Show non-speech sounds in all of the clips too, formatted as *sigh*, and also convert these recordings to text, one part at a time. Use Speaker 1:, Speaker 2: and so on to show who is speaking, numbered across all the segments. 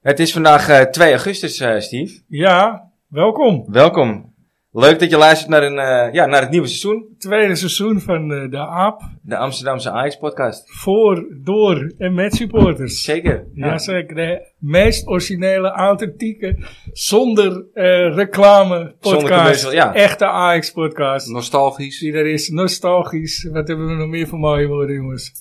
Speaker 1: Het is vandaag eh, 2 augustus, eh, Steve.
Speaker 2: Ja, welkom.
Speaker 1: Welkom. Leuk dat je luistert naar, een, eh, ja, naar het nieuwe seizoen.
Speaker 2: Tweede seizoen van eh, de AAP.
Speaker 1: De Amsterdamse Ajax-podcast.
Speaker 2: Voor, door en met supporters.
Speaker 1: Zeker. Ja.
Speaker 2: Jazeker, de meest originele, authentieke, zonder eh, reclame podcast.
Speaker 1: commercial, ja.
Speaker 2: Echte AX podcast.
Speaker 3: Nostalgisch.
Speaker 2: Die er is, nostalgisch. Wat hebben we nog meer voor mooie woorden, jongens?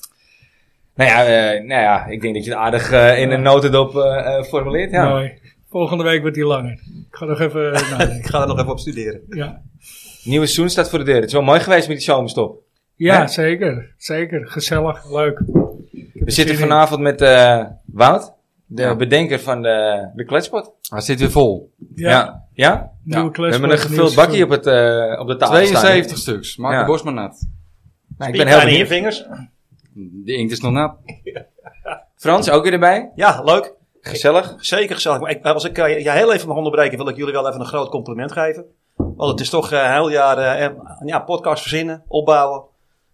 Speaker 1: Nou, ja, eh, nou ja, ik denk dat je het aardig eh, in een notendop eh, eh, formuleert. Ja.
Speaker 2: Mooi. Volgende week wordt die langer. Ik ga nog
Speaker 1: *laughs*
Speaker 2: even eh,
Speaker 3: Ik
Speaker 2: nadenken.
Speaker 3: ga er nog even op studeren.
Speaker 2: Ja,
Speaker 1: Nieuwe seizoen staat voor de deur. Het is wel mooi geweest met die zomerstop.
Speaker 2: ja
Speaker 1: Ja.
Speaker 2: zeker. Zeker. Gezellig. Leuk.
Speaker 1: We zitten vanavond met eh, Wout, de
Speaker 3: Ja.
Speaker 1: bedenker van de, de kletspot.
Speaker 3: Hij zit weer vol.
Speaker 2: Ja.
Speaker 1: Ja? Ja?
Speaker 2: Nieuwe
Speaker 3: Ja, we
Speaker 1: We
Speaker 2: klas
Speaker 1: hebben
Speaker 2: voor
Speaker 1: een
Speaker 2: het
Speaker 1: gevuld
Speaker 2: nieuwe
Speaker 1: bakje op, het, eh, op de tafel staan.
Speaker 3: 72 stuks. Maak
Speaker 1: Ja.
Speaker 3: de borst maar nat.
Speaker 1: Nou, ik ben heel benieuwd.
Speaker 4: vingers.
Speaker 3: De inkt is nog nat.
Speaker 1: Frans, ook weer erbij.
Speaker 4: Ja, leuk.
Speaker 1: Gezellig. Nou,
Speaker 4: Zeker gezellig. Maar ik, als ik eh, je heel even mag onderbreken, wil ik jullie wel even een groot compliment geven. Want het is toch eh, een heel jaar eh, eh, ja, podcast verzinnen, opbouwen.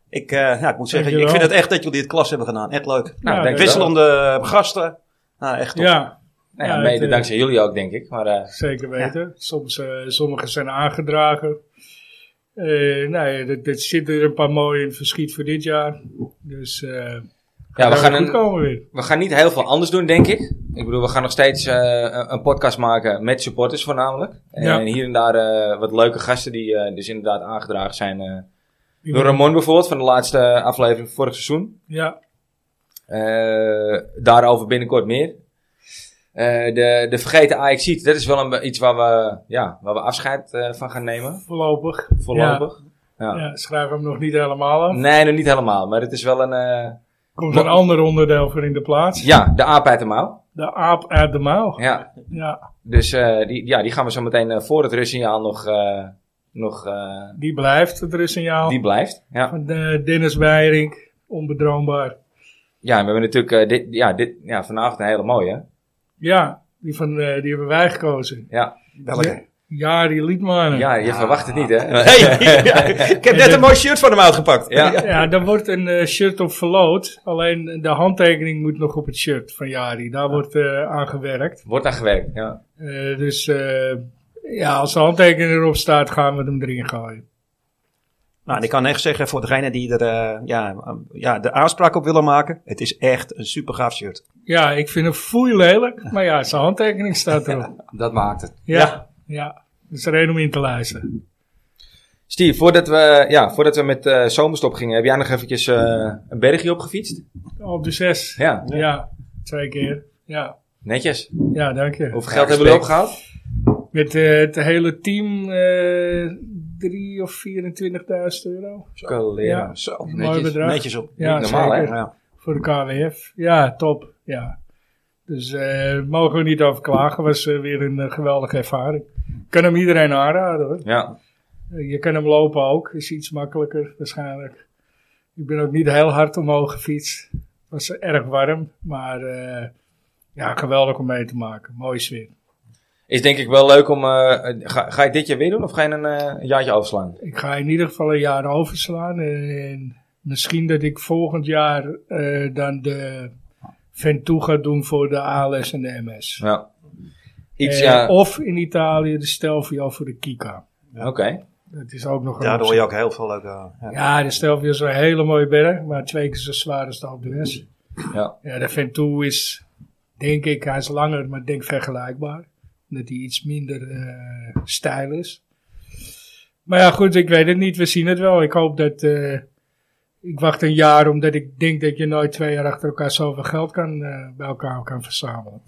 Speaker 4: Ik, eh, ja, ik moet zeggen, ik
Speaker 2: Dankjewel.
Speaker 4: vind het echt dat jullie het klas hebben gedaan. Echt leuk.
Speaker 1: Nou, dank
Speaker 2: Ja,
Speaker 1: je wel.
Speaker 4: Wisselende eh, gasten. Nou, echt top.
Speaker 2: seizoen. Ja.
Speaker 1: Nou ja,
Speaker 2: Ja,
Speaker 1: mede
Speaker 2: het, eh,
Speaker 1: dankzij jullie ook, denk ik. Maar eh,
Speaker 2: Zeker weten. Soms, eh sommigen zijn aangedragen. Eh nou ja, dit, dit zit er een paar mooie in het verschiet voor dit jaar. Dus eh
Speaker 1: ja, we
Speaker 2: gaat
Speaker 1: gaan,
Speaker 2: goed
Speaker 1: een,
Speaker 2: komen weer.
Speaker 1: we gaan niet heel veel anders doen, denk ik. Ik bedoel, we gaan nog steeds eh, een- een podcast maken met supporters voornamelijk. En
Speaker 2: Ja.
Speaker 1: hier en daar eh, wat leuke gasten die eh, dus inderdaad aangedragen zijn. eh, door Ramon bijvoorbeeld, van de laatste aflevering van vorig seizoen.
Speaker 2: Ja,
Speaker 1: Eh, daarover binnenkort meer. Eh, de, de vergeten ajax dat is wel een, iets waar we, ja, waar we afscheid eh, van gaan nemen,
Speaker 2: voorlopig.
Speaker 1: voorlopig.
Speaker 2: Ja,
Speaker 1: Ja.
Speaker 2: ja, schrijf hem nog niet helemaal af.
Speaker 1: Nee, nog niet helemaal, maar het is wel een... eh,
Speaker 2: Komt een ander onderdeel voor in de plaats.
Speaker 1: ja, de aap uit de mouw.
Speaker 2: De aap uit de mouw. Ja.
Speaker 1: Ja, Dus eh, die, ja, die gaan we zo meteen eh, voor het rustsignaal nog. eh, nog eh,
Speaker 2: die blijft. Het rustsignaal
Speaker 1: die blijft. Ja.
Speaker 2: van eh, Dennis Beiring. Onbedroombaar.
Speaker 1: ja, en we hebben natuurlijk eh, dit, ja, dit, ja, vanavond een hele mooie.
Speaker 2: Ja, die, van, eh, die hebben wij gekozen.
Speaker 1: Ja,
Speaker 4: Welke?
Speaker 2: Jari Liedmanen.
Speaker 1: ja je verwacht het niet, hè?
Speaker 4: Hey, *laughs* ja, ik heb net een mooi shirt van hem uitgepakt.
Speaker 1: Ja.
Speaker 2: Ja, daar wordt een eh, shirt op verloot. Alleen de handtekening moet nog op het shirt van Jari. Daar wordt eh, aan gewerkt.
Speaker 1: *laughs* Wordt aan gewerkt. Ja.
Speaker 2: Eh, dus eh, ja, als de handtekening erop staat, gaan we hem erin gooien.
Speaker 4: Nou, en ik kan echt zeggen, voor degene die er eh, ja, eh, ja, de aanspraak op willen maken, het is echt een super gaaf shirt.
Speaker 2: Ja, ik vind hem foei lelijk. Maar ja, zijn handtekening
Speaker 1: *laughs*
Speaker 2: staat erop.
Speaker 3: Dat maakt het.
Speaker 2: Ja, ja.
Speaker 4: Ja.
Speaker 2: Dat is reden om in te luisteren.
Speaker 1: Steve, voordat we, ja, voordat we met eh, zomerstop gingen, heb jij nog eventjes eh, een bergje opgefietst?
Speaker 2: Op de zes. Ja.
Speaker 1: Ja,
Speaker 2: twee keer. Ja.
Speaker 1: netjes.
Speaker 2: ja, dank je.
Speaker 1: Hoeveel geld hebben we
Speaker 3: respect.
Speaker 1: opgehaald?
Speaker 2: Met eh, het hele team eh 3 of 24.000 euro.
Speaker 1: Kalera.
Speaker 2: Ja.
Speaker 4: Zo,
Speaker 2: Mooi bedrag.
Speaker 4: netjes op.
Speaker 2: Ja,
Speaker 1: Niet normaal, hè?
Speaker 2: zeker.
Speaker 4: Ja.
Speaker 2: Voor de KWF. Ja, top. Ja. Dus eh mogen we niet over klagen. Was eh, weer een eh, geweldige ervaring. Kan hem iedereen aanraden hoor.
Speaker 1: Ja.
Speaker 2: Eh, Je kan hem lopen ook. Is iets makkelijker waarschijnlijk. Ik ben ook niet heel hard omhoog gefietst. Het was erg warm. Maar eh, ja, geweldig om mee te maken. Mooie sfeer.
Speaker 1: Is denk ik wel leuk om. eh, ga, ga je dit jaar weer doen of ga je een, eh, een jaartje overslaan?
Speaker 2: Ik ga in ieder geval een jaar overslaan. En misschien dat ik volgend jaar eh, dan de Ventoux ga doen voor de ALS en de MS.
Speaker 1: Ja. Iets,
Speaker 2: Eh,
Speaker 1: ja.
Speaker 2: Of in Italië de Stelvio voor de Kika.
Speaker 1: Oké.
Speaker 2: Dat is ook nog een
Speaker 4: Daardoor hoor
Speaker 2: optie.
Speaker 4: je ook heel veel leuke... eh, ja.
Speaker 2: Ja, de Stelvio is een hele mooie berg, maar twee keer zo zwaar als de Alpe d'Huez.
Speaker 1: Ja.
Speaker 2: Ja, de Ventoux is, denk ik, hij is langer, maar ik denk vergelijkbaar. Dat hij iets minder eh, stijl is. Maar ja, goed, ik weet het niet. We zien het wel. Ik hoop dat... eh, ik wacht een jaar, omdat ik denk dat je nooit twee jaar achter elkaar zoveel geld kan, eh, bij elkaar kan verzamelen.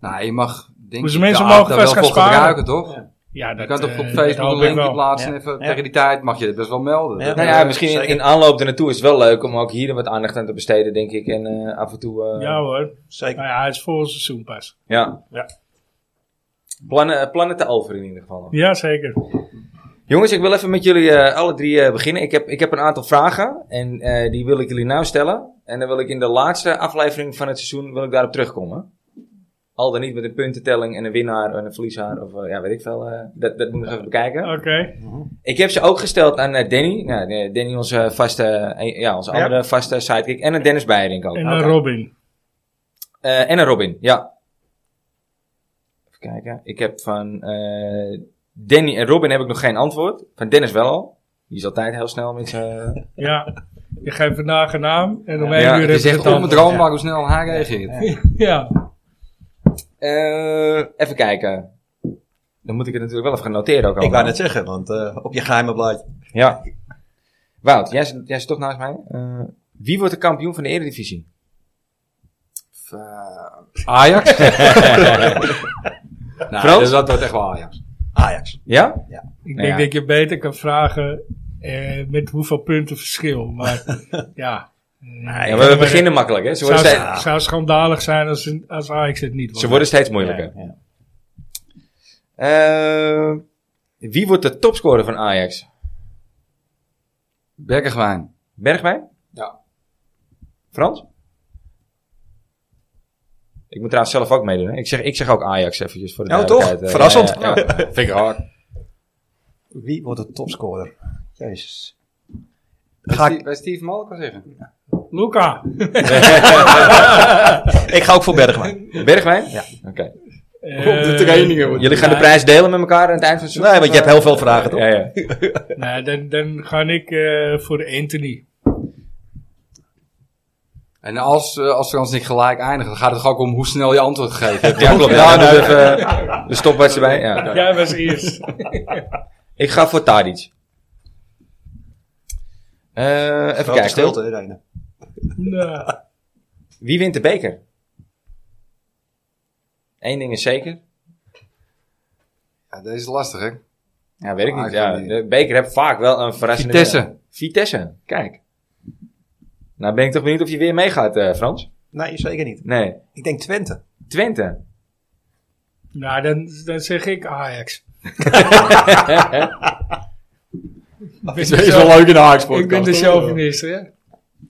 Speaker 3: Nou, je mag denk
Speaker 2: Dus
Speaker 3: ik
Speaker 2: mensen
Speaker 3: de aap
Speaker 2: mogen
Speaker 3: daar
Speaker 2: best
Speaker 3: wel
Speaker 2: gaan
Speaker 3: voor
Speaker 2: sparen.
Speaker 3: gebruiken, toch?
Speaker 2: Ja,
Speaker 3: Je
Speaker 2: dat,
Speaker 3: kan toch
Speaker 2: eh,
Speaker 3: op
Speaker 2: dat
Speaker 3: Facebook
Speaker 2: hoop
Speaker 3: een
Speaker 2: ik
Speaker 3: linkje
Speaker 2: wel.
Speaker 3: plaatsen.
Speaker 4: Ja.
Speaker 3: Even,
Speaker 4: Ja.
Speaker 3: Tegen die tijd mag je het best wel melden.
Speaker 4: Ja.
Speaker 3: Dat-
Speaker 1: Nou ja, misschien in-
Speaker 4: zeker.
Speaker 1: in aanloop ernaartoe is het wel leuk om ook hier er wat aandacht aan te besteden, denk ik. En eh, af en toe. eh,
Speaker 2: Ja hoor.
Speaker 4: Zeker.
Speaker 2: Nou ja, hij is volgend seizoen pas.
Speaker 1: ja.
Speaker 4: Ja.
Speaker 1: Plannen, eh, plannen te over in ieder geval. nog.
Speaker 2: Jazeker.
Speaker 1: Jongens, ik wil even met jullie eh, alle drie eh, beginnen. Ik heb, ik heb een aantal vragen en eh, die wil ik jullie nou stellen. En dan wil ik in de laatste aflevering van het seizoen wil ik daarop terugkomen. Al dan niet met een puntentelling en een winnaar en een verliezer of eh, ja, weet ik veel. eh, dat, dat moet ik nog even bekijken.
Speaker 2: Oké.
Speaker 1: Ik heb ze ook gesteld aan eh, Danny. Nou, eh, Danny, onze vaste, eh, ja, onze
Speaker 2: Ja.
Speaker 1: andere vaste sidekick. En aan Dennis Beierink ook.
Speaker 2: En
Speaker 1: Oké.
Speaker 2: dan Robin.
Speaker 1: Eh, en aan Robin, ja. kijken. Ik heb van eh, Danny en Robin heb ik nog geen antwoord. Van Dennis wel al. Die is altijd heel snel met eh, zijn...
Speaker 2: Ja. Je geeft vandaag een naam en om één
Speaker 1: Ja, "Oh,
Speaker 2: uur
Speaker 1: het
Speaker 2: heb
Speaker 1: is
Speaker 2: je
Speaker 1: echt
Speaker 2: het antwoord.
Speaker 3: Onbedroombaar hoe snel hij reageert.
Speaker 2: Ja.
Speaker 1: Eh, even kijken. Dan moet ik het natuurlijk wel even gaan noteren ook
Speaker 4: Ik
Speaker 1: allemaal.
Speaker 4: wou net zeggen, want eh, op je geheime blaadje.
Speaker 1: Ja. Wout, jij, zit- jij zit toch naast mij. Eh, wie wordt de kampioen van de Eredivisie?
Speaker 3: *laughs* *laughs* Ajax? nee,
Speaker 1: Frans?
Speaker 3: dus dat wordt echt wel Ajax.
Speaker 4: Ajax.
Speaker 1: Ja?
Speaker 2: Ik
Speaker 1: Nou
Speaker 2: denk
Speaker 1: ja.
Speaker 2: dat je beter kan vragen eh, met hoeveel punten verschil. Maar
Speaker 1: *laughs*
Speaker 2: ja.
Speaker 1: Ja, maar we beginnen makkelijk, hè? Ze
Speaker 2: Het
Speaker 1: worden,
Speaker 2: zou,
Speaker 1: steeds,
Speaker 2: zou schandalig zijn als, als Ajax het niet wordt.
Speaker 1: ze worden steeds moeilijker.
Speaker 4: Ja, ja.
Speaker 1: Eh, wie wordt de topscorer van Ajax?
Speaker 3: Bergwijn.
Speaker 1: Bergwijn?
Speaker 3: Ja.
Speaker 1: Frans? Ik moet trouwens zelf ook meedoen. Hè? Ik, zeg, ik zeg ook Ajax eventjes voor de
Speaker 4: Ja, toch?
Speaker 1: duidelijkheid. Eh,
Speaker 4: Verrassend.
Speaker 1: ja, ja. Vind ik hard.
Speaker 4: Wie wordt de topscorer? Jezus.
Speaker 3: Ga
Speaker 4: Ga
Speaker 3: ik... Bij Steve Malko zeggen.
Speaker 2: Luca.
Speaker 4: Ik ga ook voor
Speaker 1: *laughs*
Speaker 4: Bergman.
Speaker 1: Bergwijn?
Speaker 4: Ja.
Speaker 1: Oké. Oh,
Speaker 2: Eh,
Speaker 1: Jullie gaan de prijs delen met elkaar aan het eind van het seizoen?
Speaker 4: Nee, want je hebt heel veel vragen, toch?
Speaker 1: Ja, ja.
Speaker 2: Nou, dan, dan ga ik eh, voor Anthony.
Speaker 3: En als, eh, als Frans niet gelijk eindigt, dan gaat het toch ook om hoe snel je antwoord geeft. *laughs* Heb je
Speaker 1: Ja,
Speaker 3: ook
Speaker 1: klopt.
Speaker 3: wel-
Speaker 1: Ja, nou, even eh, de stopwatch erbij. Ja.
Speaker 2: Jij was eerst. *laughs*
Speaker 1: Ik ga voor Tadic. Eh, even
Speaker 4: Grote
Speaker 1: kijken.
Speaker 4: stilte, hè, Reine.
Speaker 2: nou,
Speaker 1: Wie wint de beker? Eén ding is zeker.
Speaker 3: Ja, deze is lastig, hè?
Speaker 1: Ja, weet ik niet.
Speaker 3: Ah,
Speaker 1: Ja,
Speaker 3: ik weet
Speaker 1: de beker heeft vaak wel een verrassende...
Speaker 3: Vitesse.
Speaker 1: Vitesse, kijk. Nou ben ik toch benieuwd of je weer meegaat, eh, Frans?
Speaker 4: Nee, zeker niet.
Speaker 1: Nee.
Speaker 4: Ik denk Twente.
Speaker 1: Twente. *laughs*
Speaker 2: nou dan, dan zeg ik Ajax. Ik ben de chau-
Speaker 3: leuk in de Ajax-podcast.
Speaker 2: ik ben de chauvinist, hè?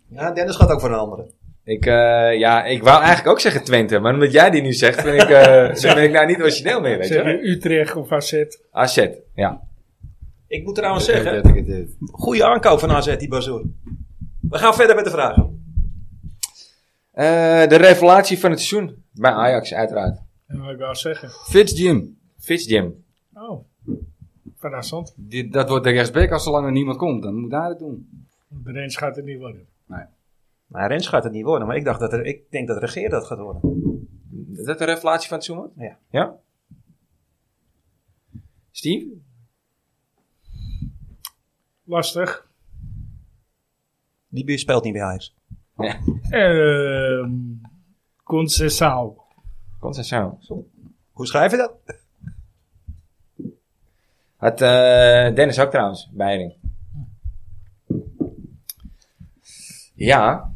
Speaker 4: Ja, Dennis gaat ook voor een andere.
Speaker 1: ik, eh, ja, ik wou eigenlijk ook zeggen Twente, maar omdat jij die nu zegt, ben ik, eh, ben ik daar niet origineel mee, weet
Speaker 2: Zeg
Speaker 1: je.
Speaker 2: je Utrecht of AZ?
Speaker 1: AZ, ja.
Speaker 4: Ik moet trouwens zeggen,
Speaker 3: zeggen.
Speaker 4: goede aankoop van AZ, die Bazoer. We gaan verder met de vragen.
Speaker 1: Eh, de revelatie van het seizoen. Bij Ajax, uiteraard.
Speaker 2: Dat wil ik wel zeggen.
Speaker 3: Fitz Jim.
Speaker 1: Fitzjim.
Speaker 2: Oh, verrassend.
Speaker 3: Dit, dat wordt de rechtsback als zolang er niemand komt. Dan moet hij het doen.
Speaker 2: Breens gaat het niet worden.
Speaker 4: Maar Rens gaat het niet worden, maar ik, dacht dat er, ik denk dat Regeer dat gaat worden.
Speaker 1: Is dat de revelatie van het seizoen? wordt?
Speaker 4: Ja.
Speaker 1: Ja? Steve?
Speaker 2: Lastig.
Speaker 4: Die buurt speelt niet bij Ajax.
Speaker 2: Ehm Concessaal.
Speaker 1: Concessao.
Speaker 4: Hoe schrijf je dat?
Speaker 1: Had eh, Dennis ook trouwens, Beiring. Ja,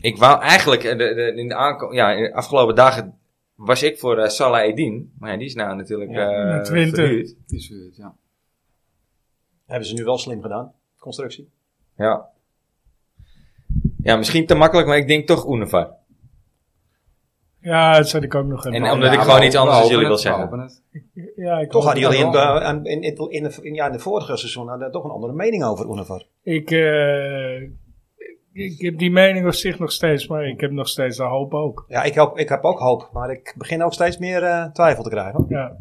Speaker 1: ik wou eigenlijk eh, de, de, in de aanko- ja, in de afgelopen dagen was ik voor eh, Salah Eddin, maar ja, die is nou natuurlijk
Speaker 4: Ja,
Speaker 1: eh
Speaker 2: naar Twente.
Speaker 1: verhuurd.
Speaker 3: Is het, ja.
Speaker 4: Hebben ze nu wel slim gedaan, constructie.
Speaker 1: Ja. ja, misschien te makkelijk, maar ik denk toch Unifar.
Speaker 2: Ja, dat zat ik ook nog
Speaker 1: En
Speaker 2: even.
Speaker 1: omdat ik
Speaker 3: we
Speaker 1: gewoon
Speaker 3: hopen-
Speaker 1: iets anders
Speaker 3: we
Speaker 1: als jullie
Speaker 3: hopen
Speaker 1: wil
Speaker 3: het, we
Speaker 1: zeggen.
Speaker 3: hopen het.
Speaker 2: Ja, ik
Speaker 4: Toch
Speaker 2: hoop
Speaker 4: hadden jullie in,
Speaker 2: het wel.
Speaker 4: in, in, in, in, de- ja, in de vorige seizoen hadden we toch een andere mening over Univar.
Speaker 2: Ik, eh, ik heb die mening op zich nog steeds, maar ik heb nog steeds de hoop ook.
Speaker 4: Ja, ik, hoop, ik heb ook hoop, maar ik begin ook steeds meer eh, twijfel te krijgen.
Speaker 2: Ja.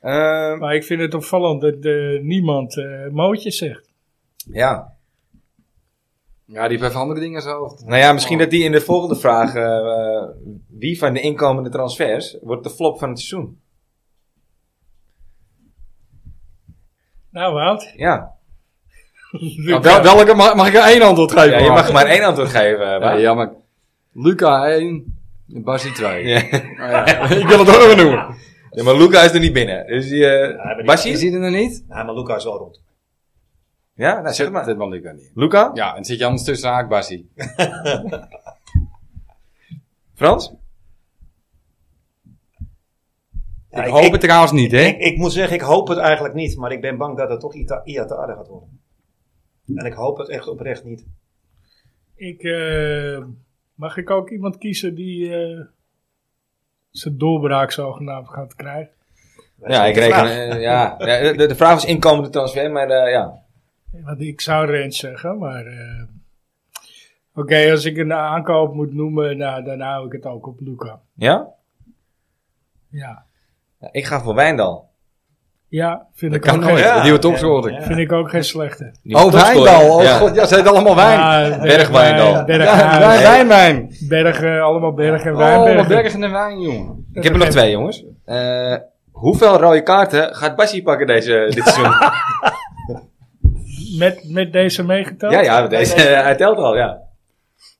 Speaker 1: Ehm,
Speaker 2: Maar ik vind het opvallend dat eh, niemand eh mootje zegt.
Speaker 1: ja,
Speaker 3: Ja, die heeft even andere dingen in zijn hoofd.
Speaker 1: nou ja,
Speaker 4: Oh.
Speaker 1: misschien dat die in de volgende vraag, eh, eh, wie van de inkomende transfers wordt de flop van het seizoen?
Speaker 2: Nou, Wout.
Speaker 1: Ja,
Speaker 3: Ja, wel- welke mag, mag ik er één antwoord geven?
Speaker 1: Ja, je mag maar één antwoord geven. eh,
Speaker 3: Ja,
Speaker 1: Bart.
Speaker 3: jammer. Luca 1, Basie 2. *laughs*
Speaker 1: Ja.
Speaker 3: Nou ik wil het ook even noemen.
Speaker 1: Ja, maar Luca is er niet binnen. Dus die, eh,
Speaker 4: maar die-
Speaker 1: Basje?
Speaker 3: Is hij er nog niet?
Speaker 4: Ja, maar Luca is wel rond.
Speaker 1: Ja, nou, zeg maar.
Speaker 3: Zet maar Luca niet.
Speaker 1: Luca?
Speaker 3: Ja, en zit je anders tussen haak, Basie.
Speaker 1: Frans?
Speaker 4: Ja,
Speaker 3: ik hoop het trouwens niet, hè?
Speaker 4: Ik, ik moet zeggen, ik hoop het eigenlijk niet, maar ik ben bang dat het toch Ita- Iatare gaat worden. En ik hoop het echt oprecht niet.
Speaker 2: Ik, eh, mag ik ook iemand kiezen die eh, zijn doorbraak zogenaamd gaat krijgen?
Speaker 4: Dat is
Speaker 1: Ja,
Speaker 4: niet
Speaker 1: ik
Speaker 4: de
Speaker 1: reken.
Speaker 4: vraag.
Speaker 1: eh,
Speaker 4: *laughs*
Speaker 1: ja. Ja, de, de vraag was inkomende transfer, maar eh, ja.
Speaker 2: Want ik zou Rens zeggen, maar... eh, Oké, als ik een aankoop moet noemen, nou, dan hou ik het ook op Luca.
Speaker 1: Ja?
Speaker 2: Ja.
Speaker 1: Ja, ik ga voor Wijndal.
Speaker 2: Ja, vind,
Speaker 3: Dat
Speaker 2: ik
Speaker 3: kan
Speaker 2: ook,
Speaker 3: nooit.
Speaker 2: geen-
Speaker 4: Ja.
Speaker 3: De nieuwe topscorer.
Speaker 4: Ja.
Speaker 2: vind ik ook geen slechte.
Speaker 1: Nieuwe
Speaker 3: oh,
Speaker 1: topscorer.
Speaker 3: Wijndal. Oh,
Speaker 1: Ja.
Speaker 3: god. Ja, ze heet allemaal Wijn.
Speaker 2: Ah,
Speaker 1: Bergwijndal.
Speaker 2: Berg,
Speaker 3: Ja, wijn,
Speaker 2: Berghuis,
Speaker 3: wijn, wijn.
Speaker 2: Bergen, allemaal bergen en
Speaker 3: Oh,
Speaker 2: wijnbergen.
Speaker 3: wat berg in de wijn, jongen.
Speaker 1: Ik heb er nog twee, jongens. Eh, hoeveel rode kaarten gaat Bassi pakken deze, dit
Speaker 4: *laughs*
Speaker 1: seizoen?
Speaker 2: Met, met deze meegeteld?
Speaker 1: ja, ja, deze, hij telt al, ja.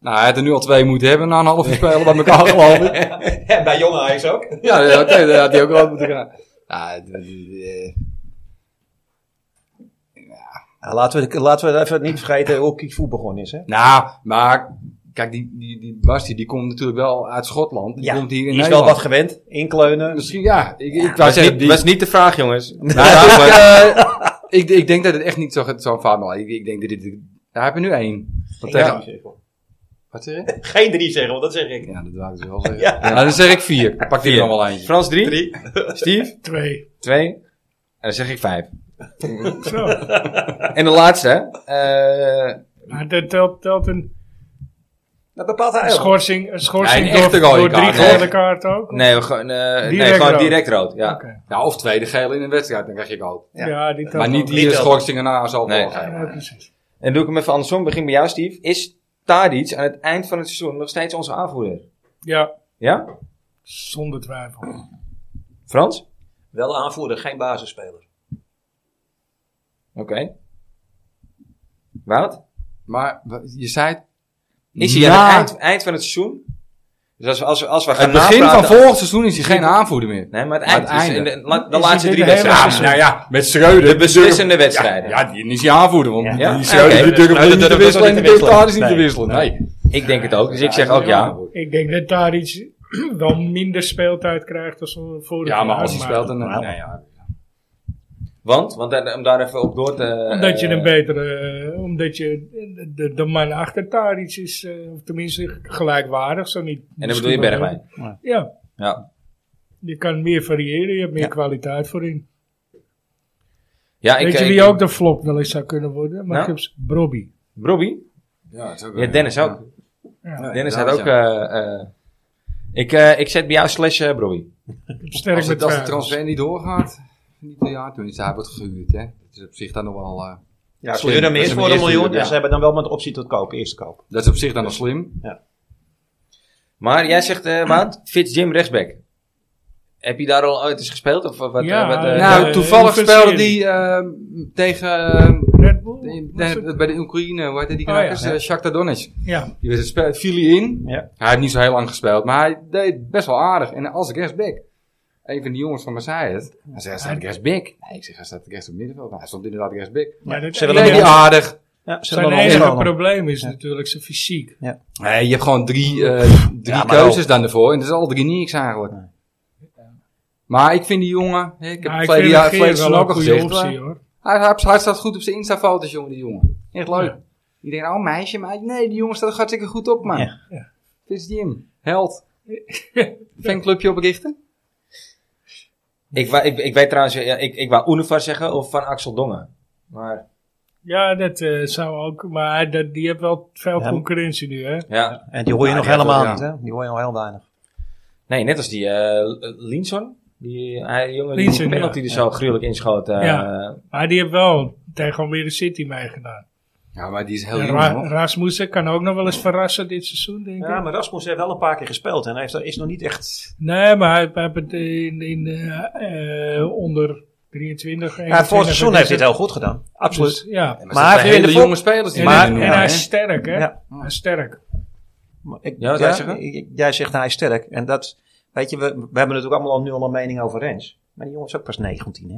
Speaker 3: Nou, hij had er nu al twee moeten hebben na een half uur spelen bij elkaar, geloof ik.
Speaker 4: En *laughs* bij Jong Ajax ook.
Speaker 3: Ja, ja, oké, dat had hij ook wel moeten gaan. Nou, d- d- d-
Speaker 4: Nou, laten, we, laten we even niet vergeten hoe Kikvoet begonnen is. Hè?
Speaker 3: nou, maar kijk, die, die, die Basti die komt natuurlijk wel uit Schotland. Die
Speaker 4: Ja,
Speaker 3: komt hier in
Speaker 4: Die is wel
Speaker 3: Nederland.
Speaker 4: wat gewend. Inkleunen.
Speaker 3: Misschien, ja. Ik, ik wou
Speaker 1: Dat is
Speaker 3: zeggen,
Speaker 1: niet,
Speaker 3: die-
Speaker 1: was niet de vraag,
Speaker 3: *laughs*
Speaker 1: jongens.
Speaker 3: Nou, ik, eh, ik, ik denk dat het echt niet zo- zo'n zo fout is. Ik, ik denk dat dit... Hij heeft er nu één. Wat
Speaker 4: Geen
Speaker 3: tegen-
Speaker 4: drie zeggen.
Speaker 3: Wat zeg
Speaker 4: *laughs*
Speaker 3: je?
Speaker 4: Geen drie zeggen, want dat zeg ik.
Speaker 3: Ja, dat wou ik dus wel zeggen.
Speaker 4: Ja.
Speaker 3: Nou, dan zeg ik vier. Pak
Speaker 1: Vier.
Speaker 3: hier dan wel eentje.
Speaker 1: Frans drie, Steve
Speaker 2: Twee.
Speaker 1: twee. En dan zeg ik vijf.
Speaker 2: Zo. *laughs*
Speaker 1: En de laatste, eh,
Speaker 2: Maar dat telt, telt een
Speaker 4: Dat bepaalt
Speaker 1: Ah,
Speaker 4: hij ook.
Speaker 2: schorsing, een schorsing
Speaker 3: Ja, een echte
Speaker 2: door,
Speaker 3: rode
Speaker 2: door drie
Speaker 3: kaart, hè?
Speaker 2: gele kaarten ook?
Speaker 1: nee, we gaan, eh, nee,
Speaker 2: Direct
Speaker 1: gewoon
Speaker 2: rood.
Speaker 1: direct rood. Ja.
Speaker 2: Oké.
Speaker 3: Ja, Nou, of tweede gele in een wedstrijd, dan krijg je ook.
Speaker 2: Ja.
Speaker 4: Ja.
Speaker 2: die telt
Speaker 3: Maar niet
Speaker 2: ook.
Speaker 3: die
Speaker 4: Niet ook.
Speaker 3: schorsingen na zal
Speaker 1: Nee.
Speaker 3: wel
Speaker 2: Ja,
Speaker 3: geven.
Speaker 2: precies.
Speaker 1: En doe ik hem even andersom. Begin bij jou, Steve. Is Tadic aan het eind van het seizoen nog steeds onze aanvoerder?
Speaker 2: Ja,
Speaker 1: Ja?
Speaker 2: zonder twijfel.
Speaker 1: Frans?
Speaker 4: Wel aanvoerder, geen basisspeler.
Speaker 1: Oké. Wout?
Speaker 3: Maar wa- je zei het.
Speaker 1: Is hij
Speaker 3: Na
Speaker 1: aan het eind, eind van het seizoen? Dus als we, als we, als we gaan
Speaker 3: het begin van
Speaker 1: napraten-
Speaker 3: volgend seizoen is hij geen aanvoerder meer.
Speaker 1: Nee, maar het
Speaker 3: Maar
Speaker 1: eind.
Speaker 3: het
Speaker 1: dus in
Speaker 3: einde.
Speaker 1: de, la- de
Speaker 2: Is
Speaker 1: laatste
Speaker 2: hij
Speaker 1: drie
Speaker 2: dit de hele
Speaker 1: wedstrijden.
Speaker 2: seizoen?
Speaker 3: ja, met Schreuder.
Speaker 1: De beslissende
Speaker 3: durft-
Speaker 1: wedstrijden.
Speaker 3: Ja, ja, die is hij aanvoerder. Want
Speaker 1: Ja.
Speaker 3: die Schreuder
Speaker 1: Oké.
Speaker 3: die durft
Speaker 4: Schreuder
Speaker 3: niet te
Speaker 4: durft
Speaker 3: wisselen en
Speaker 4: ook
Speaker 3: die
Speaker 4: niet
Speaker 3: durft
Speaker 4: te
Speaker 3: Tadic niet te
Speaker 4: wisselen.
Speaker 3: wisselen. Nee.
Speaker 1: Ik denk het ook, dus ik
Speaker 3: Hij
Speaker 1: zeg
Speaker 3: is
Speaker 1: ook
Speaker 3: niet
Speaker 1: ja.
Speaker 3: aanvoerder.
Speaker 2: Ik denk dat daar iets *clears throat* wel minder speeltijd krijgt dan vorig
Speaker 3: Ja, maar als hij
Speaker 2: jaar,
Speaker 3: speelt, dan...
Speaker 4: Maar-
Speaker 3: nee, ja.
Speaker 1: Want, want eh, om daar even op door te...
Speaker 2: Omdat je
Speaker 1: eh,
Speaker 2: een betere, eh, omdat je de- de, de man achter Taric is, eh, of tenminste gelijkwaardig, zo niet.
Speaker 1: En dan bedoel je Bergwijn.
Speaker 2: Ja,
Speaker 1: Ja.
Speaker 2: je kan meer variëren, je hebt meer
Speaker 1: Ja.
Speaker 2: kwaliteit voor in.
Speaker 1: ja
Speaker 2: Weet
Speaker 1: ik, eh,
Speaker 2: je
Speaker 1: ik-
Speaker 2: wie ook de flop wel eens zou kunnen worden? Maar
Speaker 1: Nou?
Speaker 2: ik heb ze- Brobby.
Speaker 1: Robbie?
Speaker 3: Ja, is ook
Speaker 1: Ja, Dennis ook.
Speaker 2: Ja,
Speaker 1: Dennis
Speaker 3: ja,
Speaker 1: had ook...
Speaker 3: ja.
Speaker 1: eh, eh, ik, eh, ik zet bij jou slash eh, Robbie.
Speaker 2: sterk
Speaker 3: Als,
Speaker 2: met
Speaker 3: het, als de
Speaker 2: twijfels.
Speaker 3: transfer niet doorgaat, niet meer jaar, tenminste, hij wordt gehuurd, hè. Dat is op zich dan nog wel, eh,
Speaker 4: Ja, ze
Speaker 3: Slim.
Speaker 4: huren hem
Speaker 3: Dat
Speaker 4: eerst
Speaker 3: is hem
Speaker 4: voor een
Speaker 3: eerst
Speaker 4: miljoen.
Speaker 3: huren,
Speaker 4: En
Speaker 3: ja.
Speaker 4: ze hebben dan wel met optie tot kopen, eerst kopen.
Speaker 3: dat is op zich dan nog slim.
Speaker 1: Maar jij zegt, eh Wout, Fitz Jim rechtsback. Heb je daar al ooit eens gespeeld? Of wat,
Speaker 2: Ja,
Speaker 1: eh, wat, eh,
Speaker 2: ja.
Speaker 3: nou,
Speaker 2: eh,
Speaker 3: toevallig
Speaker 2: hoeveel
Speaker 3: speelde
Speaker 2: serie?
Speaker 3: die ehm, tegen, ehm,
Speaker 2: Red Bull?
Speaker 3: de-
Speaker 2: Was het?
Speaker 3: de- bij de Oekraïne, hoe heette die
Speaker 2: Oh,
Speaker 3: knakkers?
Speaker 2: ja.
Speaker 3: Eh, Shakhtar Donetsk.
Speaker 2: Ja,
Speaker 3: Die werd gespeeld, viel hij in.
Speaker 4: Ja.
Speaker 3: Hij heeft niet zo heel lang gespeeld, maar hij deed best wel aardig. En als rechtsback, een van die jongens van me zei het, hij zei, hij staat rechtsback. Nee, ik zeg, hij staat rechts op het middenveld. Maar hij stond inderdaad rechtsback.
Speaker 2: maar dat
Speaker 4: Ze willen
Speaker 3: Nee,
Speaker 4: hem
Speaker 3: die
Speaker 2: enige-
Speaker 4: Ja,
Speaker 3: aardig.
Speaker 4: ze
Speaker 2: zijn
Speaker 4: hebben hem
Speaker 2: enige
Speaker 4: overgenomen.
Speaker 2: probleem is natuurlijk zijn fysiek.
Speaker 3: Nee, je hebt gewoon drie, eh, drie
Speaker 4: Ja, maar
Speaker 3: keuzes dan ervoor. En dat is al drie niks eigenlijk. Maar ik vind die jongen... hè, Ik heb
Speaker 2: Maar
Speaker 3: het
Speaker 2: ik
Speaker 3: verleden
Speaker 2: vind
Speaker 3: jaar
Speaker 2: Geer
Speaker 3: verleden
Speaker 2: wel
Speaker 3: seizoen ook
Speaker 2: een
Speaker 3: al
Speaker 2: goede
Speaker 3: gezegd.
Speaker 2: optie
Speaker 3: maar
Speaker 2: hoor.
Speaker 3: Hij, hij, hij staat goed op zijn Insta-foto's, jongen, die jongen. Echt leuk.
Speaker 2: Ja.
Speaker 3: Ik denk, oh meisje, maar nee, die jongen staat er hartstikke goed op, man.
Speaker 4: Ja.
Speaker 2: Ja.
Speaker 3: Dit is Jim.
Speaker 2: *laughs*
Speaker 3: Held. Fanclubje oprichten?
Speaker 1: ik, wou- ik, ik weet trouwens, ja, ik, ik wou Unifar zeggen of van Axel Dongen. Maar
Speaker 2: Ja, dat eh, zou ook, maar dat, die heeft wel veel
Speaker 4: Ja.
Speaker 2: concurrentie nu hè.
Speaker 1: ja,
Speaker 4: En die hoor je
Speaker 3: Ja,
Speaker 4: nog
Speaker 3: die
Speaker 4: helemaal
Speaker 3: hebben-
Speaker 4: niet, hè? Die hoor je nog heel weinig.
Speaker 1: nee, net als die eh Linson. Die, hij, jongen, die
Speaker 2: Linson,
Speaker 1: penalty
Speaker 2: ja.
Speaker 1: die zo gruwelijk inschoot. eh,
Speaker 2: Ja. Maar die heeft wel tegen Almere City meegedaan.
Speaker 3: Ja, maar die is heel
Speaker 2: En
Speaker 3: jong,
Speaker 2: Ra
Speaker 3: hoor.
Speaker 2: Rasmussen kan ook nog wel eens verrassen dit seizoen, denk ik.
Speaker 4: Ja, maar Rasmus heeft wel een paar keer gespeeld. En hij heeft, is nog niet echt...
Speaker 2: Nee, maar hij, hij heeft het in, in eh, eh, onder 23.
Speaker 4: Ja, vorig seizoen heeft hij het
Speaker 2: ook.
Speaker 4: heel goed gedaan. Dus- Absoluut.
Speaker 2: ja.
Speaker 3: Maar hij
Speaker 4: hij
Speaker 3: heeft
Speaker 4: heeft
Speaker 3: hele
Speaker 4: in de
Speaker 3: jonge spelers die
Speaker 2: En,
Speaker 3: maar,
Speaker 2: hij- en
Speaker 4: ja,
Speaker 2: hij
Speaker 4: hè?
Speaker 2: is sterk, hè?
Speaker 4: Ja.
Speaker 2: Hij is sterk.
Speaker 4: Maar ik-
Speaker 1: Ja, wat jij zeggen?
Speaker 4: ik- ik- jij zegt hij is sterk. En dat, weet je, we, we hebben natuurlijk allemaal al nu al een mening over Rens. Maar die jongen is ook pas 19, hè?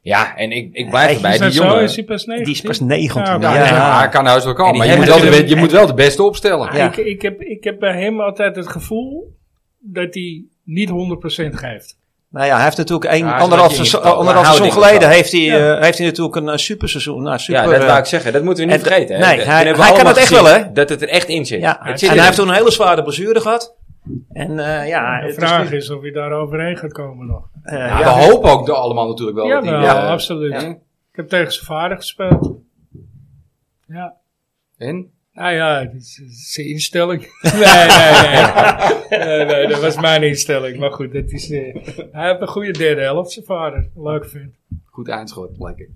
Speaker 1: ja, en ik, ik blijf
Speaker 4: Hey,
Speaker 1: erbij.
Speaker 2: Is
Speaker 1: Die
Speaker 2: dat Dus zo?
Speaker 1: jongen, dus
Speaker 2: Is hij pas 19?
Speaker 4: Die is pas 19.
Speaker 2: Ja,
Speaker 4: Ja,
Speaker 3: Ja, nee, maar hij kan huis wel
Speaker 1: En
Speaker 3: komen.
Speaker 1: die
Speaker 3: Maar je moet wel,
Speaker 1: hebben-
Speaker 3: de, be- je moet wel de beste opstellen.
Speaker 2: Ah,
Speaker 4: Ja.
Speaker 2: Ik, ik, heb, ik heb bij hem altijd het gevoel dat hij niet 100% geeft.
Speaker 4: Nou ja, hij heeft natuurlijk een,
Speaker 3: Ja, hij is
Speaker 4: anderhalf,
Speaker 3: een beetje
Speaker 4: seizoen,
Speaker 1: ingesteld.
Speaker 4: anderhalf
Speaker 1: Maar
Speaker 4: seizoen
Speaker 1: houding
Speaker 4: geleden heeft hij,
Speaker 2: Ja.
Speaker 4: eh, heeft hij natuurlijk een, eh, superseizoen. Nou, super,
Speaker 1: ja, dat
Speaker 4: eh,
Speaker 1: wou ik zeggen. Dat moeten we niet
Speaker 4: en-
Speaker 1: vergeten. hè.
Speaker 4: nee,
Speaker 1: Dat
Speaker 4: hij-
Speaker 1: hebben we
Speaker 4: hij kan
Speaker 1: allemaal
Speaker 4: het echt
Speaker 1: gezien,
Speaker 4: wel, hè?
Speaker 1: Dat het er echt in zit.
Speaker 4: ja.
Speaker 1: het
Speaker 4: en
Speaker 1: zit
Speaker 4: hij
Speaker 1: erin.
Speaker 4: heeft toen een hele zware blessure gehad. En eh, ja,
Speaker 2: de
Speaker 4: het
Speaker 2: vraag
Speaker 4: is,
Speaker 2: is of hij daar overheen gaat komen nog.
Speaker 4: niet- eh,
Speaker 3: Ja,
Speaker 4: ja.
Speaker 3: we hopen ook allemaal natuurlijk wel.
Speaker 2: Ja,
Speaker 3: dat die,
Speaker 2: wel,
Speaker 3: eh,
Speaker 2: absoluut.
Speaker 3: hè?
Speaker 2: Ik heb tegen zijn vader gespeeld. Ja,
Speaker 3: En?
Speaker 2: Nou ja, het is, het is zijn instelling. *laughs* nee, nee, nee, nee. nee, dat was mijn instelling. Maar goed, dat is, eh, hij heeft een goede derde helft, zijn vader. Leuk vind.
Speaker 3: Goed eindschot, lekker.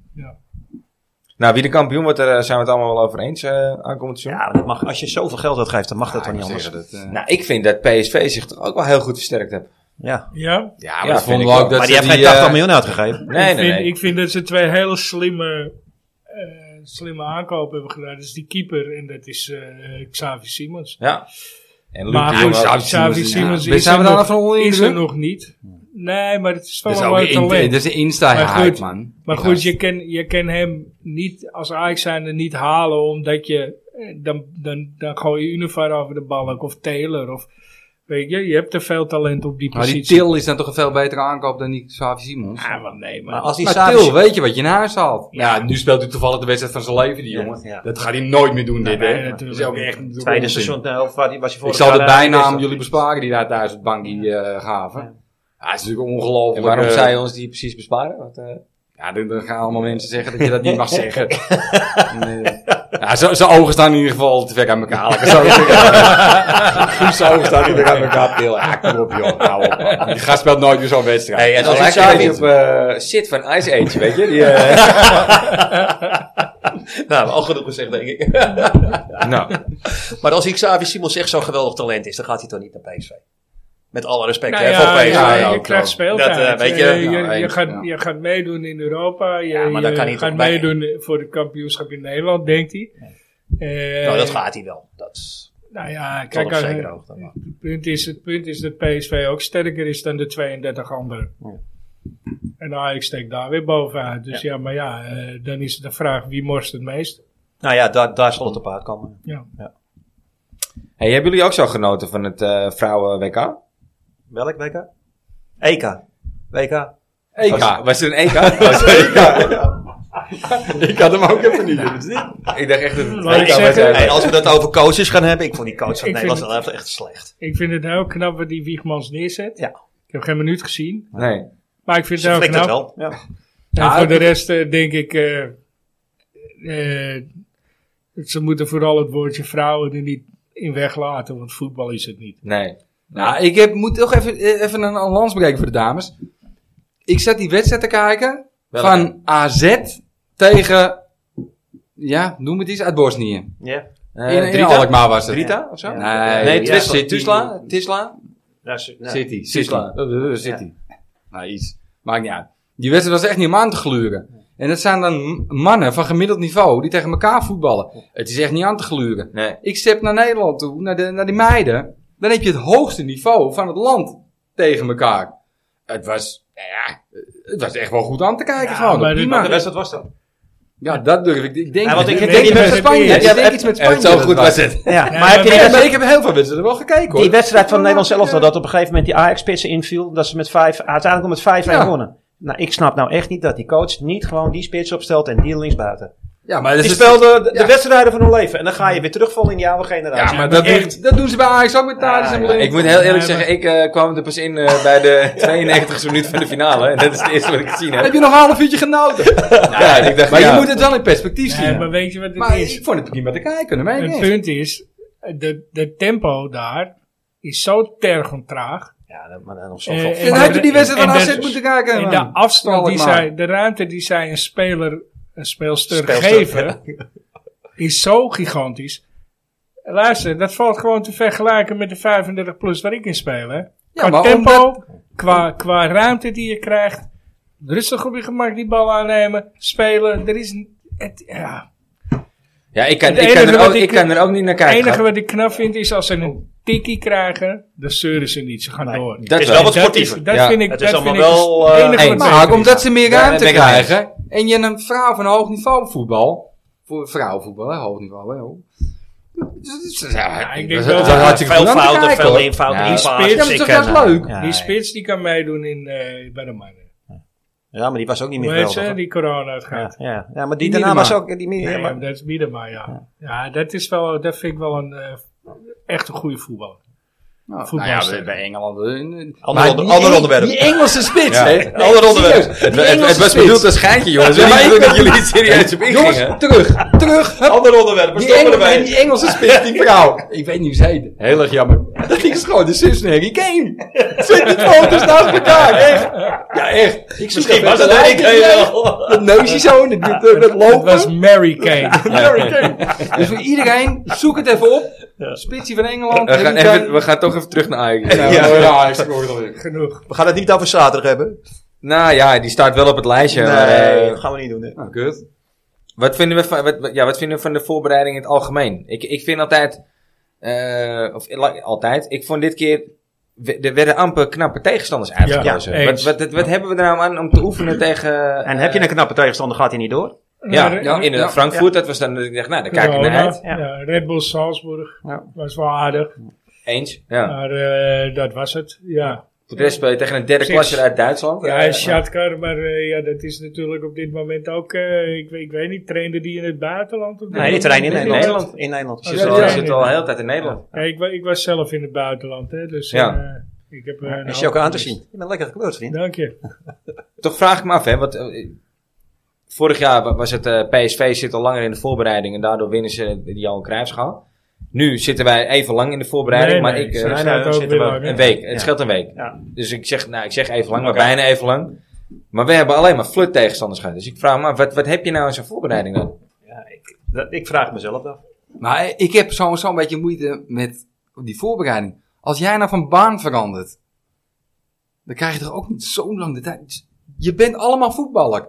Speaker 1: Nou, wie de kampioen wordt, daar eh, zijn we het allemaal wel over eens eh aankomend seizoen.
Speaker 4: Ja, maar dat mag, als je zoveel geld uitgeeft, dan mag dat
Speaker 3: Ja,
Speaker 4: toch
Speaker 3: ik
Speaker 4: niet
Speaker 3: moet
Speaker 4: anders.
Speaker 3: zeggen dat, eh,
Speaker 1: Nou, ik vind dat PSV zich toch ook wel heel goed versterkt heeft.
Speaker 4: Ja.
Speaker 2: Ja,
Speaker 3: ja, maar
Speaker 1: Ja,
Speaker 3: dat
Speaker 1: vind ik
Speaker 3: vonden we ook
Speaker 1: ook.
Speaker 3: dat
Speaker 4: Maar die
Speaker 3: ze
Speaker 4: heeft geen
Speaker 3: eh,
Speaker 4: 80 miljoen uitgegeven.
Speaker 1: Nee,
Speaker 2: ik,
Speaker 1: nee,
Speaker 2: vind,
Speaker 1: nee.
Speaker 2: ik vind dat ze twee hele slimme, eh, slimme aankopen hebben gedaan. Dat is die keeper en dat is eh Xavi Simons.
Speaker 1: Ja. En Luc
Speaker 2: Maar
Speaker 1: de
Speaker 2: goed,
Speaker 1: Jong ook.
Speaker 3: Xavi
Speaker 2: Xavi
Speaker 3: Simons, ja.
Speaker 2: Simons
Speaker 3: Ben-
Speaker 2: is
Speaker 3: zijn we
Speaker 2: er
Speaker 3: daar
Speaker 2: nog-
Speaker 3: van onder de
Speaker 2: is er
Speaker 3: indruk?
Speaker 2: nog niet. Nee, maar het is wel
Speaker 3: Dat is
Speaker 2: een
Speaker 3: ook
Speaker 2: mooi
Speaker 3: een insta-
Speaker 2: talent.
Speaker 3: dat is een insta
Speaker 2: Maar goed,
Speaker 3: hype man.
Speaker 2: Maar
Speaker 3: Die
Speaker 2: goed,
Speaker 3: gast.
Speaker 2: je kan, je kan hem niet als Ajax zijnde niet halen omdat je, eh, dan, dan, dan gooi je Univar over de balk of Taylor of, weet je, je hebt te veel talent op die
Speaker 3: Maar die
Speaker 2: positie.
Speaker 3: Til is dan toch een veel betere aankoop dan die Xavi Simons.
Speaker 2: Ah, maar nee, maar,
Speaker 4: Maar als die
Speaker 3: maar
Speaker 4: Savi-
Speaker 3: Til, weet je wat je in huis haalt? Ja, nu speelt hij toevallig de wedstrijd van zijn leven, die
Speaker 4: Ja,
Speaker 3: jongen.
Speaker 4: ja.
Speaker 3: Dat gaat hij nooit meer doen, dit,
Speaker 2: nee,
Speaker 3: hè. Dat
Speaker 2: natuurlijk
Speaker 3: is ook
Speaker 2: niet.
Speaker 3: echt natuurlijk
Speaker 4: tweede
Speaker 3: onzin.
Speaker 4: seizoen, eh, of waar die was je
Speaker 3: Ik
Speaker 4: vorig
Speaker 3: zal de
Speaker 4: jaar, eh,
Speaker 3: bijnaam
Speaker 4: is-
Speaker 3: jullie
Speaker 4: *laughs*
Speaker 3: besparen die daar thuis op het bankje eh, gaven. Ja. het is natuurlijk ongelooflijk.
Speaker 1: En waarom
Speaker 3: eh,
Speaker 1: zij ons die precies besparen? Want, eh,
Speaker 3: Ja, dan, dan gaan allemaal mensen zeggen dat je dat niet
Speaker 1: *laughs*
Speaker 3: mag zeggen. Nee. Ja, z- zijn ogen staan in ieder geval te ver aan elkaar. Laat ik het zo zeggen.
Speaker 1: *laughs*
Speaker 3: Guus, zijn ogen staan te ver aan elkaar. Til, ja, kom op joh, hou op. man. Die gast speelt nooit meer zo'n wedstrijd.
Speaker 1: hey, en
Speaker 3: Dat
Speaker 1: als
Speaker 3: is
Speaker 1: ik
Speaker 3: lekker dat
Speaker 1: Xavi
Speaker 3: je-
Speaker 1: op eh shit van Ice Age, weet je? Die, eh,
Speaker 5: Nou, al genoeg gezegd, denk
Speaker 3: *laughs*
Speaker 5: ik.
Speaker 1: nou,
Speaker 5: maar als Xavi Simons echt zo'n geweldig talent is, dan gaat hij toch niet naar PSV? Met alle respect
Speaker 2: Nou
Speaker 5: hè,
Speaker 2: ja,
Speaker 5: voor PSV.
Speaker 2: ja,
Speaker 3: ja,
Speaker 2: je
Speaker 3: ook wel.
Speaker 2: krijgt speeltijd.
Speaker 5: Dat, eh, weet je,
Speaker 2: Eh, je,
Speaker 3: nou,
Speaker 2: je
Speaker 3: eens,
Speaker 2: gaat,
Speaker 3: ja.
Speaker 2: je gaat meedoen in Europa. Je,
Speaker 5: Ja, maar
Speaker 2: je
Speaker 5: dan kan hij
Speaker 2: gaat
Speaker 5: toch bij-
Speaker 2: meedoen voor het kampioenschap in Nederland, denkt hij. Eh,
Speaker 5: nou, dat gaat hij wel. Dat is
Speaker 2: Nou ja,
Speaker 5: tot
Speaker 2: kijk,
Speaker 5: op
Speaker 2: als-
Speaker 5: zekere hoogte. maar-
Speaker 2: het, punt is, het punt is dat PSV ook sterker is dan de 32 anderen. En Ajax steekt daar weer bovenuit. Dus ja, maar ja, eh, dan is het de vraag wie morst het meest.
Speaker 4: Nou ja, daar, daar zal het op uitkomen.
Speaker 2: Ja.
Speaker 1: hey, hebben jullie ook zo genoten van het eh vrouwen-WK?
Speaker 4: Welk WK? EK. WK.
Speaker 1: EK. Was het een EK?
Speaker 3: Ik had hem ook even niet. Dat is niet-
Speaker 1: ik dacht echt dat het
Speaker 2: Laat ik
Speaker 1: EK was.
Speaker 2: zeggen,
Speaker 1: eh,
Speaker 4: Hey, als we dat over coaches gaan hebben, ik vond die coach van
Speaker 2: Ik
Speaker 4: Nederland
Speaker 2: vind
Speaker 4: wel echt echt slecht.
Speaker 2: Ik vind het heel knap wat die Wiegmans neerzet.
Speaker 4: Ja.
Speaker 2: Ik heb geen minuut gezien.
Speaker 1: Nee.
Speaker 2: Maar ik vind
Speaker 4: Ze
Speaker 2: het heel
Speaker 4: flikt
Speaker 2: knap.
Speaker 4: het wel. Ja.
Speaker 2: En
Speaker 3: Ja,
Speaker 2: voor de
Speaker 3: dat-
Speaker 2: rest eh, denk ik. eh, eh, ze moeten vooral het woordje vrouwen er niet in weglaten, want voetbal is het niet.
Speaker 1: Nee.
Speaker 3: Nou, ik heb, moet toch even, eh, even een, een lans breken voor de dames. Ik zat die wedstrijd te kijken
Speaker 1: Welke?
Speaker 3: van AZ tegen, ja, noem het iets, uit Bosnië.
Speaker 4: Ja.
Speaker 1: Eh,
Speaker 3: In, in
Speaker 1: Drita?
Speaker 3: Alkmaar was het.
Speaker 1: Drita of zo?
Speaker 3: Nee,
Speaker 1: Nee,
Speaker 3: ja,
Speaker 1: Twisla.
Speaker 3: City.
Speaker 1: Tisla? Tisla?
Speaker 4: Nou, ze- nou,
Speaker 3: City. City.
Speaker 1: Tisla.
Speaker 3: Eh, eh, City. Nou, iets. Maakt niet uit. Die wedstrijd was echt niet om aan te gluren. En dat zijn dan m- mannen van gemiddeld niveau die tegen elkaar voetballen. Het is echt niet aan te gluren.
Speaker 1: Nee.
Speaker 3: Ik step naar Nederland toe, naar, de, naar die meiden. Dan heb je het hoogste niveau van het land tegen elkaar. Het was, nou ja, het was echt wel goed aan te kijken.
Speaker 2: Ja,
Speaker 3: gewoon.
Speaker 2: maar
Speaker 3: Prima.
Speaker 4: De wedstrijd was dat.
Speaker 3: ja, dat durf ik. Ik denk,
Speaker 4: Ja, want ik
Speaker 3: ik
Speaker 4: heb
Speaker 3: denk
Speaker 4: die
Speaker 3: iets met
Speaker 2: wedstrijd
Speaker 3: Spanje.
Speaker 2: niet.
Speaker 3: Ik
Speaker 4: Ja,
Speaker 3: denk iets met Spanje.
Speaker 1: zo
Speaker 3: dat
Speaker 1: goed was eh, het.
Speaker 4: Ja.
Speaker 2: Nee,
Speaker 4: maar heb je
Speaker 3: Maar
Speaker 4: die
Speaker 3: ik heb-
Speaker 4: wedstrijd-
Speaker 3: ik heb heel veel wedstrijden wel gekeken hoor.
Speaker 4: die wedstrijd van Nederland zelf nog dat op een gegeven moment die Ajax-spitsen inviel, dat ze met vijf, uiteindelijk met 5
Speaker 3: Ja.
Speaker 4: wonnen. Nou, ik snap nou echt niet dat die coach niet gewoon die spits opstelt en die linksbuiten.
Speaker 3: Ja, maar dat
Speaker 5: Dus
Speaker 4: Die
Speaker 3: is
Speaker 4: speelden de, de
Speaker 3: ja.
Speaker 4: wedstrijden van hun leven en dan ga je weer terugvallen in die oude
Speaker 3: Ja,
Speaker 4: generatie.
Speaker 3: maar dat,
Speaker 4: echt.
Speaker 3: doen- dat doen ze bij Ajax ook met Thadis
Speaker 4: Ja,
Speaker 3: en
Speaker 4: ja.
Speaker 3: Blind.
Speaker 1: Ik moet heel eerlijk
Speaker 2: Nee,
Speaker 1: zeggen, ik eh, kwam er pas in eh, bij de 92e minuut van de finale. En dat is het eerste wat ik gezien heb.
Speaker 3: *laughs* Heb je nog een half uurtje genoten?
Speaker 1: *laughs* Ja, en ik dacht,
Speaker 3: maar
Speaker 1: ja.
Speaker 3: je moet het wel in perspectief
Speaker 2: Nee,
Speaker 3: zien.
Speaker 2: maar weet je wat het
Speaker 3: Maar
Speaker 2: is?
Speaker 3: ik vond het prima te kijken. dat meen ik
Speaker 2: Het
Speaker 3: echt.
Speaker 2: punt is, eh, de, de tempo daar is zo tergend traag.
Speaker 4: Ja, dat- maar dan nog
Speaker 2: Eh,
Speaker 4: zoveel.
Speaker 2: en-
Speaker 3: Dan had je die wedstrijd van
Speaker 2: en
Speaker 3: AZ
Speaker 2: dat-
Speaker 3: moeten kijken.
Speaker 2: En
Speaker 3: man.
Speaker 2: de afstand die
Speaker 3: Alkmaar.
Speaker 2: zij, de ruimte die zij een speler, een speelster,
Speaker 4: Speelster,
Speaker 2: geven, is zo gigantisch. Luister, dat valt gewoon te vergelijken met de 35 plus waar ik in speel. Hè? Qua
Speaker 3: maar
Speaker 2: tempo,
Speaker 3: omdat-
Speaker 2: qua, qua ruimte die je krijgt. Rustig op je gemak die bal aannemen, spelen. Er is n- het, ja.
Speaker 1: Ja, ik kan,
Speaker 2: Het
Speaker 1: ik kan,
Speaker 2: enige
Speaker 1: er,
Speaker 2: wat
Speaker 1: ook,
Speaker 2: ik-
Speaker 1: ik kan er ook niet naar
Speaker 2: Het
Speaker 1: kijken.
Speaker 2: enige wat ik knap vind is als ze een tikkie krijgen, dan zeuren ze niet. Ze gaan
Speaker 4: Nee.
Speaker 2: door.
Speaker 1: dat
Speaker 4: is
Speaker 1: wel.
Speaker 4: wel wat
Speaker 2: dat is,
Speaker 4: sportiever.
Speaker 2: dat
Speaker 1: Ja,
Speaker 2: vind ik,
Speaker 4: het is
Speaker 2: dat vind
Speaker 4: allemaal
Speaker 2: ik het
Speaker 4: wel, eh,
Speaker 2: enige wat
Speaker 1: eens.
Speaker 2: beter
Speaker 3: Maar
Speaker 2: is.
Speaker 3: ook omdat ze meer
Speaker 1: Ja,
Speaker 3: ruimte
Speaker 1: ben ik het mee eens.
Speaker 3: krijgen. En je een vrouw van hoog niveau voetbal. Voor vrouwenvoetbal, hè, hoog niveau. Hè, hoog. Dus- dus- dus- ja,
Speaker 2: Ja, ik
Speaker 3: dat
Speaker 2: denk
Speaker 3: is-
Speaker 2: wel-
Speaker 3: dat is
Speaker 2: Ja,
Speaker 3: hartstikke
Speaker 4: veel
Speaker 3: goed aan te
Speaker 4: fouten,
Speaker 3: kijken,
Speaker 4: veel
Speaker 3: hoor.
Speaker 4: infouten,
Speaker 1: Ja,
Speaker 4: inpassen.
Speaker 3: ja, maar dat is
Speaker 4: ik,
Speaker 3: toch juist
Speaker 4: eh,
Speaker 3: leuk?
Speaker 4: Ja,
Speaker 2: Die spits die kan meedoen in, eh, bij de mannen.
Speaker 4: Ja, maar die was ook niet meer
Speaker 2: Hoe heet ze?
Speaker 4: geweldig. hoor.
Speaker 2: Die corona uitgaat.
Speaker 4: Ja, ja. ja, maar die,
Speaker 3: Die
Speaker 4: daarna was
Speaker 3: Miedema.
Speaker 4: ook... Die,
Speaker 2: Ja,
Speaker 4: Miedema.
Speaker 2: dat is Miedema, ja. Ja, dat, is wel, dat vind ik wel een eh, echt een goede voetballer.
Speaker 3: Nou, nou ja,
Speaker 2: Voetbalster.
Speaker 3: bij, bij Engeland. eh, eh,
Speaker 5: Ander
Speaker 3: maar
Speaker 5: onder-
Speaker 3: die
Speaker 5: ander
Speaker 3: Eng-
Speaker 5: onderwerp.
Speaker 3: Die Engelse spits,
Speaker 1: Ja.
Speaker 3: hè?
Speaker 5: Ander onderwerp.
Speaker 3: serieus,
Speaker 1: Het,
Speaker 3: die
Speaker 1: het,
Speaker 3: Engelse
Speaker 1: het was
Speaker 3: spits.
Speaker 1: bedoeld als geintje, jongens.
Speaker 3: Ja,
Speaker 1: We
Speaker 3: maar
Speaker 1: niet
Speaker 3: ik
Speaker 1: dat
Speaker 3: ben-
Speaker 1: jullie het serieus op
Speaker 3: Jongens,
Speaker 1: ingingen.
Speaker 3: terug, terug. hup,
Speaker 5: Ander onderwerp, we
Speaker 3: Die,
Speaker 5: stoppen
Speaker 3: Engel,
Speaker 5: erbij.
Speaker 3: die Engelse spits, die vrouw. Ik weet niet hoe ze heette.
Speaker 1: Heel erg jammer.
Speaker 3: Dat is gewoon de zus van Harry Kane. Zet die foto's naast elkaar, echt. Ja, echt. Ik
Speaker 5: Misschien was het Harry Kane wel.
Speaker 3: Dat neusje zo, en dat, dat, dat
Speaker 2: Het was
Speaker 3: *laughs* lopen.
Speaker 2: Mary Kane.
Speaker 3: Harry Kane. Dus voor iedereen, zoek het even op. Spitsie van Engeland.
Speaker 1: We gaan,
Speaker 3: Harry Kane.
Speaker 1: even, we gaan toch even terug naar Ajax. Nou,
Speaker 3: Ja, ja, ja, ik scoorde alweer.
Speaker 2: Genoeg.
Speaker 4: We gaan het niet over zaterdag hebben.
Speaker 1: Nou ja, die staat wel op het lijstje. maar,
Speaker 4: nee,
Speaker 1: eh,
Speaker 4: dat gaan we niet doen. Hè.
Speaker 3: Nou, kut.
Speaker 1: Wat vinden we van, wat, wat- ja, wat vinden we van de voorbereiding in het algemeen? Ik, ik vind altijd, eh, of la- altijd, ik vond dit keer, we- er werden amper knappe tegenstanders uitgekozen.
Speaker 2: Ja,
Speaker 1: wat,
Speaker 2: eens.
Speaker 1: wat, wat, wat hebben we er nou aan om te oefenen tegen...
Speaker 4: En heb je een knappe tegenstander, gaat hij niet door.
Speaker 1: Ja,
Speaker 2: Maar,
Speaker 4: nou,
Speaker 1: ja,
Speaker 2: eh,
Speaker 1: inderdaad, Frankfurt, dat was dan, ik dacht, nou, daar kijk ik
Speaker 2: Corona,
Speaker 1: naar uit.
Speaker 2: ja. Red Bull Salzburg
Speaker 4: Ja.
Speaker 2: was wel aardig,
Speaker 1: Eens, ja.
Speaker 2: maar eh, dat was het. Ja,
Speaker 1: Voor de rest speel je tegen een derde
Speaker 2: Precies.
Speaker 1: klasser uit Duitsland.
Speaker 2: ja
Speaker 1: Eh,
Speaker 2: en Shatkar, maar eh, ja, dat is natuurlijk op dit moment ook, eh, ik, weet- ik weet niet, trainde die in het buitenland? op dit
Speaker 4: Nee, die
Speaker 2: moment?
Speaker 4: trainen in
Speaker 2: Weet ik
Speaker 4: Nederland.
Speaker 2: niet.
Speaker 4: In Nederland.
Speaker 1: Dus Je
Speaker 2: Oh,
Speaker 1: zit,
Speaker 2: ja,
Speaker 1: al,
Speaker 2: ja.
Speaker 1: je zit al heel de tijd in Nederland.
Speaker 2: Ja, ik, wa- ik was zelf in het buitenland, hè, dus
Speaker 1: Ja.
Speaker 2: eh, ik heb... eh, een
Speaker 4: Is je
Speaker 2: hoop
Speaker 4: ook aan te
Speaker 2: gemist.
Speaker 4: zien. Je bent lekker gekleurd, vriend.
Speaker 2: Dank je.
Speaker 1: Toch vraag ik me af, hè, want eh, vorig jaar wa- was het eh, PSV zit al langer in de voorbereiding en daardoor winnen ze die Johan Cruijffschaal. Nu zitten wij even lang in de voorbereiding,
Speaker 2: Nee,
Speaker 1: maar
Speaker 2: nee,
Speaker 1: ik
Speaker 2: ze
Speaker 1: eh,
Speaker 2: zijn
Speaker 4: eh,
Speaker 2: het ook
Speaker 4: zitten
Speaker 2: weer
Speaker 4: we
Speaker 2: lang, hè.
Speaker 1: een week, het
Speaker 4: Ja.
Speaker 1: scheelt een week.
Speaker 4: Ja.
Speaker 1: Dus ik zeg, nou, ik zeg even lang, maar
Speaker 4: Oké.
Speaker 1: bijna even lang. Maar we hebben alleen maar flut tegenstanders gehad. Dus ik vraag me af, wat, wat heb je nou in zo'n voorbereiding dan?
Speaker 4: Dat- Ik vraag het mezelf
Speaker 5: Nou,
Speaker 4: af.
Speaker 3: Maar ik heb zo'n zo'n beetje moeite met die voorbereiding. Als jij nou van baan verandert, dan krijg je toch ook niet zo lang de tijd. Je bent allemaal voetballer.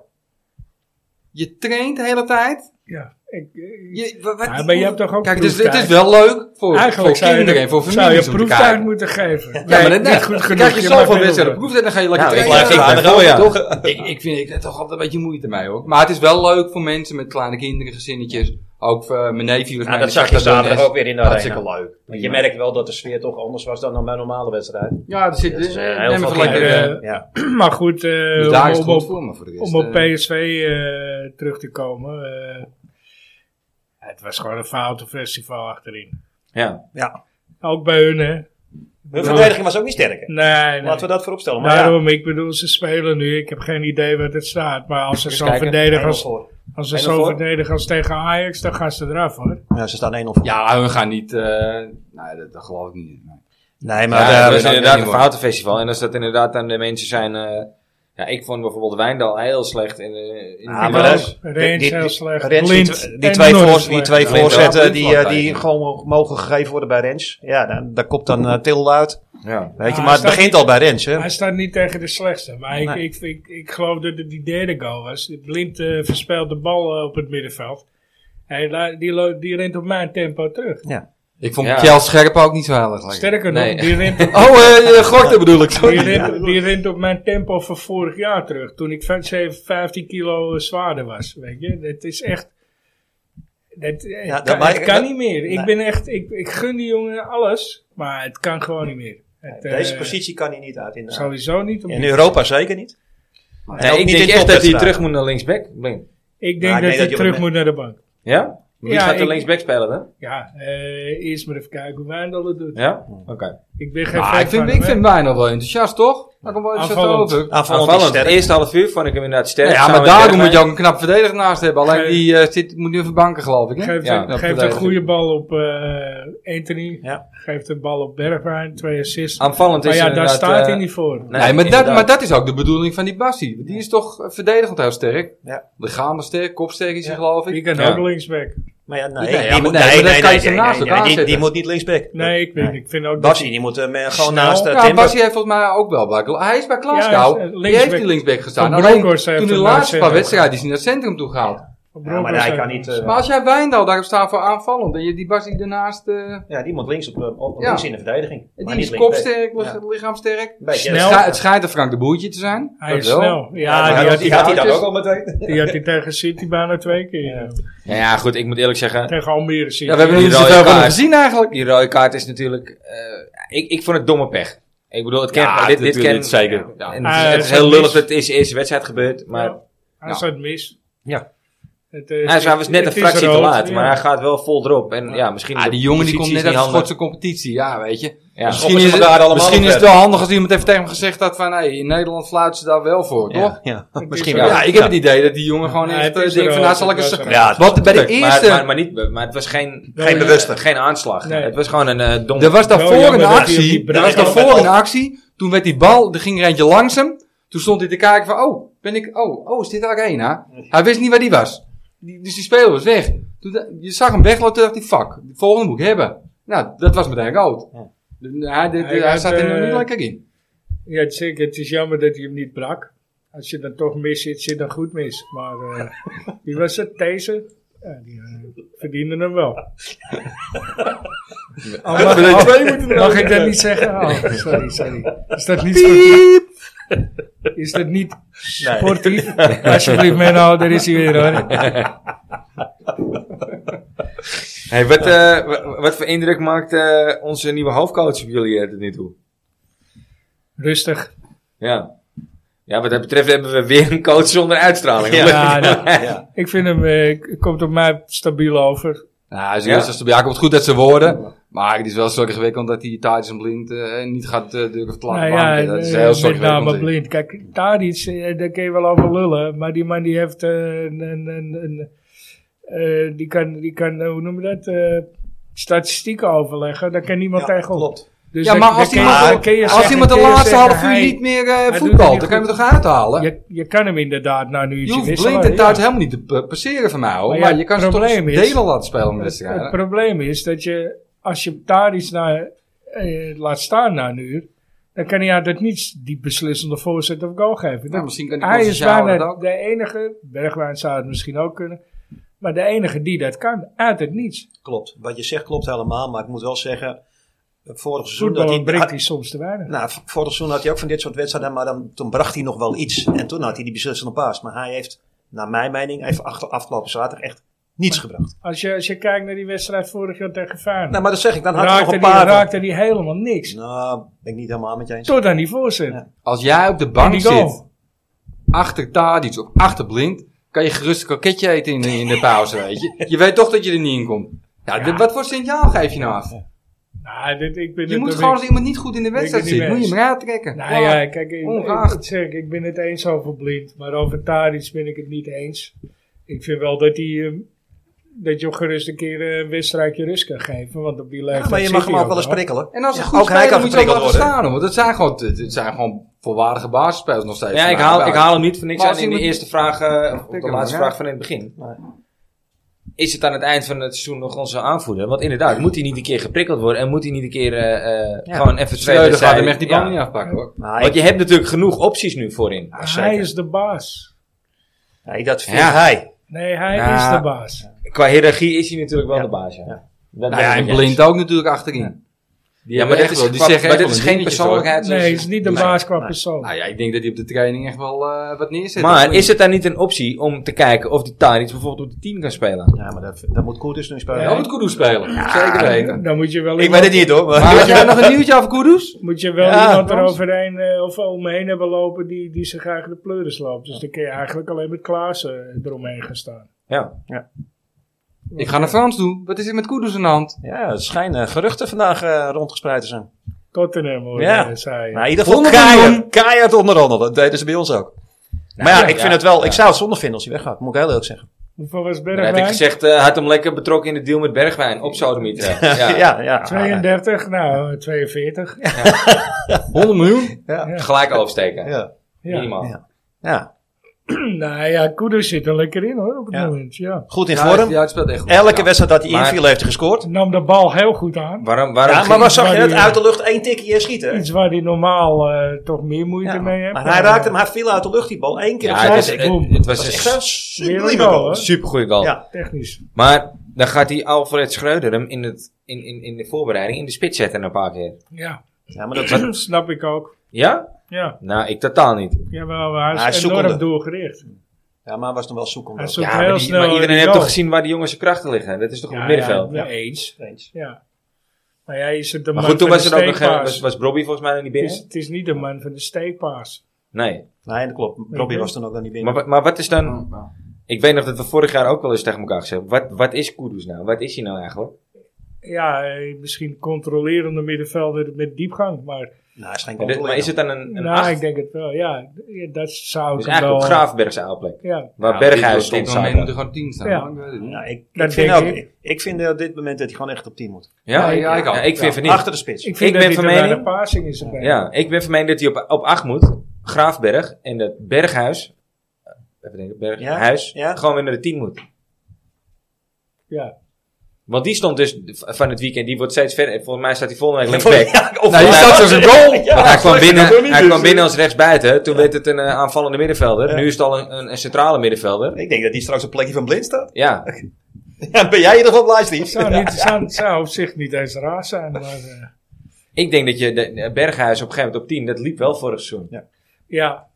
Speaker 3: Je traint de hele tijd.
Speaker 2: Ja, ik, ik-
Speaker 3: Je, wa- wat-
Speaker 2: Ja, maar je hebt toch ook
Speaker 3: Kijk, dus, het is
Speaker 2: proeftijd?
Speaker 3: wel leuk voor,
Speaker 2: Eigenlijk
Speaker 3: voor
Speaker 2: zou je,
Speaker 3: kinderen en voor
Speaker 2: zou
Speaker 3: families
Speaker 2: je
Speaker 3: om te kijken.
Speaker 2: proeftuin moeten geven. Ja,
Speaker 3: Ja, maar net, net goed krijg je zoveel wedstrijden op proeftijd, dan ga je lekker
Speaker 1: Nou, ik
Speaker 3: trainen.
Speaker 1: blijf- ik blijf
Speaker 3: Ja,
Speaker 1: voor,
Speaker 3: toch? Ik, ik vind ik heb toch altijd een beetje moeite mee hoor. Maar het is wel leuk voor mensen met kleine kinderen, gezinnetjes. Ook voor mijn neefje. was
Speaker 5: Ja,
Speaker 3: mij
Speaker 5: dat
Speaker 3: in
Speaker 5: zag je
Speaker 3: Shakhtar Donetsk.
Speaker 5: zaterdag ook weer in de
Speaker 3: Hartstikke
Speaker 5: arena.
Speaker 3: leuk.
Speaker 5: Want je merkt wel dat de sfeer toch anders was dan bij een normale wedstrijd.
Speaker 3: Ja, er zit
Speaker 5: Dat is, eh, heel
Speaker 3: neem
Speaker 5: veel
Speaker 3: even
Speaker 5: kinderen.
Speaker 3: lekker. eh,
Speaker 5: Ja.
Speaker 2: Maar goed, eh,
Speaker 3: dus daar is het
Speaker 2: om, op,
Speaker 3: goed voor, maar voor de rest.
Speaker 2: om op
Speaker 3: eh,
Speaker 2: PSV eh, terug te komen. eh, het was gewoon een foutenfestival achterin.
Speaker 1: Ja.
Speaker 4: Ja.
Speaker 2: Ook bij hun, hè?
Speaker 5: Hun verdediging was ook niet sterk. hè?
Speaker 2: Nee, nee.
Speaker 5: Laten we dat vooropstellen. Maar ja,
Speaker 2: Daarom, ik bedoel, ze spelen nu. Ik heb geen idee wat het staat. Maar als ze
Speaker 1: Eens
Speaker 2: zo
Speaker 1: kijken.
Speaker 2: verdedigen
Speaker 5: 1-0
Speaker 2: als,
Speaker 5: voor.
Speaker 2: als, ze
Speaker 1: 1-0
Speaker 2: zo
Speaker 1: voor.
Speaker 2: verdedigen als tegen Ajax, dan gaan ze eraf, hoor.
Speaker 4: Ja, ze staan 1-0 voor.
Speaker 3: Ja, we gaan niet. eh nee, dat, dat geloof ik niet. Nee.
Speaker 4: Nee,
Speaker 1: Maar
Speaker 4: maar...
Speaker 1: ja,
Speaker 4: eh,
Speaker 1: dat is inderdaad
Speaker 3: dat niet
Speaker 1: een
Speaker 3: worden.
Speaker 1: foutenfestival. En als dat inderdaad dan de mensen zijn... eh, ja, ik vond bijvoorbeeld Wijndal heel slecht in, de in
Speaker 4: Ja,
Speaker 1: de
Speaker 4: maar dat-
Speaker 2: Rens
Speaker 4: die- die-
Speaker 2: heel slecht.
Speaker 4: Rens, die,
Speaker 2: Blind
Speaker 4: tw- die twee,
Speaker 2: enorm
Speaker 4: voor, die
Speaker 2: slecht.
Speaker 4: twee
Speaker 3: Ja,
Speaker 4: voorzetten
Speaker 3: Blind
Speaker 4: die,
Speaker 3: valt
Speaker 4: eh, die
Speaker 3: tegen.
Speaker 4: gewoon mogen gegeven worden bij Rens. Ja, dan, daar komt dan eh, Til uit.
Speaker 1: Ja.
Speaker 4: Weet
Speaker 2: Ah,
Speaker 4: je, maar het
Speaker 2: staat-
Speaker 4: begint al bij Rens. Hè?
Speaker 2: Hij staat niet tegen de slechtste. Maar ik,
Speaker 4: Nee.
Speaker 2: ik, ik, ik geloof dat het die derde goal was. Blind eh verspeelt de bal eh, op het middenveld. Hij, la- die, lo- die rent op mijn tempo terug.
Speaker 3: Ik vond
Speaker 1: Ja.
Speaker 3: Kjell Scherp ook niet zo heel erg lekker.
Speaker 2: Sterker
Speaker 1: Nee.
Speaker 2: nog, die
Speaker 4: *laughs*
Speaker 2: rent, op,
Speaker 3: Oh, eh eh, Gorter bedoel ik.
Speaker 2: die,
Speaker 3: Sorry.
Speaker 2: rent, die rent op mijn tempo van vorig jaar terug. Toen ik vijf- zeven- 15 kilo eh, zwaarder was. Weet je, dat is echt. Dat, eh,
Speaker 4: Ja,
Speaker 2: het
Speaker 4: dat
Speaker 2: kan, het
Speaker 4: maakt-
Speaker 2: kan
Speaker 4: dat-
Speaker 2: niet meer. Ik
Speaker 4: Nee.
Speaker 2: ben echt. Ik, ik gun die jongen alles. Maar het kan gewoon niet meer. Het,
Speaker 4: Deze
Speaker 2: eh,
Speaker 4: positie kan hij niet uit. In, eh,
Speaker 2: Sowieso niet. om
Speaker 4: in Europa zeker niet.
Speaker 1: Nee,
Speaker 4: ook
Speaker 1: ik
Speaker 4: niet
Speaker 1: denk echt dat
Speaker 4: in
Speaker 1: hij
Speaker 4: topwedstrijden.
Speaker 1: terug moet naar linksback. Blink.
Speaker 2: Ik
Speaker 4: Ja,
Speaker 2: denk
Speaker 4: Nou, ik
Speaker 2: dat
Speaker 4: denk
Speaker 2: hij
Speaker 4: dat je
Speaker 2: terug
Speaker 4: op-
Speaker 2: moet naar de bank.
Speaker 1: Ja? Wie
Speaker 2: Ja,
Speaker 1: gaat er
Speaker 2: ik-
Speaker 1: linksback spelen dan?
Speaker 2: Ja, eh, eerst maar even kijken hoe Wijndal het doet.
Speaker 1: Ja? Oké.
Speaker 2: Ik ben geen fan
Speaker 3: Maar Ah, Nou, ik vind,
Speaker 2: van
Speaker 3: ik
Speaker 2: hem,
Speaker 3: vind Wijnald wel enthousiast, toch? Daar komt wel enthousiast
Speaker 2: Aanvallend.
Speaker 3: over.
Speaker 4: Aanvallend, is
Speaker 1: Aanvallend. Het
Speaker 4: sterk.
Speaker 1: eerste half uur vond ik hem inderdaad sterk.
Speaker 3: Ja, ja,
Speaker 1: Samen
Speaker 3: maar
Speaker 1: met
Speaker 3: daarom moet je
Speaker 1: Bergwijn.
Speaker 3: ook een knap verdediger naast hebben. Alleen
Speaker 2: Ge-
Speaker 3: die eh, zit, moet nu even banken, geloof ik.
Speaker 2: hè.
Speaker 3: Hè?
Speaker 2: Geeft,
Speaker 1: Ja,
Speaker 2: een,
Speaker 3: dat
Speaker 2: geeft een
Speaker 3: verdedigen.
Speaker 2: goede bal op eh Anthony.
Speaker 4: Ja.
Speaker 2: Geeft een bal op Bergwijn. Twee assists.
Speaker 1: Aanvallend
Speaker 2: maar
Speaker 1: Ah, is
Speaker 2: ja, daar
Speaker 1: inderdaad,
Speaker 2: staat hij
Speaker 1: eh,
Speaker 2: niet voor.
Speaker 1: nee,
Speaker 3: Nee, maar, dat,
Speaker 1: inderdaad.
Speaker 3: maar dat is ook de bedoeling van die Bassi. Want Die is toch eh, verdedigend heel sterk.
Speaker 4: Ja.
Speaker 3: Lichamelijk sterk, kopsterk is hij,
Speaker 4: Ja.
Speaker 3: geloof
Speaker 2: Die
Speaker 3: ik.
Speaker 2: kan
Speaker 1: Ja.
Speaker 2: ook linksback.
Speaker 4: Maar ja, nee,
Speaker 3: Nee, ja,
Speaker 4: die
Speaker 3: maar
Speaker 4: moet,
Speaker 3: nee,
Speaker 4: nee,
Speaker 3: maar
Speaker 4: nee,
Speaker 3: dat
Speaker 4: nee,
Speaker 3: kan je ze
Speaker 4: nee, nee,
Speaker 3: naast elkaar
Speaker 4: die- die,
Speaker 3: zetten.
Speaker 4: moet niet linksback.
Speaker 2: Nee, ik weet
Speaker 4: Nee.
Speaker 2: niet. Ik vind ook dat-
Speaker 4: Bassi, die moet eh, gewoon
Speaker 2: Snel.
Speaker 4: naast eh,
Speaker 3: Ja,
Speaker 4: Timber.
Speaker 3: Bassi heeft volgens mij ook wel bij Gla- Hij is bij Glasgow.
Speaker 2: Ja, hij is, eh,
Speaker 3: die heeft
Speaker 2: linksback.
Speaker 3: die linksback gestaan.
Speaker 2: Van
Speaker 3: Alleen,
Speaker 2: Bronckhorst heeft
Speaker 3: toen de
Speaker 2: hem
Speaker 3: laatste
Speaker 2: naar
Speaker 3: paar
Speaker 2: het centrum
Speaker 3: wedstrijden is hij naar het centrum toe gehaald.
Speaker 4: Ja, maar hij kan niet... eh,
Speaker 3: Maar als jij Wijndal daarop staat voor aanvallend en je die Bassi daarnaast... eh,
Speaker 4: ja, die moet links, op, op, op-
Speaker 3: Ja.
Speaker 4: links in de verdediging. Maar
Speaker 3: die is
Speaker 4: niet linksback.
Speaker 3: kopsterk, lig-
Speaker 4: Ja.
Speaker 3: lichaamsterk.
Speaker 4: Beetje-
Speaker 2: Snel.
Speaker 3: Het schij- Het schijnt er Frank de Boertje te zijn.
Speaker 2: hij
Speaker 3: dat
Speaker 2: is
Speaker 3: wel.
Speaker 2: snel. Ja,
Speaker 4: Ja,
Speaker 2: die,
Speaker 4: die,
Speaker 2: had,
Speaker 4: had hij dan
Speaker 3: houtjes.
Speaker 4: ook al meteen.
Speaker 2: die had hij tegen City bijna twee keer. eh,
Speaker 1: Nou ja, goed, ik moet eerlijk zeggen.
Speaker 2: Tegen Almere City.
Speaker 3: Ja, we hebben er
Speaker 1: Die
Speaker 3: niet
Speaker 1: rode
Speaker 3: zoveel van hem
Speaker 1: kaart.
Speaker 3: gezien eigenlijk.
Speaker 1: Die rode kaart is natuurlijk. eh, ik, ik vond het domme pech. Ik bedoel, het kent.
Speaker 3: Ja,
Speaker 1: dit, dit
Speaker 3: natuurlijk,
Speaker 1: kent.
Speaker 3: dit zeker. Ja.
Speaker 1: En
Speaker 2: Ah,
Speaker 1: het, is- het is
Speaker 2: het
Speaker 1: heel
Speaker 2: is-
Speaker 1: lullig dat het is de eerste wedstrijd gebeurt. Maar
Speaker 2: Ja, Hij staat mis.
Speaker 1: Ja. Nou,
Speaker 2: Het, eh,
Speaker 1: Hij was net een
Speaker 2: het is
Speaker 1: fractie te
Speaker 2: rood,
Speaker 1: laat,
Speaker 2: ja.
Speaker 1: maar hij gaat wel vol erop. En ja, misschien
Speaker 3: Ja,
Speaker 1: de
Speaker 3: die jongen die komt
Speaker 1: positie
Speaker 3: net
Speaker 1: is
Speaker 3: uit de
Speaker 1: niet handig.
Speaker 3: Schotse competitie. Ja, weet je.
Speaker 1: Ja.
Speaker 3: Misschien,
Speaker 4: Schoppen
Speaker 3: Ah, is
Speaker 4: ze
Speaker 3: het,
Speaker 4: elkaar allemaal
Speaker 3: misschien is het
Speaker 4: verder.
Speaker 3: wel handig als iemand even tegen hem gezegd had van... Hey, in Nederland fluiten ze daar wel voor, toch?
Speaker 4: Ja, ja.
Speaker 2: Het is
Speaker 5: Misschien
Speaker 3: *laughs* Ja,
Speaker 2: rood.
Speaker 3: ik heb het idee dat die jongen gewoon
Speaker 2: Ja,
Speaker 3: echt
Speaker 2: het
Speaker 3: eh,
Speaker 2: is
Speaker 3: denkt
Speaker 2: er
Speaker 3: van... Nou,
Speaker 2: wel,
Speaker 3: zal ik
Speaker 2: het
Speaker 3: eens...
Speaker 2: was er
Speaker 5: wel. Ja, het
Speaker 3: Want bij de
Speaker 1: Tuurlijk, maar-
Speaker 3: eerste...
Speaker 1: Maar, maar, niet, maar het was geen,
Speaker 2: Wel, Geen ja.
Speaker 1: bewuste. Geen aanslag.
Speaker 2: Nee.
Speaker 1: Het was gewoon een eh dom.
Speaker 3: Er was daarvoor
Speaker 2: jammer
Speaker 3: een
Speaker 2: dat hij op
Speaker 3: actie.
Speaker 2: die
Speaker 3: Er was
Speaker 2: bruine kant
Speaker 3: daarvoor
Speaker 4: werd
Speaker 3: een actie. Toen werd die bal, er ging er eentje langs hem. Toen stond hij te kijken van, oh, ben ik, oh, oh, is dit eigenlijk één, hè? Hij wist niet waar die was. Die- dus die speler was weg. Toen, da- je zag hem weglopen, toen dacht hij, fuck, de volgende moet ik hebben. Nou, dat was meteen oud.
Speaker 4: Ja.
Speaker 3: Hij, de- de-
Speaker 2: Hij
Speaker 3: hij
Speaker 2: had,
Speaker 3: zat er nog
Speaker 2: eh,
Speaker 3: niet lekker in.
Speaker 2: Ja, het is zeker. Het is jammer dat hij hem niet brak. Als je dan toch mis zit, zit dan goed mis. Maar
Speaker 4: *laughs*
Speaker 2: eh, wie was het? Deze? Ja, die eh, verdiende hem
Speaker 4: *laughs*
Speaker 2: wel. Oh, mag, mag- mag ik dat niet zeggen? Oh, sorry, sorry. Is dat niet sportief? Is dat niet
Speaker 4: *laughs*
Speaker 2: sportief? Alsjeblieft, Menno, daar is hij weer hoor.
Speaker 1: Hey, wat, eh, wa- wat voor indruk maakt eh, onze nieuwe hoofdcoach op jullie eh, tot nu toe?
Speaker 2: Rustig.
Speaker 1: Ja. Ja, wat dat betreft hebben we weer een coach zonder uitstraling.
Speaker 4: Ja.
Speaker 2: Ja, nou,
Speaker 4: Ja.
Speaker 2: ik vind hem, eh, komt op mij stabiel over.
Speaker 3: Nou, ze
Speaker 1: Ja.
Speaker 3: is als de Jacob het goed dat ze worden. Maar het is wel zorgwekkend dat hij tijdens een blind eh, niet gaat eh, durven te laten
Speaker 2: Nou ja,
Speaker 3: banken. Dat is
Speaker 2: eh,
Speaker 3: heel
Speaker 2: met name
Speaker 3: zorgwekkend.
Speaker 2: blind. Kijk, Tadic, eh, daar kun je wel over lullen. Maar die man die heeft eh, een... een, een, een, eh, die kan, die kan eh, hoe noem je dat, eh, statistieken overleggen. Daar kan niemand
Speaker 4: Ja,
Speaker 2: tegen op.
Speaker 4: klopt.
Speaker 2: Dus
Speaker 3: Ja,
Speaker 2: daar-
Speaker 3: maar
Speaker 2: daar
Speaker 3: als
Speaker 2: kun je-
Speaker 3: iemand-
Speaker 2: daar kun je
Speaker 3: Als
Speaker 2: zeggen-
Speaker 3: iemand de
Speaker 2: kun je
Speaker 3: laatste
Speaker 2: zeggen,
Speaker 3: half uur
Speaker 2: hij-
Speaker 3: niet meer eh,
Speaker 2: doet het
Speaker 3: voetbalt,
Speaker 2: niet
Speaker 3: dan kan je hem
Speaker 2: goed.
Speaker 3: toch uithalen?
Speaker 2: Je, je kan hem inderdaad na een uurtje
Speaker 3: Je hoeft
Speaker 2: wisselen,
Speaker 3: blind en
Speaker 2: ja.
Speaker 3: thuis helemaal niet te pe- passeren van mij hoor.
Speaker 2: Maar
Speaker 3: Maar,
Speaker 2: ja,
Speaker 3: je kan ze
Speaker 2: het
Speaker 3: toch
Speaker 2: probleem is-
Speaker 3: delen laten spelen met
Speaker 4: Dus
Speaker 2: Het, het
Speaker 3: wedstrijden.
Speaker 2: probleem is dat je, als je Tadic naar, eh, laat staan na een uur, dan kan hij dat niet die beslissende voorzet of goal geven.
Speaker 3: Nou,
Speaker 2: Dat-
Speaker 3: misschien kan die
Speaker 2: hij is
Speaker 3: Conceicao dat
Speaker 2: bijna
Speaker 3: ook.
Speaker 2: de enige, Bergwijn zou het misschien ook kunnen, maar de enige die dat kan, uit het niets.
Speaker 4: Klopt. Wat je zegt klopt helemaal, maar ik moet wel zeggen, vorig seizoen dat
Speaker 2: Voetballen
Speaker 4: hij...
Speaker 2: brengt hij soms te weinig.
Speaker 4: Nou, v- vorig seizoen had hij ook van dit soort wedstrijden, maar dan, toen bracht hij nog wel iets. En toen had hij die beslissende paas. Maar hij heeft, naar mijn mening, even achter, afgelopen zaterdag echt niets gebracht.
Speaker 2: Als, je, als je kijkt naar die wedstrijd vorig jaar tegen Feyenoord,
Speaker 4: Nou, maar dat zeg ik, dan had hij nog
Speaker 2: raakte,
Speaker 4: een
Speaker 2: die,
Speaker 4: paar...
Speaker 2: raakte die helemaal niks.
Speaker 4: Nou, ben ik niet helemaal met je eens.
Speaker 2: Tot aan die voorzet.
Speaker 4: Ja.
Speaker 3: Als jij op de
Speaker 2: En
Speaker 3: bank
Speaker 2: die goal.
Speaker 3: zit, achter Tadic of achter blind, kan je gerust een kroketje eten in de, in de
Speaker 2: *laughs*
Speaker 3: pauze, weet je. Je weet toch dat je er niet in komt. Ja,
Speaker 2: Ja.
Speaker 3: dit- wat voor signaal geef je nou af?
Speaker 2: Nou, dit, ik ben
Speaker 3: Je
Speaker 2: het
Speaker 3: moet
Speaker 2: er
Speaker 3: gewoon
Speaker 2: weer-
Speaker 3: als iemand niet goed in de wedstrijd
Speaker 2: ben het
Speaker 3: zit,
Speaker 2: niet
Speaker 3: moet je hem
Speaker 2: mee
Speaker 3: eruit trekken.
Speaker 2: Nou ja, kijk, ik, ik,
Speaker 3: Ongeacht.
Speaker 2: ik, zeg, ik ben het eens over Blind, maar over Tadic ben ik het niet eens. Ik vind wel dat, hij, ehm, dat je hem gerust een keer eh, een wedstrijdje rust kan geven, want op die leeftijd
Speaker 4: Ja, maar je
Speaker 2: zit
Speaker 4: mag hem
Speaker 2: hij
Speaker 4: ook wel eens
Speaker 2: al.
Speaker 4: prikkelen.
Speaker 3: En als ze
Speaker 4: Ja,
Speaker 3: goed
Speaker 4: ook hij
Speaker 3: spelen,
Speaker 4: kan
Speaker 3: moet je ook laten
Speaker 4: geprikkeld worden.
Speaker 3: staan. hoor. Want het zijn gewoon, het zijn gewoon volwaardige basisspelers nog steeds.
Speaker 1: Ja, ik haal, ik haal hem niet voor niks
Speaker 3: Maar
Speaker 1: aan
Speaker 3: als
Speaker 1: in de
Speaker 3: iemand-
Speaker 1: eerste vraag, eh, of
Speaker 3: Kijk
Speaker 1: de
Speaker 3: hem
Speaker 1: laatste
Speaker 3: maar, ja.
Speaker 1: vraag van in het begin. Is het aan het eind van het seizoen nog onze aanvoerder? Want inderdaad, moet hij niet een keer geprikkeld worden en moet hij niet een keer eh, eh, gewoon even twee
Speaker 3: Schreuder gaat
Speaker 1: wedstrijden-
Speaker 3: hem echt die bal
Speaker 1: Ja.
Speaker 3: niet afpakken hoor.
Speaker 4: Maar
Speaker 1: Want
Speaker 4: ik,
Speaker 1: je hebt natuurlijk genoeg opties nu voorin.
Speaker 2: Hij is de baas.
Speaker 4: nee, dat vindt
Speaker 1: Ja.
Speaker 4: hij.
Speaker 2: Nee, hij
Speaker 1: Nou,
Speaker 2: is de baas.
Speaker 1: Qua hiërarchie is hij natuurlijk wel
Speaker 4: Ja.
Speaker 1: de baas. Ja,
Speaker 4: Ja.
Speaker 1: Dat
Speaker 3: Nou
Speaker 1: ben
Speaker 3: ja,
Speaker 1: ik
Speaker 3: en
Speaker 1: met je
Speaker 3: blind ook natuurlijk achterin. Die
Speaker 1: Ja,
Speaker 3: hebben
Speaker 1: maar
Speaker 3: echt
Speaker 1: dit is,
Speaker 3: wel- die
Speaker 1: qua-
Speaker 3: zeggen
Speaker 1: maar
Speaker 3: echt
Speaker 1: dit is
Speaker 3: wel
Speaker 1: geen
Speaker 3: dingetjes,
Speaker 1: persoonlijkheid. dus-
Speaker 2: Nee, hij is niet de
Speaker 3: Nee,
Speaker 2: baas qua
Speaker 4: nee.
Speaker 2: persoon.
Speaker 3: hoor. Nou ja, ik denk dat hij op de training echt wel eh, wat neerzet.
Speaker 1: Maar is het dan niet een optie om te kijken of die Tadic bijvoorbeeld op de 10 kan spelen?
Speaker 4: Ja, maar dat, dat moet Koerders nu spelen.
Speaker 3: Ja, moet Kudus spelen. Zeker weten.
Speaker 2: Dan moet je wel,
Speaker 4: Ik
Speaker 2: iemand,
Speaker 4: weet het niet hoor. maar-
Speaker 3: Maar had jij nog een nieuwtje over Kudus?
Speaker 2: moet je wel
Speaker 4: Ja,
Speaker 2: iemand
Speaker 4: Frans.
Speaker 2: eroverheen eh, of omheen hebben lopen die, die zich graag de pleuris loopt. Dus dan kun je eigenlijk alleen met Klaassen eromheen gaan staan.
Speaker 1: Ja.
Speaker 3: Ik ga naar Frans toe. Wat is er met Kudus aan de hand?
Speaker 4: Ja, er schijnen geruchten vandaag eh, rondgespreid te zijn.
Speaker 2: Tottenham hoor,
Speaker 4: Ja.
Speaker 2: eh, zei je.
Speaker 4: Nou, in ieder geval
Speaker 3: 100
Speaker 4: keihard,
Speaker 3: miljoen.
Speaker 4: keihard onderhandelen. Dat deden ze bij ons ook. maar Nou, ja, ik vind het wel. Ik zou het zonde vinden als hij weggaat. Moet ik heel eerlijk zeggen.
Speaker 2: Hoeveel was
Speaker 1: Dan heb
Speaker 2: Bergwijn?
Speaker 1: ik gezegd, eh had hem lekker betrokken in de deal met Bergwijn op Sodemieter.
Speaker 4: Ja,
Speaker 1: ja.
Speaker 4: *laughs* ja. ja.
Speaker 2: 32, nou
Speaker 1: *laughs*
Speaker 2: 42. Ja.
Speaker 3: 100 miljoen?
Speaker 1: Gelijk oversteken.
Speaker 4: Ja.
Speaker 1: Minimaal.
Speaker 4: Ja. Ja.
Speaker 2: *clears throat* nou ja, Kudus zit er lekker in hoor op het
Speaker 4: Ja.
Speaker 2: moment. Ja.
Speaker 4: Goed in
Speaker 3: Ja,
Speaker 4: vorm.
Speaker 3: ja, het speelt echt goed.
Speaker 4: Elke
Speaker 3: Ja.
Speaker 4: wedstrijd dat hij
Speaker 1: Maar-
Speaker 4: inviel heeft hij gescoord.
Speaker 2: Nam de bal heel goed aan.
Speaker 1: Waarom, waarom
Speaker 4: Ja,
Speaker 1: ging-
Speaker 4: maar waar zag je
Speaker 2: maar
Speaker 4: het?
Speaker 2: die-
Speaker 4: Uit de lucht één tikje en schieten.
Speaker 2: Iets waar hij normaal eh, toch meer moeite
Speaker 4: Ja,
Speaker 2: mee heeft.
Speaker 4: maar hij raakte hem, hij viel uit de lucht die bal. Eén keer
Speaker 1: Ja,
Speaker 4: op
Speaker 1: het,
Speaker 4: zijn
Speaker 1: was,
Speaker 4: eigen-
Speaker 1: het, het was
Speaker 4: Dat is
Speaker 1: een
Speaker 4: echt
Speaker 2: Weer een
Speaker 4: sublieme
Speaker 2: goal,
Speaker 4: goal.
Speaker 2: hè?
Speaker 1: supergoeie goal.
Speaker 4: Ja.
Speaker 2: Technisch.
Speaker 1: Maar dan gaat die Alfred Schreuder hem in, het, in, in, in de voorbereiding in de spits zetten een paar keer.
Speaker 2: Ja,
Speaker 4: Ja, maar
Speaker 2: *clears throat*
Speaker 4: dat,
Speaker 2: snap ik ook.
Speaker 1: Ja?
Speaker 2: Ja,
Speaker 1: Nou, ik totaal niet.
Speaker 2: jawel, maar hij
Speaker 4: Hij
Speaker 2: is
Speaker 4: is
Speaker 2: enorm
Speaker 4: zoekende.
Speaker 2: doelgericht.
Speaker 4: ja, maar hij was nog wel zoek om
Speaker 2: Hij
Speaker 4: dat.
Speaker 2: zoekt
Speaker 1: Ja,
Speaker 2: heel
Speaker 1: maar, die-
Speaker 2: snel.
Speaker 1: maar iedereen
Speaker 2: die
Speaker 1: heeft
Speaker 2: goal.
Speaker 1: toch gezien waar die jongens zijn krachten liggen? Dat is toch op
Speaker 2: Ja,
Speaker 1: het middenveld?
Speaker 2: Ja, eens.
Speaker 4: Eens.
Speaker 2: Ja. Maar jij is het de man
Speaker 1: Maar goed, toen
Speaker 2: van
Speaker 1: was
Speaker 2: de
Speaker 1: er ook nog, eh, was,
Speaker 2: steekpaas.
Speaker 1: was Robbie volgens mij nog niet
Speaker 2: het, is,
Speaker 1: binnen.
Speaker 2: het is niet de man van de steekpaas.
Speaker 1: Nee.
Speaker 4: Nee, dat klopt. Robbie was toen ook nog niet binnen. Oh,
Speaker 1: Maar, wa- maar wat is dan... Ik weet nog dat we vorig jaar ook wel eens tegen elkaar gezegd hebben. Wat, wat is Kudus nou? Wat is hij nou eigenlijk?
Speaker 2: Ja, eh, misschien controlerende middenvelder met diepgang. Maar
Speaker 4: Nou, hij is geen
Speaker 1: En dit- Dus, maar
Speaker 4: controleur.
Speaker 1: is het dan een, een
Speaker 2: nou,
Speaker 1: acht?
Speaker 2: ik denk het wel. Ja, ja, dat zou
Speaker 1: Dus
Speaker 2: ik
Speaker 1: eigenlijk
Speaker 2: hem wel... eh,
Speaker 1: op Graafbergse aanplek.
Speaker 2: Ja,
Speaker 1: Waar
Speaker 3: Ja,
Speaker 1: Berghuis
Speaker 3: Nou, dit
Speaker 1: stond.
Speaker 3: wordt op
Speaker 1: zou
Speaker 3: moment
Speaker 1: ik
Speaker 3: moet er
Speaker 1: dan.
Speaker 3: gewoon 10 staan.
Speaker 2: Ja.
Speaker 3: man. Ik weet het niet.
Speaker 4: Nou, ik,
Speaker 2: Dat
Speaker 4: ik, vind
Speaker 2: denk
Speaker 4: ook,
Speaker 2: ik.
Speaker 4: ik. vind eh, op dit moment dat hij gewoon echt op 10 moet.
Speaker 1: Ja,
Speaker 2: Nee,
Speaker 1: ja, ik,
Speaker 3: ik ook.
Speaker 1: vind van niet.
Speaker 4: Achter de spits.
Speaker 2: ik vind
Speaker 1: Ik
Speaker 2: dat
Speaker 1: ben
Speaker 2: dit
Speaker 1: van
Speaker 2: een
Speaker 1: mening-
Speaker 2: weinig passing is erbij.
Speaker 1: Ja, ik ben van mening dat hij op, op 8 moet. Graafberg en dat Berghuis. eh, Even denken, Berghuis.
Speaker 4: Ja, ja.
Speaker 1: Gewoon weer naar de 10 moet.
Speaker 2: Ja.
Speaker 1: Want die stond dus v- van het weekend, die wordt steeds verder. Volgens mij staat hij
Speaker 4: *laughs*
Speaker 1: volgende week
Speaker 4: Voor-
Speaker 1: linksback.
Speaker 4: ja, of-
Speaker 3: Nou, die staat zoals een goal. Ja.
Speaker 1: hij kwam, binnen,
Speaker 3: dat wil niet
Speaker 1: hij
Speaker 3: dus.
Speaker 1: kwam binnen als rechtsbuiten. Toen werd het een eh, aanvallende middenvelder.
Speaker 4: Ja.
Speaker 1: Nu is het al een, een, een centrale middenvelder.
Speaker 4: Ik denk dat hij straks op plekje van blind staat. *laughs*
Speaker 1: Ja,
Speaker 4: Ja, ben jij in ieder geval blij, Steve?
Speaker 2: Het zou, niet, het zou, het zou op zich niet eens raar zijn, maar... eh,
Speaker 1: ik denk dat je de, de Berghuis op een gegeven moment op 10, dat liep wel vorig seizoen.
Speaker 2: ja, ja.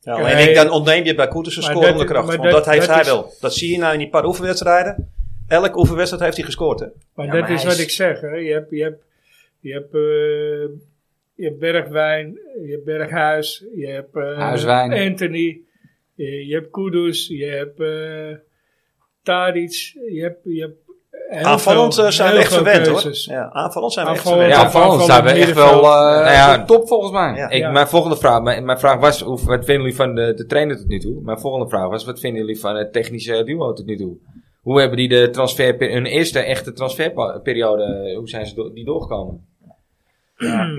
Speaker 4: Ja, alleen
Speaker 2: Nee.
Speaker 4: ik dan ontneem je bij Koeters een
Speaker 2: Maar
Speaker 4: scorende
Speaker 2: dat-
Speaker 4: kracht.
Speaker 2: maar
Speaker 4: Want
Speaker 2: dat-
Speaker 4: dat, heeft
Speaker 2: dat
Speaker 4: hij
Speaker 2: is-
Speaker 4: wel. Dat zie je nou in die paar oefenwedstrijden. Elke oefenwedstrijd heeft hij gescoord. Hè?
Speaker 2: Maar
Speaker 1: Ja,
Speaker 2: dat
Speaker 1: maar
Speaker 2: is
Speaker 1: hij
Speaker 2: wat
Speaker 1: is-
Speaker 2: ik zeg. Hè. Je hebt, je hebt, je hebt, eh, je hebt Bergwijn, je hebt Berghuis, je hebt eh,
Speaker 3: Huiswijn.
Speaker 2: Anthony, je, je hebt Kudus, je hebt eh Tadic, je hebt... Je hebt heel
Speaker 4: Aanvallend
Speaker 2: veel-
Speaker 4: eh, zijn we
Speaker 2: heel
Speaker 4: echt
Speaker 2: veel
Speaker 4: verwend hoor.
Speaker 2: keuzes.
Speaker 4: Ja, aanvallend zijn we echt
Speaker 2: Aanvallend.
Speaker 4: verwend.
Speaker 1: Ja,
Speaker 3: Ja, van zijn we echt wel eh,
Speaker 1: Nou ja.
Speaker 3: top volgens mij.
Speaker 4: Ja.
Speaker 1: Ik,
Speaker 2: Ja.
Speaker 1: Mijn volgende vraag, mijn, mijn vraag was, of, wat vinden jullie van de, de trainer tot nu toe? Mijn volgende vraag was, wat vinden jullie van het technische duo tot nu toe? Hoe hebben die de transfer, hun eerste echte transferperiode, eh, hoe zijn ze do- die doorgekomen?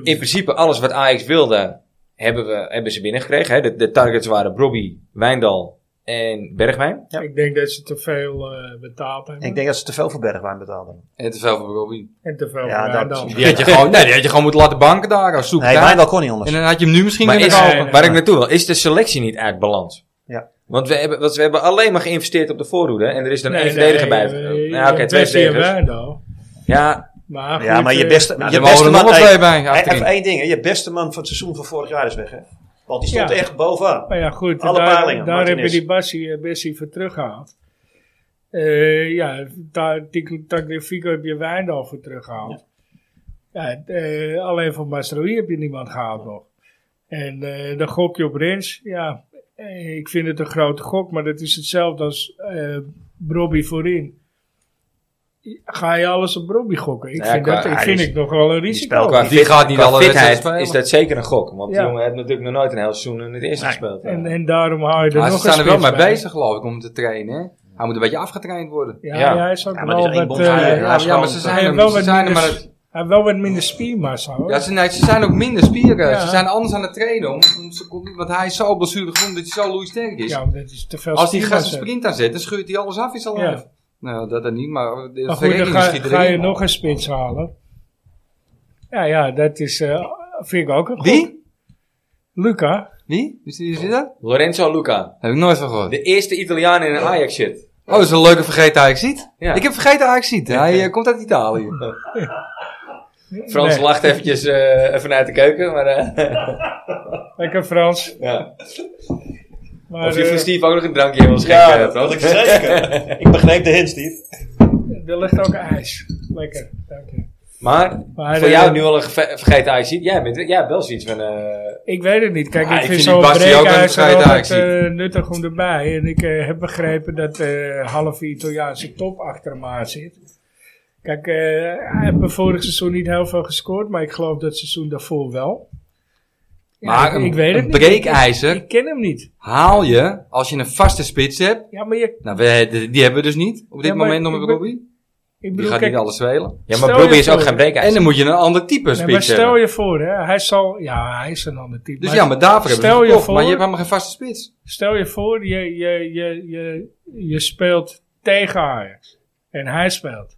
Speaker 1: In principe, alles wat Ajax wilde, hebben, we, hebben ze binnengekregen. Hè? De, de targets waren Brobby, Wijndal en Bergwijn.
Speaker 4: Ja.
Speaker 2: Ik denk dat ze te veel eh, betaald hebben.
Speaker 4: Ik denk dat ze te veel voor Bergwijn betalen.
Speaker 3: En te veel voor Robbie.
Speaker 2: En te veel
Speaker 4: Ja,
Speaker 2: gedaan
Speaker 4: dat-
Speaker 2: dan.
Speaker 3: Die had je
Speaker 1: *laughs*
Speaker 3: gewoon, nee, die had je gewoon moeten laten banken daar. Als zoek
Speaker 4: Nee,
Speaker 3: daar.
Speaker 4: Wijndal kon niet anders.
Speaker 3: En dan had je hem nu misschien
Speaker 1: Maar
Speaker 3: kunnen
Speaker 1: is,
Speaker 2: nee,
Speaker 3: kopen.
Speaker 2: nee,
Speaker 1: waar
Speaker 2: nee.
Speaker 1: ik naartoe wil, is de selectie niet uit balans?
Speaker 4: Ja.
Speaker 1: Want we hebben, want we hebben alleen maar geïnvesteerd op de voorhoede. En er is dan
Speaker 2: Nee,
Speaker 1: één
Speaker 2: nee,
Speaker 1: verdediger bij.
Speaker 2: eh,
Speaker 1: Nou,
Speaker 2: je
Speaker 1: Oké,
Speaker 2: hebt
Speaker 1: twee
Speaker 2: Bessie en
Speaker 1: verdedigers.
Speaker 2: Wijndal.
Speaker 1: Ja,
Speaker 2: Maar
Speaker 4: Ja,
Speaker 2: goed,
Speaker 4: maar je
Speaker 2: eh,
Speaker 4: beste,
Speaker 3: Nou,
Speaker 4: je
Speaker 3: er mogen
Speaker 4: beste
Speaker 3: er nog
Speaker 4: man.
Speaker 3: wel
Speaker 4: hey,
Speaker 3: twee bij.
Speaker 4: hey,
Speaker 3: achterin.
Speaker 4: Even één ding, hè. je beste man van het seizoen van vorig jaar is weg, hè? Want die stond
Speaker 2: Ja.
Speaker 4: echt bovenaan.
Speaker 2: Maar ja, goed,
Speaker 4: Alle
Speaker 2: daar,
Speaker 4: peilingen,
Speaker 2: daar
Speaker 4: Martinez.
Speaker 2: hebben die Bassie, eh, Bessie voor teruggehaald. Eh ja, daar- die Tagliafico heb je Wijndal voor teruggehaald. Ja. eh, alleen van Mastroï heb je niemand gehaald nog. En eh dan gok je op Rens. Ja, eh, ik vind het een grote gok, maar dat is hetzelfde als eh Brobby voorin. Ga je alles op Brobby gokken? Ik
Speaker 1: Ja,
Speaker 2: vind,
Speaker 1: qua-
Speaker 2: dat, ik,
Speaker 1: ja,
Speaker 2: vind
Speaker 1: die-
Speaker 2: ik nog wel een risico.
Speaker 1: Qua
Speaker 3: Die
Speaker 1: fit-
Speaker 3: gaat niet
Speaker 1: qua
Speaker 3: alle wedstrijden
Speaker 1: fitheid
Speaker 3: spelen.
Speaker 1: is dat zeker een gok. Want
Speaker 2: Ja.
Speaker 1: die jongen heeft natuurlijk nog nooit een heel seizoen in het eerste
Speaker 4: Nee.
Speaker 1: gespeeld.
Speaker 2: En, en daarom hou je er
Speaker 3: Maar Ah, ze
Speaker 2: nog een
Speaker 3: zijn er wel
Speaker 2: spits
Speaker 3: mee
Speaker 2: bij.
Speaker 3: bezig geloof ik om te trainen. hè. Hij moet een beetje afgetraind worden.
Speaker 2: Ja,
Speaker 1: Ja.
Speaker 2: ja. hij is ook
Speaker 4: Ja, maar
Speaker 2: wel
Speaker 4: het is één
Speaker 2: wat...
Speaker 4: bond.
Speaker 2: eh,
Speaker 4: Ja,
Speaker 3: ja, ja, maar ze
Speaker 2: Hij
Speaker 3: zijn
Speaker 2: heeft
Speaker 3: er,
Speaker 2: wel
Speaker 3: ze
Speaker 2: wat
Speaker 3: zijn er
Speaker 2: minder,
Speaker 3: maar...
Speaker 2: s- hij heeft wel wat minder spiermassa hoor.
Speaker 3: Ja, ze, nee, ze zijn ook minder spieren.
Speaker 2: Oh. Ja.
Speaker 3: Ze zijn anders aan het trainen. Om, om ze- want hij is zo blessuregevoelig dat hij zo loeisterk is.
Speaker 2: Ja, maar dat is te veel
Speaker 3: Als die gast
Speaker 2: spiermassa.
Speaker 3: een sprint aan zet, dan scheurt hij alles af in zijn
Speaker 2: Ja.
Speaker 3: lijf. Nou, dat dan niet, maar de
Speaker 2: Maar goed, dan
Speaker 3: verrekking
Speaker 2: ga,
Speaker 3: schiet
Speaker 2: ga je
Speaker 3: erin.
Speaker 2: nog een spits halen. Ja, ja, dat is... eh, vind ik ook een goed.
Speaker 3: Wie?
Speaker 2: Luca.
Speaker 3: Wie? Is die, is die dat?
Speaker 1: Lorenzo Luca.
Speaker 3: Heb ik nooit van gehoord.
Speaker 1: De eerste Italiaan in een Ajax shit.
Speaker 3: Oh, dat is een leuke vergeten ajax
Speaker 1: Ja.
Speaker 3: Ik heb vergeten ajax Hij eh, komt uit Italië.
Speaker 1: Frans
Speaker 2: Nee,
Speaker 1: lacht eventjes eh, even uit de keuken. Maar, eh,
Speaker 2: Lekker Frans.
Speaker 1: ja.
Speaker 2: Maar,
Speaker 1: Of je
Speaker 2: eh,
Speaker 1: voor Steve ook nog een drankje wil
Speaker 4: Ja,
Speaker 1: schenken. eh,
Speaker 4: dat
Speaker 1: Frans.
Speaker 4: had ik zeker. ik begreep de hint, Steve.
Speaker 2: er ligt ook ijs. Lekker, dank je.
Speaker 1: *laughs* maar
Speaker 2: Maar,
Speaker 1: voor
Speaker 2: eh,
Speaker 1: jou nu al een geve- vergeten Ajax shit. Jij, bent, jij hebt wel zoiets van... eh,
Speaker 2: Ik weet het niet. Kijk,
Speaker 3: Ja,
Speaker 2: ik
Speaker 3: ik
Speaker 2: vind
Speaker 3: vind
Speaker 2: zo'n
Speaker 3: die Bassie ook een
Speaker 2: breekijzer
Speaker 3: vrije
Speaker 2: altijd
Speaker 3: taxi.
Speaker 2: eh, nuttig om erbij. En ik eh, heb begrepen dat eh halve Italiaanse top achter hem aan zit. Kijk, eh, hij heeft me vorig seizoen niet heel veel gescoord. Maar ik geloof dat seizoen daarvoor wel. Ja,
Speaker 3: maar
Speaker 2: ik,
Speaker 3: een,
Speaker 2: ik weet het
Speaker 3: een
Speaker 2: niet.
Speaker 3: breekijzer
Speaker 2: Ik ken hem niet.
Speaker 3: haal je als je een vaste spits hebt.
Speaker 2: Ja, maar je,
Speaker 3: Nou, we, de- die hebben we dus niet op dit
Speaker 2: Ja, maar
Speaker 3: moment nog
Speaker 2: ik
Speaker 3: met
Speaker 2: ben-
Speaker 3: Robbie.
Speaker 2: ik
Speaker 3: Die
Speaker 2: bedoel,
Speaker 3: gaat
Speaker 2: kijk,
Speaker 3: niet alles spelen.
Speaker 1: ja,
Speaker 2: Stel
Speaker 1: maar
Speaker 2: je
Speaker 1: Broby is ook
Speaker 2: voor.
Speaker 1: geen breekijzer.
Speaker 3: En dan moet je een ander type
Speaker 2: nee, maar
Speaker 3: spits
Speaker 2: stel
Speaker 3: hebben.
Speaker 2: je voor, hè, hij zal, ja, hij is een ander type.
Speaker 3: Dus
Speaker 2: Maar
Speaker 3: ja, maar daarvoor hebben
Speaker 2: stel
Speaker 3: ze
Speaker 2: je
Speaker 3: gekocht,
Speaker 2: voor-
Speaker 3: Maar je hebt helemaal geen vaste spits.
Speaker 2: Stel je voor, je, je, je, je, je speelt tegen Ajax. En hij speelt.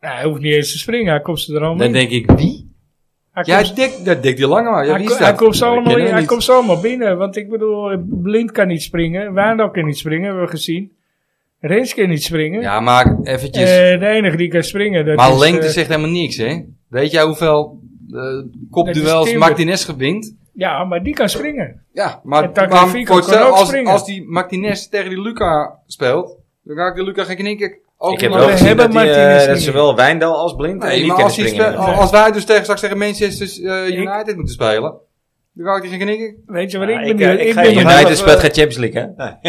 Speaker 2: Nou, hij hoeft niet eens te springen, hij komt ze er allemaal
Speaker 3: Dan
Speaker 2: in.
Speaker 3: denk ik, wie?
Speaker 2: Hij
Speaker 3: Ja,
Speaker 2: komt-
Speaker 3: Dick, dat Dick die lange maar. Ja,
Speaker 2: hij
Speaker 3: wie is
Speaker 2: ko-
Speaker 3: dat?
Speaker 2: hij komt ze
Speaker 3: Ik ken
Speaker 2: allemaal
Speaker 3: hem
Speaker 2: in- hij
Speaker 3: niet.
Speaker 2: komt ze allemaal binnen. Want ik bedoel, Blind kan niet springen. Wijndal kan niet springen, hebben we gezien. Rens kan niet springen.
Speaker 3: Ja, maar eventjes.
Speaker 2: Eh, de enige die kan springen, dat
Speaker 3: maar
Speaker 2: is...
Speaker 3: lengte
Speaker 2: eh,
Speaker 3: zegt helemaal niks, hè? Weet jij hoeveel eh,
Speaker 2: Dat is
Speaker 3: kopduels
Speaker 2: Timber.
Speaker 3: Martinez gewint?
Speaker 2: ja, maar die kan springen.
Speaker 3: Ja, maar,
Speaker 2: En Tagliafico
Speaker 3: maar voor
Speaker 2: kon
Speaker 3: hetzelfde-
Speaker 2: ook
Speaker 3: als,
Speaker 2: springen.
Speaker 3: als die Martinez tegen die Luca speelt, dan raakt die Luca geen knikker. Ook
Speaker 1: ik heb
Speaker 3: maar-
Speaker 2: we
Speaker 1: wel gezien
Speaker 2: hebben
Speaker 1: dat, die, eh,
Speaker 2: Martinez
Speaker 1: dat
Speaker 2: niet.
Speaker 1: zowel Wijndal als Blind eh,
Speaker 3: Nee,
Speaker 1: niet
Speaker 3: maar
Speaker 1: kunnen
Speaker 3: als, oh. die
Speaker 1: springen.
Speaker 3: spe- als wij dus tegen, straks tegen Manchester eh,
Speaker 2: Ik-
Speaker 3: United moeten spelen, Wie wou ik die gaan knikken?
Speaker 2: Weet je wat
Speaker 6: Ja,
Speaker 2: ik
Speaker 6: ik,
Speaker 2: benieuwd
Speaker 6: eh, ik
Speaker 2: Ik
Speaker 6: ga
Speaker 2: ben
Speaker 6: je-
Speaker 2: benieuwd.
Speaker 6: United
Speaker 1: United
Speaker 6: speelt
Speaker 1: speelt geen Champions League, hè?
Speaker 2: Ik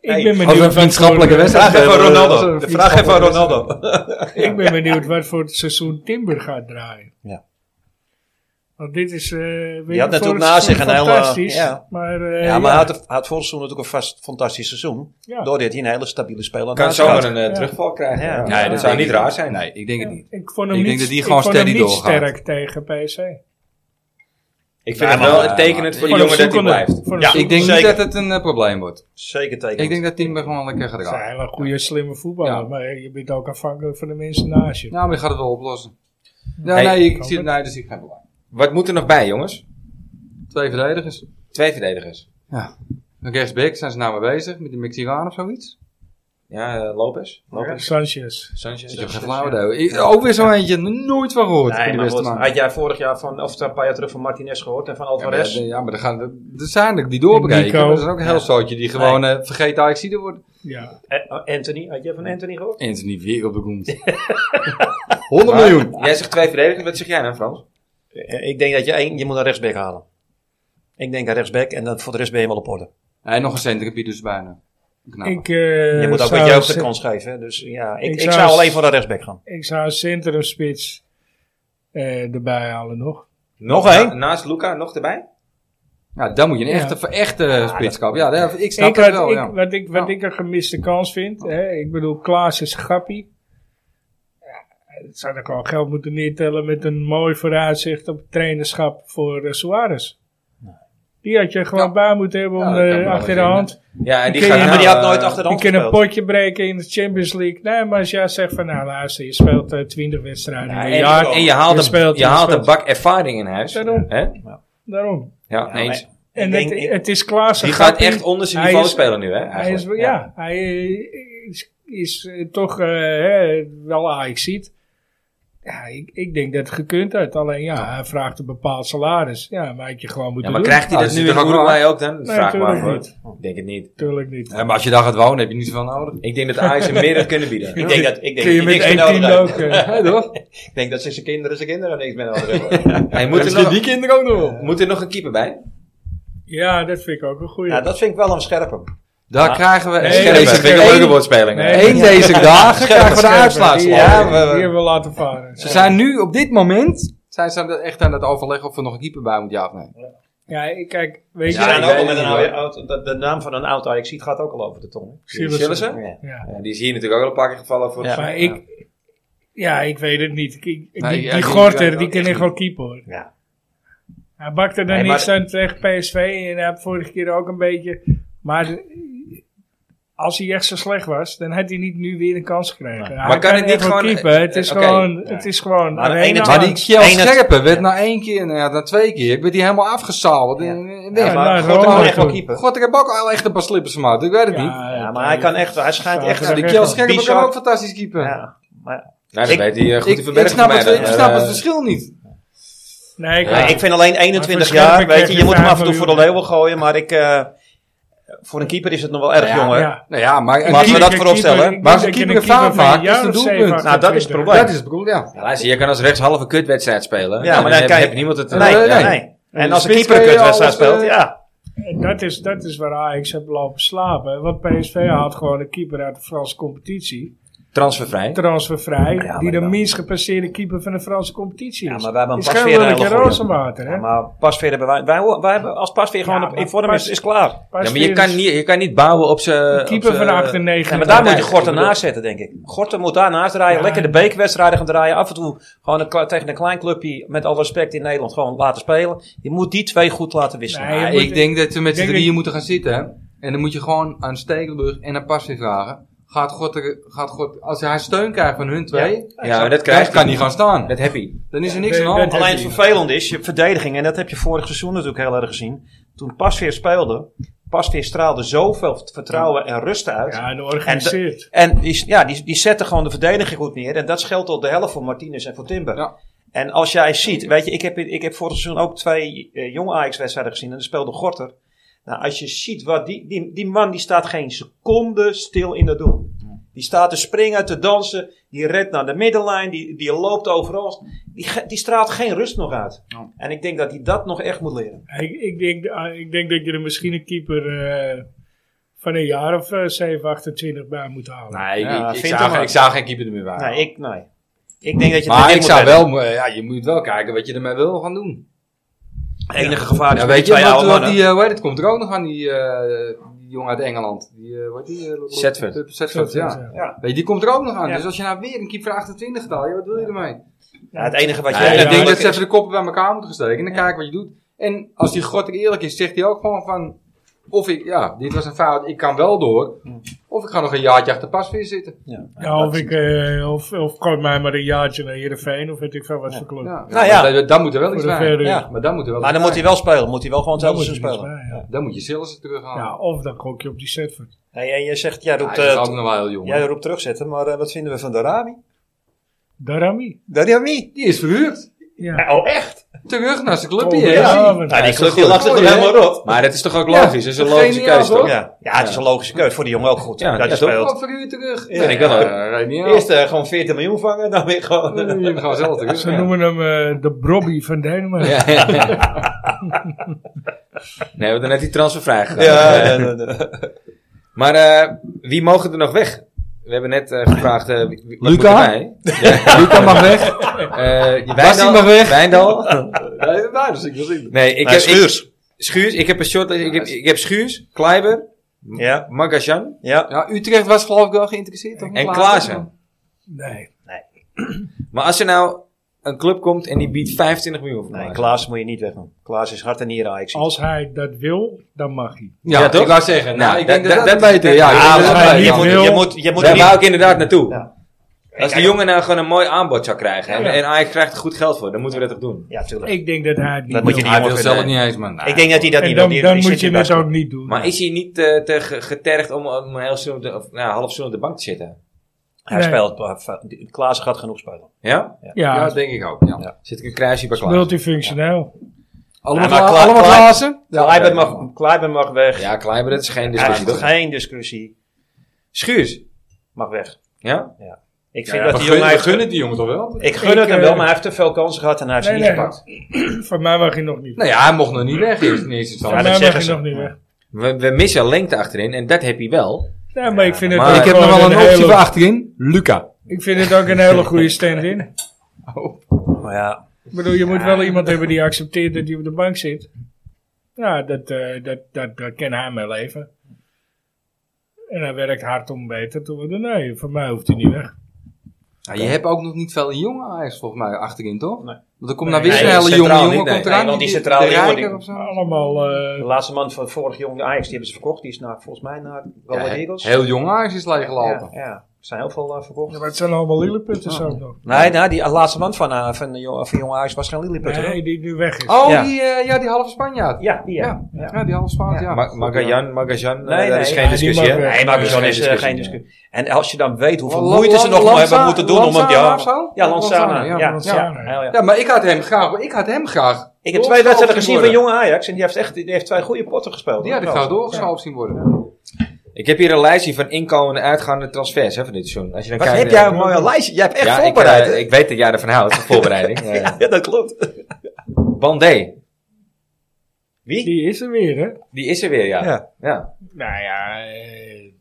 Speaker 2: ben
Speaker 3: Als we een
Speaker 2: benieuwd. wat voor-
Speaker 3: vriendschappelijke wedstrijd eh,
Speaker 6: Vraag even
Speaker 3: spelen,
Speaker 6: Ronaldo.
Speaker 3: dat is een
Speaker 6: Vraag even aan
Speaker 3: vriendschappelijke
Speaker 6: Ronaldo.
Speaker 2: Ik ben benieuwd wat voor het seizoen Timber gaat draaien.
Speaker 6: Ja.
Speaker 2: Want dit is. eh weet
Speaker 6: had
Speaker 2: je, voor
Speaker 6: natuurlijk
Speaker 2: het
Speaker 6: na
Speaker 2: seizoen
Speaker 6: zich een hele-
Speaker 2: fantastisch.
Speaker 6: ja.
Speaker 2: Maar, eh,
Speaker 6: ja, maar hij had, hij had vorig seizoen natuurlijk een vast fantastisch seizoen.
Speaker 2: Ja.
Speaker 6: Door dit hij een hele stabiele speler
Speaker 1: Kan
Speaker 6: naast
Speaker 1: zomaar
Speaker 6: gaat.
Speaker 1: een eh,
Speaker 2: Ja.
Speaker 1: terugval krijgen.
Speaker 6: Ja.
Speaker 1: Ja.
Speaker 6: Nee,
Speaker 1: dat zou niet raar zijn.
Speaker 3: Nee, ik denk het niet.
Speaker 2: Ik vond hem
Speaker 3: Ik
Speaker 2: niet,
Speaker 3: denk dat die
Speaker 2: ik
Speaker 3: gewoon
Speaker 2: vond hem
Speaker 3: steady
Speaker 2: niet
Speaker 3: doorgaat.
Speaker 2: sterk tegen PC.
Speaker 1: Ik vind
Speaker 6: Ja,
Speaker 1: het
Speaker 6: maar-
Speaker 1: wel het tekenend
Speaker 2: Oh,
Speaker 1: voor die jongen dat hij blijft.
Speaker 6: Ja,
Speaker 3: Ik denk
Speaker 6: Zeker.
Speaker 3: niet dat het een eh, probleem wordt.
Speaker 6: Zeker teken.
Speaker 3: Ik denk dat Timber gewoon lekker gaat
Speaker 2: dat is een
Speaker 3: draaien.
Speaker 2: hele goede, slimme voetballer.
Speaker 3: Ja.
Speaker 2: Maar je bent ook afhankelijk van de mensen naast je.
Speaker 3: Nou, maar je gaat het wel oplossen. Ja,
Speaker 1: Hey,
Speaker 3: nee, ik
Speaker 2: kan
Speaker 3: zie,
Speaker 2: het.
Speaker 3: nee, daar zie ik geen probleem.
Speaker 1: Wat moet er nog bij, jongens?
Speaker 3: Twee verdedigers.
Speaker 1: Twee verdedigers.
Speaker 3: Ja. Een rechtsback zijn ze nou mee bezig met die Mexicaan of zoiets?
Speaker 1: Ja, eh, Lopez. Lopez.
Speaker 2: Sanchez.
Speaker 1: Sanchez.
Speaker 3: Ik heb geen flauw idee. Ik- Ook weer zo eentje, nooit van gehoord. voor
Speaker 6: Nee,
Speaker 3: die
Speaker 6: maar
Speaker 3: beste
Speaker 6: goed,
Speaker 3: man.
Speaker 6: had jij vorig jaar van, of een paar jaar terug van Martinez gehoord en van
Speaker 3: Ja, maar,
Speaker 6: Alvarez?
Speaker 3: ja, ja, maar er, gaan, er- er zijn er die doorbreken.
Speaker 2: Nico.
Speaker 3: Er zijn ook een heel zootje die gewoon eh vergeten Ajaxide worden.
Speaker 2: Ja.
Speaker 6: Eh, Anthony, had jij van Anthony gehoord?
Speaker 3: En ze niet weer op de
Speaker 6: *laughs*
Speaker 3: grond. 100 miljoen.
Speaker 1: Jij zegt twee verdedigers, wat zeg jij nou, Frans?
Speaker 4: Eh, Ik denk dat je één, je moet een rechtsback halen. Ik denk een rechtsback en dan voor de rest ben je wel op orde.
Speaker 2: Eh,
Speaker 3: En nog een centrum dus bijna. Knap.
Speaker 2: Ik, eh,
Speaker 4: Je moet ook
Speaker 2: zou
Speaker 4: wat jeugd de
Speaker 2: ze-
Speaker 4: kans geven. hè. Dus ja, ik,
Speaker 2: Ik
Speaker 4: ik,
Speaker 2: zou
Speaker 4: zou
Speaker 2: s-
Speaker 4: alleen voor een rechtsback gaan.
Speaker 2: Ik zou een centrumspits eh, erbij halen nog.
Speaker 1: Nog
Speaker 4: één?
Speaker 1: na- Naast Luca, nog erbij?
Speaker 3: Ja, dan moet je een
Speaker 2: Ja.
Speaker 3: echte, echte spits kopen. Ja, daar- ik snap
Speaker 2: Ik
Speaker 3: het
Speaker 2: had,
Speaker 3: wel.
Speaker 2: ik,
Speaker 3: ja.
Speaker 2: Wat, ik, wat
Speaker 3: Ja.
Speaker 2: ik een gemiste kans vind. Hè, ik bedoel, Klaas is grappie. Ja, het zou dan gewoon geld moeten neertellen met een mooi vooruitzicht op het trainerschap voor eh, Suarez. Die had je gewoon
Speaker 3: Ja.
Speaker 2: bij moeten hebben
Speaker 3: Ja,
Speaker 2: om,
Speaker 3: dat kan
Speaker 2: eh,
Speaker 3: me wel
Speaker 2: achter de
Speaker 3: vinden.
Speaker 2: hand.
Speaker 1: Ja, en die
Speaker 2: Oké,
Speaker 1: gaat
Speaker 2: ja,
Speaker 1: nou,
Speaker 2: maar die
Speaker 4: had
Speaker 1: eh,
Speaker 4: nooit achter de
Speaker 2: Je
Speaker 4: hand
Speaker 2: kunt een
Speaker 4: gespeeld.
Speaker 2: potje breken in de Champions League. Nee, maar als jij zegt van nou luister, je speelt eh, 20 wedstrijden in
Speaker 1: en,
Speaker 2: een jaar.
Speaker 1: en je haalt,
Speaker 2: Je
Speaker 1: een,
Speaker 2: speelt,
Speaker 1: je
Speaker 2: je
Speaker 1: haalt een
Speaker 2: speelt.
Speaker 1: bak ervaring in huis.
Speaker 2: Daarom.
Speaker 1: Hè?
Speaker 2: Daarom.
Speaker 1: Ja,
Speaker 4: maar-
Speaker 1: eens.
Speaker 2: En
Speaker 4: denk-
Speaker 2: het,
Speaker 4: ik-
Speaker 2: het is Klaas
Speaker 1: Die gaat echt onder zijn
Speaker 2: Hij
Speaker 1: niveau
Speaker 2: is-
Speaker 1: spelen nu, hè?
Speaker 2: Hij is,
Speaker 1: eigenlijk.
Speaker 2: ja. hij eh, is, is eh, toch eh, hè, wel ajax ziet. Ja, ik, ik denk dat het gekund had. Alleen ja, hij vraagt een bepaald salaris. Ja, maar had je gewoon
Speaker 1: Ja,
Speaker 2: moeten
Speaker 1: maar
Speaker 2: doen. Ah,
Speaker 1: krijgt hij
Speaker 3: Nou,
Speaker 1: dat
Speaker 3: dat
Speaker 1: nu
Speaker 3: zit
Speaker 1: in
Speaker 3: er ook
Speaker 1: Uruguay ook dan? Vraag maar.
Speaker 2: tuurlijk
Speaker 1: hoor.
Speaker 2: niet.
Speaker 1: Ik denk het niet.
Speaker 2: Natuurlijk niet.
Speaker 3: Ja, maar als je daar gaat wonen, heb je niet zoveel nodig.
Speaker 1: Ik denk dat Ajax hem meer had kunnen bieden.
Speaker 4: Ik denk dat, ik denk
Speaker 2: Kun je
Speaker 4: dat
Speaker 2: met
Speaker 4: niks
Speaker 2: één
Speaker 4: meer nodig
Speaker 2: team
Speaker 4: heeft.
Speaker 2: ook... eh,
Speaker 3: Ja, toch?
Speaker 4: Ik denk dat ze zijn kinderen, zijn kinderen niks meer nodig hebben.
Speaker 1: Hij moet, er
Speaker 3: Misschien die
Speaker 1: nog,
Speaker 3: kinderen ook nog wel.
Speaker 1: moet er nog een keeper bij?
Speaker 2: *laughs* ja, dat vind ik ook een goeie.
Speaker 4: ja, dat vind ik wel een scherpe.
Speaker 3: Daar
Speaker 4: Ja.
Speaker 3: krijgen we
Speaker 2: Nee,
Speaker 3: één
Speaker 2: dat
Speaker 1: Scherpen.
Speaker 3: deze
Speaker 1: Vind ik een leuke
Speaker 3: week.
Speaker 1: woordspeling.
Speaker 2: Nee.
Speaker 3: Eén deze dagen krijgen we de uitslag.
Speaker 2: die,
Speaker 3: Ja,
Speaker 2: eh,
Speaker 3: we-
Speaker 2: die hebben we laten varen.
Speaker 3: Ze zijn nu op dit moment zijn ze aan het- echt aan het overleggen of er nog een keeper bij moet, ja of nee.
Speaker 2: Ja, ik- kijk, weet
Speaker 4: Ze
Speaker 2: je...
Speaker 4: gaan
Speaker 1: ik
Speaker 4: ook
Speaker 1: weet
Speaker 4: al met
Speaker 1: het
Speaker 4: een
Speaker 1: niet,
Speaker 4: oude, oud- de, de naam van een oud Ajax ziet gaat ook al over de tong.
Speaker 2: Sillissen.
Speaker 1: Sillissen?
Speaker 4: Ja.
Speaker 2: Ja.
Speaker 1: Ja, die is hier natuurlijk ook al een paar keer gevallen voor. Nou,
Speaker 4: Ja.
Speaker 2: Maar ik... Ja, ik weet het niet. Ik- ik-
Speaker 3: Nee,
Speaker 2: die
Speaker 3: ja,
Speaker 2: die
Speaker 3: die-
Speaker 2: Gorter,
Speaker 3: ja,
Speaker 2: die
Speaker 3: echt
Speaker 2: ken ik
Speaker 3: niet.
Speaker 2: gewoon keeper. hoor.
Speaker 4: Ja.
Speaker 2: Hij bakte er
Speaker 4: Nee, maar-
Speaker 2: niks aan tegen PSV en hij had vorige keer ook een beetje. Maar de- als hij echt zo slecht was, dan had hij niet nu weer een kans gekregen.
Speaker 4: Nee.
Speaker 2: Hij
Speaker 1: Maar kan het
Speaker 2: echt
Speaker 1: niet
Speaker 2: wel
Speaker 1: gewoon-
Speaker 2: keepen. Het is
Speaker 1: eh, oké.
Speaker 2: gewoon,
Speaker 4: Ja.
Speaker 2: het is gewoon.
Speaker 4: Maar
Speaker 2: een
Speaker 4: de ene-
Speaker 2: ene
Speaker 3: Maar die
Speaker 2: kans.
Speaker 3: Kjell
Speaker 4: Eén het-
Speaker 3: Scherpen werd
Speaker 4: ja.
Speaker 3: na één keer, nou ja, na twee keer, werd hij helemaal afgesauwd.
Speaker 4: Ja.
Speaker 3: En- en-
Speaker 4: Ja,
Speaker 3: weg.
Speaker 2: Ja,
Speaker 4: maar
Speaker 2: nou,
Speaker 4: God,
Speaker 2: Ronaldo.
Speaker 4: echt wel keeper.
Speaker 3: God, ik heb ook al echt een paar slippers gemaakt, ik weet het niet.
Speaker 2: Ja,
Speaker 4: Ja, maar hij kan echt, hij schijnt
Speaker 2: Ja,
Speaker 4: echt...
Speaker 3: Ja, die
Speaker 2: dat
Speaker 3: Kjell
Speaker 2: is
Speaker 3: Scherpen kan
Speaker 4: bizar.
Speaker 3: ook fantastisch keeper.
Speaker 4: Ja, maar,
Speaker 1: Nou, dat
Speaker 4: Ik-
Speaker 1: weet hij eh, goed
Speaker 3: Ik,
Speaker 1: te
Speaker 3: ik
Speaker 1: verbergen voor
Speaker 3: snap,
Speaker 1: mij
Speaker 3: het,
Speaker 1: dan.
Speaker 3: ik snap het
Speaker 1: Eh,
Speaker 3: verschil niet.
Speaker 2: Nee, ik-
Speaker 1: Ja.
Speaker 4: Nee, ik vind alleen 21
Speaker 2: Maar voor
Speaker 4: jaar,
Speaker 2: Scherpen
Speaker 4: weet
Speaker 2: krijg
Speaker 4: je,
Speaker 2: je
Speaker 4: je moet hem
Speaker 2: vijf
Speaker 4: af en toe voor de
Speaker 2: miljoen.
Speaker 4: leeuwen gooien, maar ik... eh, voor een keeper is het nog wel erg,
Speaker 3: Ja,
Speaker 4: jongen.
Speaker 2: ja.
Speaker 3: Nou ja, maar,
Speaker 4: Maar als we
Speaker 2: Ik
Speaker 4: dat
Speaker 2: denk
Speaker 4: voorop
Speaker 2: keeper-
Speaker 4: stellen,
Speaker 2: ik
Speaker 3: maar als
Speaker 2: denk
Speaker 3: een
Speaker 2: dat
Speaker 3: keeper
Speaker 2: je
Speaker 3: een fout
Speaker 2: van
Speaker 3: maakt,
Speaker 2: jaar
Speaker 3: is het
Speaker 2: of
Speaker 3: een
Speaker 2: zeven,
Speaker 3: doelpunt.
Speaker 2: acht
Speaker 4: Nou, dat is het
Speaker 2: twintig.
Speaker 4: probleem.
Speaker 3: dat is het bedoel, ja.
Speaker 1: ja, luister, je kan als rechtshalve een kutwedstrijd spelen.
Speaker 4: Ja, maar dan
Speaker 1: heb-
Speaker 4: kijk-
Speaker 1: heeft niemand het... eh,
Speaker 4: Nee,
Speaker 3: nee,
Speaker 4: nee.
Speaker 3: nee.
Speaker 4: En als een
Speaker 3: Spits
Speaker 4: keeper een
Speaker 3: kan je
Speaker 4: kutwedstrijd
Speaker 3: alles,
Speaker 4: speelt,
Speaker 3: eh,
Speaker 4: ja.
Speaker 2: En dat is, dat is waar Ajax heb lopen slapen. Want PSV haalt gewoon een keeper uit de Franse competitie.
Speaker 1: Transfervrij.
Speaker 2: Transfervrij.
Speaker 4: Ja, maar
Speaker 2: die de
Speaker 4: dan-
Speaker 2: minst gepasseerde keeper van de Franse competitie is.
Speaker 4: Ja, maar wij hebben
Speaker 2: is
Speaker 4: een
Speaker 2: geen
Speaker 4: pasveer een
Speaker 2: lulletje
Speaker 4: hele goeie.
Speaker 2: rozenwater, hè?
Speaker 4: Ja, maar Pasveer hebben wij, wij, wij hebben als Pasveer gewoon
Speaker 2: Ja,
Speaker 4: op,
Speaker 2: maar
Speaker 4: in vorm is,
Speaker 2: Pas-
Speaker 4: is klaar.
Speaker 1: Ja,
Speaker 2: Pasveer
Speaker 1: maar je
Speaker 2: is
Speaker 1: kan niet, je kan niet bouwen op zijn...
Speaker 2: een keeper van 98.
Speaker 4: Ja, maar daar moet je
Speaker 1: nee,
Speaker 4: Gorten
Speaker 1: ik bedoel-
Speaker 4: naast zetten, denk ik. Gorten moet daar naast draaien,
Speaker 2: Ja.
Speaker 4: lekker de beekwedstrijden gaan draaien. Af en toe gewoon een, kle- tegen een klein clubje, met alle respect in Nederland, gewoon laten spelen. Je moet die twee goed laten wisselen.
Speaker 2: Nee, je
Speaker 3: Ja,
Speaker 2: moet-
Speaker 3: ik denk dat ze met z'n
Speaker 2: denk
Speaker 3: drieën
Speaker 2: dat-
Speaker 3: moeten gaan zitten. hè. En dan moet je gewoon aan Stekelenburg en aan Passie vragen. Gaat God, er- gaat God, als hij steun krijgt van hun twee,
Speaker 1: Ja, maar dat krijgt
Speaker 3: dan kan hij gaan staan.
Speaker 1: Dat heb hij.
Speaker 3: Dan is er niks
Speaker 2: Ja,
Speaker 3: aan de hand.
Speaker 2: dat-
Speaker 4: Alleen het vervelende is, je verdediging, en dat heb je vorig seizoen natuurlijk heel erg gezien. Toen Pasveer speelde, Pasveer straalde zoveel vertrouwen en rust uit.
Speaker 2: Ja, en organiseert.
Speaker 4: En die, ja, die, die zetten gewoon de verdediging goed neer. En dat scheelt al de helft voor Martinez en voor Timber.
Speaker 3: Ja.
Speaker 4: En als jij ziet, weet je, ik heb, ik heb vorig seizoen ook twee eh, jonge Ajax-wedstrijden gezien. En dan speelde Gorter. Nou, als je ziet wat die, die, die man, die staat geen seconde stil in dat doel. Die staat te springen, te dansen. Die redt naar de middenlijn. Die, die loopt overal. Die, ge- die straalt geen rust nog uit. En ik denk dat hij dat nog echt moet leren.
Speaker 2: Ik, ik, denk, ah, ik denk dat je er misschien een keeper eh, van een jaar of eh, 7, 28 bij moet halen.
Speaker 3: Nee, ik-
Speaker 4: Ja,
Speaker 3: ik, ik,
Speaker 4: vind hem
Speaker 3: zou,
Speaker 4: maar.
Speaker 3: ik zou geen keeper er meer bij.
Speaker 4: Nee, ik, nee. ik denk dat je
Speaker 3: maar
Speaker 4: erin
Speaker 3: ik
Speaker 4: moet
Speaker 3: zou
Speaker 4: redden.
Speaker 3: wel, eh, ja, je moet wel kijken wat je ermee wil gaan doen.
Speaker 4: Het enige gevaar is
Speaker 3: Ja,
Speaker 4: met die
Speaker 3: weet je,
Speaker 4: twee
Speaker 3: want,
Speaker 4: oude
Speaker 3: want
Speaker 4: mannen.
Speaker 3: die, eh, hoe heet het, komt er ook nog aan, die, eh, die jongen uit Engeland. Die, eh, hoe heet die? eh,
Speaker 1: Zetford.
Speaker 3: Zetford,
Speaker 2: Zo te
Speaker 3: ja.
Speaker 2: zeggen.
Speaker 3: Weet je, die komt er ook nog aan.
Speaker 4: Ja.
Speaker 3: Dus als je nou weer een keeper van 28 gaat halen, ja, wat wil je ermee?
Speaker 4: Ja, het enige wat je...
Speaker 3: Nee, ik
Speaker 2: ja,
Speaker 3: denk
Speaker 2: dat
Speaker 3: dat ze even de koppen bij elkaar moeten steken en dan kijken wat je doet. En als die God eerlijk is, zegt hij ook gewoon van... Of ik, ja, dit was een fout, ik kan wel door. Of ik ga nog een jaartje achter pas weer zitten.
Speaker 2: Ja, of, ik, eh, of, of kan mij maar een jaartje naar Heerenveen of weet ik veel wat voor club.
Speaker 3: Ja.
Speaker 4: Nou ja.
Speaker 3: maar daar, daar moet er wel
Speaker 2: Voor
Speaker 3: iets
Speaker 2: de
Speaker 3: bij.
Speaker 2: verder.
Speaker 4: Ja.
Speaker 3: Maar daar moet er wel
Speaker 4: Maar dan
Speaker 3: iets
Speaker 4: moet hij wel spelen. Moet hij wel gewoon
Speaker 2: Daar
Speaker 4: zelfs
Speaker 2: moet
Speaker 4: gaan
Speaker 2: je iets
Speaker 4: spelen.
Speaker 2: bij, ja.
Speaker 3: bij. Dan moet je Sillissen terughalen.
Speaker 2: Ja, of dan gok je op die Zandvoort.
Speaker 4: Hey, en je zegt, jij
Speaker 3: Ja,
Speaker 4: roept,
Speaker 3: hij is
Speaker 4: eh,
Speaker 3: ook nog wel heel jong.
Speaker 4: jij
Speaker 3: hoor.
Speaker 4: roept terugzetten, maar eh, wat vinden we van Darami?
Speaker 2: Darami.
Speaker 4: Darami?
Speaker 3: Die is verhuurd.
Speaker 2: Ja.
Speaker 4: Oh, echt?
Speaker 3: Terug naar zijn club.
Speaker 2: Kobe,
Speaker 3: hier, hè?
Speaker 2: ja, want-
Speaker 4: Nou, die
Speaker 1: is toch
Speaker 4: club die
Speaker 1: goed?
Speaker 4: lacht er
Speaker 3: Mooi,
Speaker 4: toch
Speaker 3: hè?
Speaker 4: helemaal op.
Speaker 1: Maar dat is toch ook
Speaker 3: Ja,
Speaker 1: logisch? dat is een
Speaker 3: geniaal,
Speaker 1: logische keuze,
Speaker 3: toch?
Speaker 1: toch?
Speaker 4: Ja, ja, het is een logische keuze. Voor die jongen ook goed.
Speaker 1: Ja,
Speaker 4: dat
Speaker 1: ja,
Speaker 4: hij
Speaker 1: toch?
Speaker 4: speelt.
Speaker 3: Oh, verhuurd terug.
Speaker 4: Ja.
Speaker 1: Vind ik wel een-
Speaker 3: Ja, geniaal.
Speaker 4: Eerst eh, gewoon 14 miljoen vangen, dan weer gewoon...
Speaker 3: Nee, we gaan zelf terug.
Speaker 2: Ze noemen hem eh, de Brobby van Denemarken.
Speaker 1: Ja. *laughs* nee, we hebben net die transfer vrijgegaan.
Speaker 4: Ja,
Speaker 1: Eh,
Speaker 4: nee, nee, nee.
Speaker 1: Maar eh, wie mogen er nog weg? We hebben net eh, gevraagd. eh, wie- wie- wat
Speaker 3: Luca?
Speaker 1: moet erbij?
Speaker 3: *laughs* Luca mag weg.
Speaker 1: Eh,
Speaker 3: Bassie
Speaker 1: Wijndal-
Speaker 3: mag weg.
Speaker 1: Wijndal?
Speaker 3: *laughs* Nee, nou, dat is ik wel zien.
Speaker 1: Nee, ik
Speaker 4: Nee,
Speaker 1: heb ik-
Speaker 4: Schuurs.
Speaker 1: Schuurs. Ik heb een short. Ik heb, ik heb Schuurs, Kleiber,
Speaker 4: Ja,
Speaker 1: Magajan
Speaker 4: ja.
Speaker 3: Ja, Utrecht was geloof ik wel geïnteresseerd. toch?
Speaker 1: en
Speaker 3: Later.
Speaker 1: Klaassen.
Speaker 2: Nee.
Speaker 1: Maar als er nou een club komt en die biedt 25 miljoen voor
Speaker 4: Nee,
Speaker 1: mij.
Speaker 4: Klaas moet je niet wegdoen. Klaas is hart en ah, nieren Ajax.
Speaker 2: Als hij dat wil, dan mag hij.
Speaker 3: Ja,
Speaker 1: Ja, toch?
Speaker 3: ik wou zeggen. Nou,
Speaker 1: Nou,
Speaker 3: ik denk
Speaker 1: dat-
Speaker 3: dat
Speaker 1: dat-
Speaker 3: dat beter. Ja, ik
Speaker 4: Ja,
Speaker 3: denk dat
Speaker 2: maar
Speaker 3: dat
Speaker 2: hij
Speaker 4: je,
Speaker 2: niet
Speaker 3: beter
Speaker 4: moet,
Speaker 3: is.
Speaker 2: wil-
Speaker 4: je, moet, je moet er
Speaker 1: Daar
Speaker 4: niet...
Speaker 1: wou ik inderdaad naartoe.
Speaker 4: Ja.
Speaker 1: Als die jongen nou gewoon een mooi aanbod zou krijgen en, en Ajax krijgt er goed geld voor, dan moeten we dat toch doen.
Speaker 4: Ja, tuurlijk.
Speaker 2: Ik denk dat hij het niet wil.
Speaker 4: Dat moet je niet
Speaker 3: Hij wil
Speaker 4: jongen
Speaker 3: zelf
Speaker 4: vinden.
Speaker 3: niet eens, man.
Speaker 4: Ik denk dat hij dat
Speaker 2: en
Speaker 4: niet
Speaker 2: dan,
Speaker 4: wil. Die-
Speaker 2: dan
Speaker 4: die
Speaker 2: moet
Speaker 4: zit
Speaker 2: je
Speaker 4: in
Speaker 2: dat
Speaker 4: Barcelona.
Speaker 2: ook niet doen.
Speaker 1: Maar is hij niet eh, te ge- getergd om, om een heel seizoen op de, of, nou, half seizoen op de bank te zitten?
Speaker 4: Hij
Speaker 2: Nee.
Speaker 4: speelt... eh, Klaas gaat genoeg spelen.
Speaker 1: Ja?
Speaker 3: Ja,
Speaker 2: ja,
Speaker 3: dat denk ik ook. Ja.
Speaker 1: Zit ik een kruisje bij Klaas?
Speaker 2: multifunctioneel.
Speaker 3: Allemaal,
Speaker 4: maar
Speaker 3: ja,
Speaker 4: Klaar-
Speaker 3: allemaal
Speaker 4: Klaar-
Speaker 3: glazen?
Speaker 4: Kleiber mag, Kleiber mag weg.
Speaker 1: Ja, Kleiber, dat is geen
Speaker 4: Ja,
Speaker 1: discussie. toch?
Speaker 4: geen discussie.
Speaker 1: Schuurs.
Speaker 4: Mag weg.
Speaker 1: Ja?
Speaker 4: Ik
Speaker 3: Ja,
Speaker 4: vind
Speaker 3: ja,
Speaker 4: dat
Speaker 3: we
Speaker 4: die
Speaker 3: gunnen-
Speaker 4: jongen...
Speaker 3: we
Speaker 4: heeft-
Speaker 3: gunnen die jongen toch wel?
Speaker 4: Ik gun
Speaker 2: Ik,
Speaker 4: het hem wel,
Speaker 2: eh,
Speaker 4: maar hij heeft te veel kansen gehad en hij heeft ze
Speaker 2: nee,
Speaker 4: niet
Speaker 2: nee.
Speaker 4: gepakt.
Speaker 2: Van mij mag hij nog niet.
Speaker 3: Nou ja, hij mocht nog niet weg. Eerst in eerste
Speaker 2: Van
Speaker 4: Ja,
Speaker 3: instantie.
Speaker 4: dat
Speaker 2: mij mag
Speaker 4: zeggen
Speaker 2: hij
Speaker 4: ze.
Speaker 2: nog niet weg.
Speaker 1: We, we missen lengte achterin en dat heb je wel.
Speaker 2: Nee, maar ik vind het
Speaker 1: maar
Speaker 2: ook
Speaker 3: Ik heb nog
Speaker 2: gewoon
Speaker 3: wel een optie
Speaker 2: hele-
Speaker 3: voor achterin. Luca.
Speaker 2: Ik vind het ook een hele goede stand-in.
Speaker 3: Oh.
Speaker 4: Maar ja,
Speaker 2: Ik bedoel, je moet wel iemand hebben die accepteert dat hij op de bank zit. Ja, dat, eh dat, dat, dat kan hij mee leven. En hij werkt hard om beter te worden. Nee, voor mij hoeft hij niet weg.
Speaker 3: Ja, je hebt ook nog niet veel een jonge Ajax volgens mij achterin, toch?
Speaker 4: Nee.
Speaker 3: Want er komt nou weer
Speaker 4: Nee,
Speaker 3: een hele
Speaker 1: centraal
Speaker 3: jonge
Speaker 1: niet,
Speaker 3: jongen
Speaker 1: nee.
Speaker 3: komt eraan.
Speaker 4: Nee, want die centraal
Speaker 3: de
Speaker 4: jongen,
Speaker 3: Rijker
Speaker 4: die-
Speaker 3: of zo.
Speaker 2: Allemaal. eh,
Speaker 4: de laatste man van vorig jong Ajax, die hebben ze verkocht. Die is naar, volgens mij naar Go Ahead Eagles.
Speaker 3: Heel jong Ajax is
Speaker 4: ja,
Speaker 3: leeggelopen.
Speaker 4: ja, er zijn heel veel eh, verkocht.
Speaker 2: maar het zijn allemaal lilleputten zo nog.
Speaker 4: Nee, nou, die laatste man van, eh, van, de jong- van jong Ajax was geen Lilliputter.
Speaker 2: Nee, die nu weg is.
Speaker 3: Oh,
Speaker 4: Ja.
Speaker 3: Die, eh, ja, die halve Spanjaard.
Speaker 4: Ja, die ja.
Speaker 3: Ja, ja, die halve Spanjaard, ja.
Speaker 1: Ma- Magajan, Magajan,
Speaker 4: Nee,
Speaker 1: nee, dat
Speaker 4: nee.
Speaker 1: is
Speaker 4: Ja,
Speaker 1: geen
Speaker 2: die
Speaker 1: discussie,
Speaker 2: mag
Speaker 1: hè?
Speaker 2: weg.
Speaker 4: Nee, maar Bison
Speaker 1: geen
Speaker 4: is eh,
Speaker 1: discussie,
Speaker 4: geen
Speaker 1: ja.
Speaker 4: discussie. En als je dan weet hoeveel
Speaker 3: Lam-
Speaker 4: moeite ze
Speaker 3: Lam-
Speaker 4: nog maar hebben
Speaker 3: Lamza-
Speaker 4: moeten doen om hem te
Speaker 3: Lamza-
Speaker 4: halen. Ja, Lanzana.
Speaker 3: Lanzana,
Speaker 4: Ja,
Speaker 3: ja,
Speaker 4: ja,
Speaker 2: Lanzana.
Speaker 4: ja, ja.
Speaker 3: Ja, maar ik had hem graag, ik had hem graag.
Speaker 4: Ik heb twee
Speaker 3: doorgeschoven
Speaker 4: wedstrijden
Speaker 3: zien
Speaker 4: gezien van
Speaker 3: worden.
Speaker 4: jonge Ajax en die heeft, echt, die heeft twee goede potten gespeeld.
Speaker 3: Die had ik
Speaker 4: hoor.
Speaker 3: graag doorgeschoven zien worden.
Speaker 1: Ik heb hier een lijstje van inkomende en uitgaande transfers hè, van dit seizoen. Als je dan
Speaker 4: Wat
Speaker 1: kijkt,
Speaker 4: heb jij
Speaker 1: eh,
Speaker 4: een mooie lijstje? Jij hebt echt
Speaker 1: ja, ik,
Speaker 4: voorbereid.
Speaker 1: eh,
Speaker 4: hè?
Speaker 1: ik weet dat jij ervan houdt,
Speaker 4: *laughs*
Speaker 1: van voorbereiding. Eh,
Speaker 4: ja, dat klopt.
Speaker 1: Bandé,
Speaker 2: Die is er weer, hè?
Speaker 1: die is er weer, ja.
Speaker 4: Ja.
Speaker 1: ja.
Speaker 2: Nou ja, eh,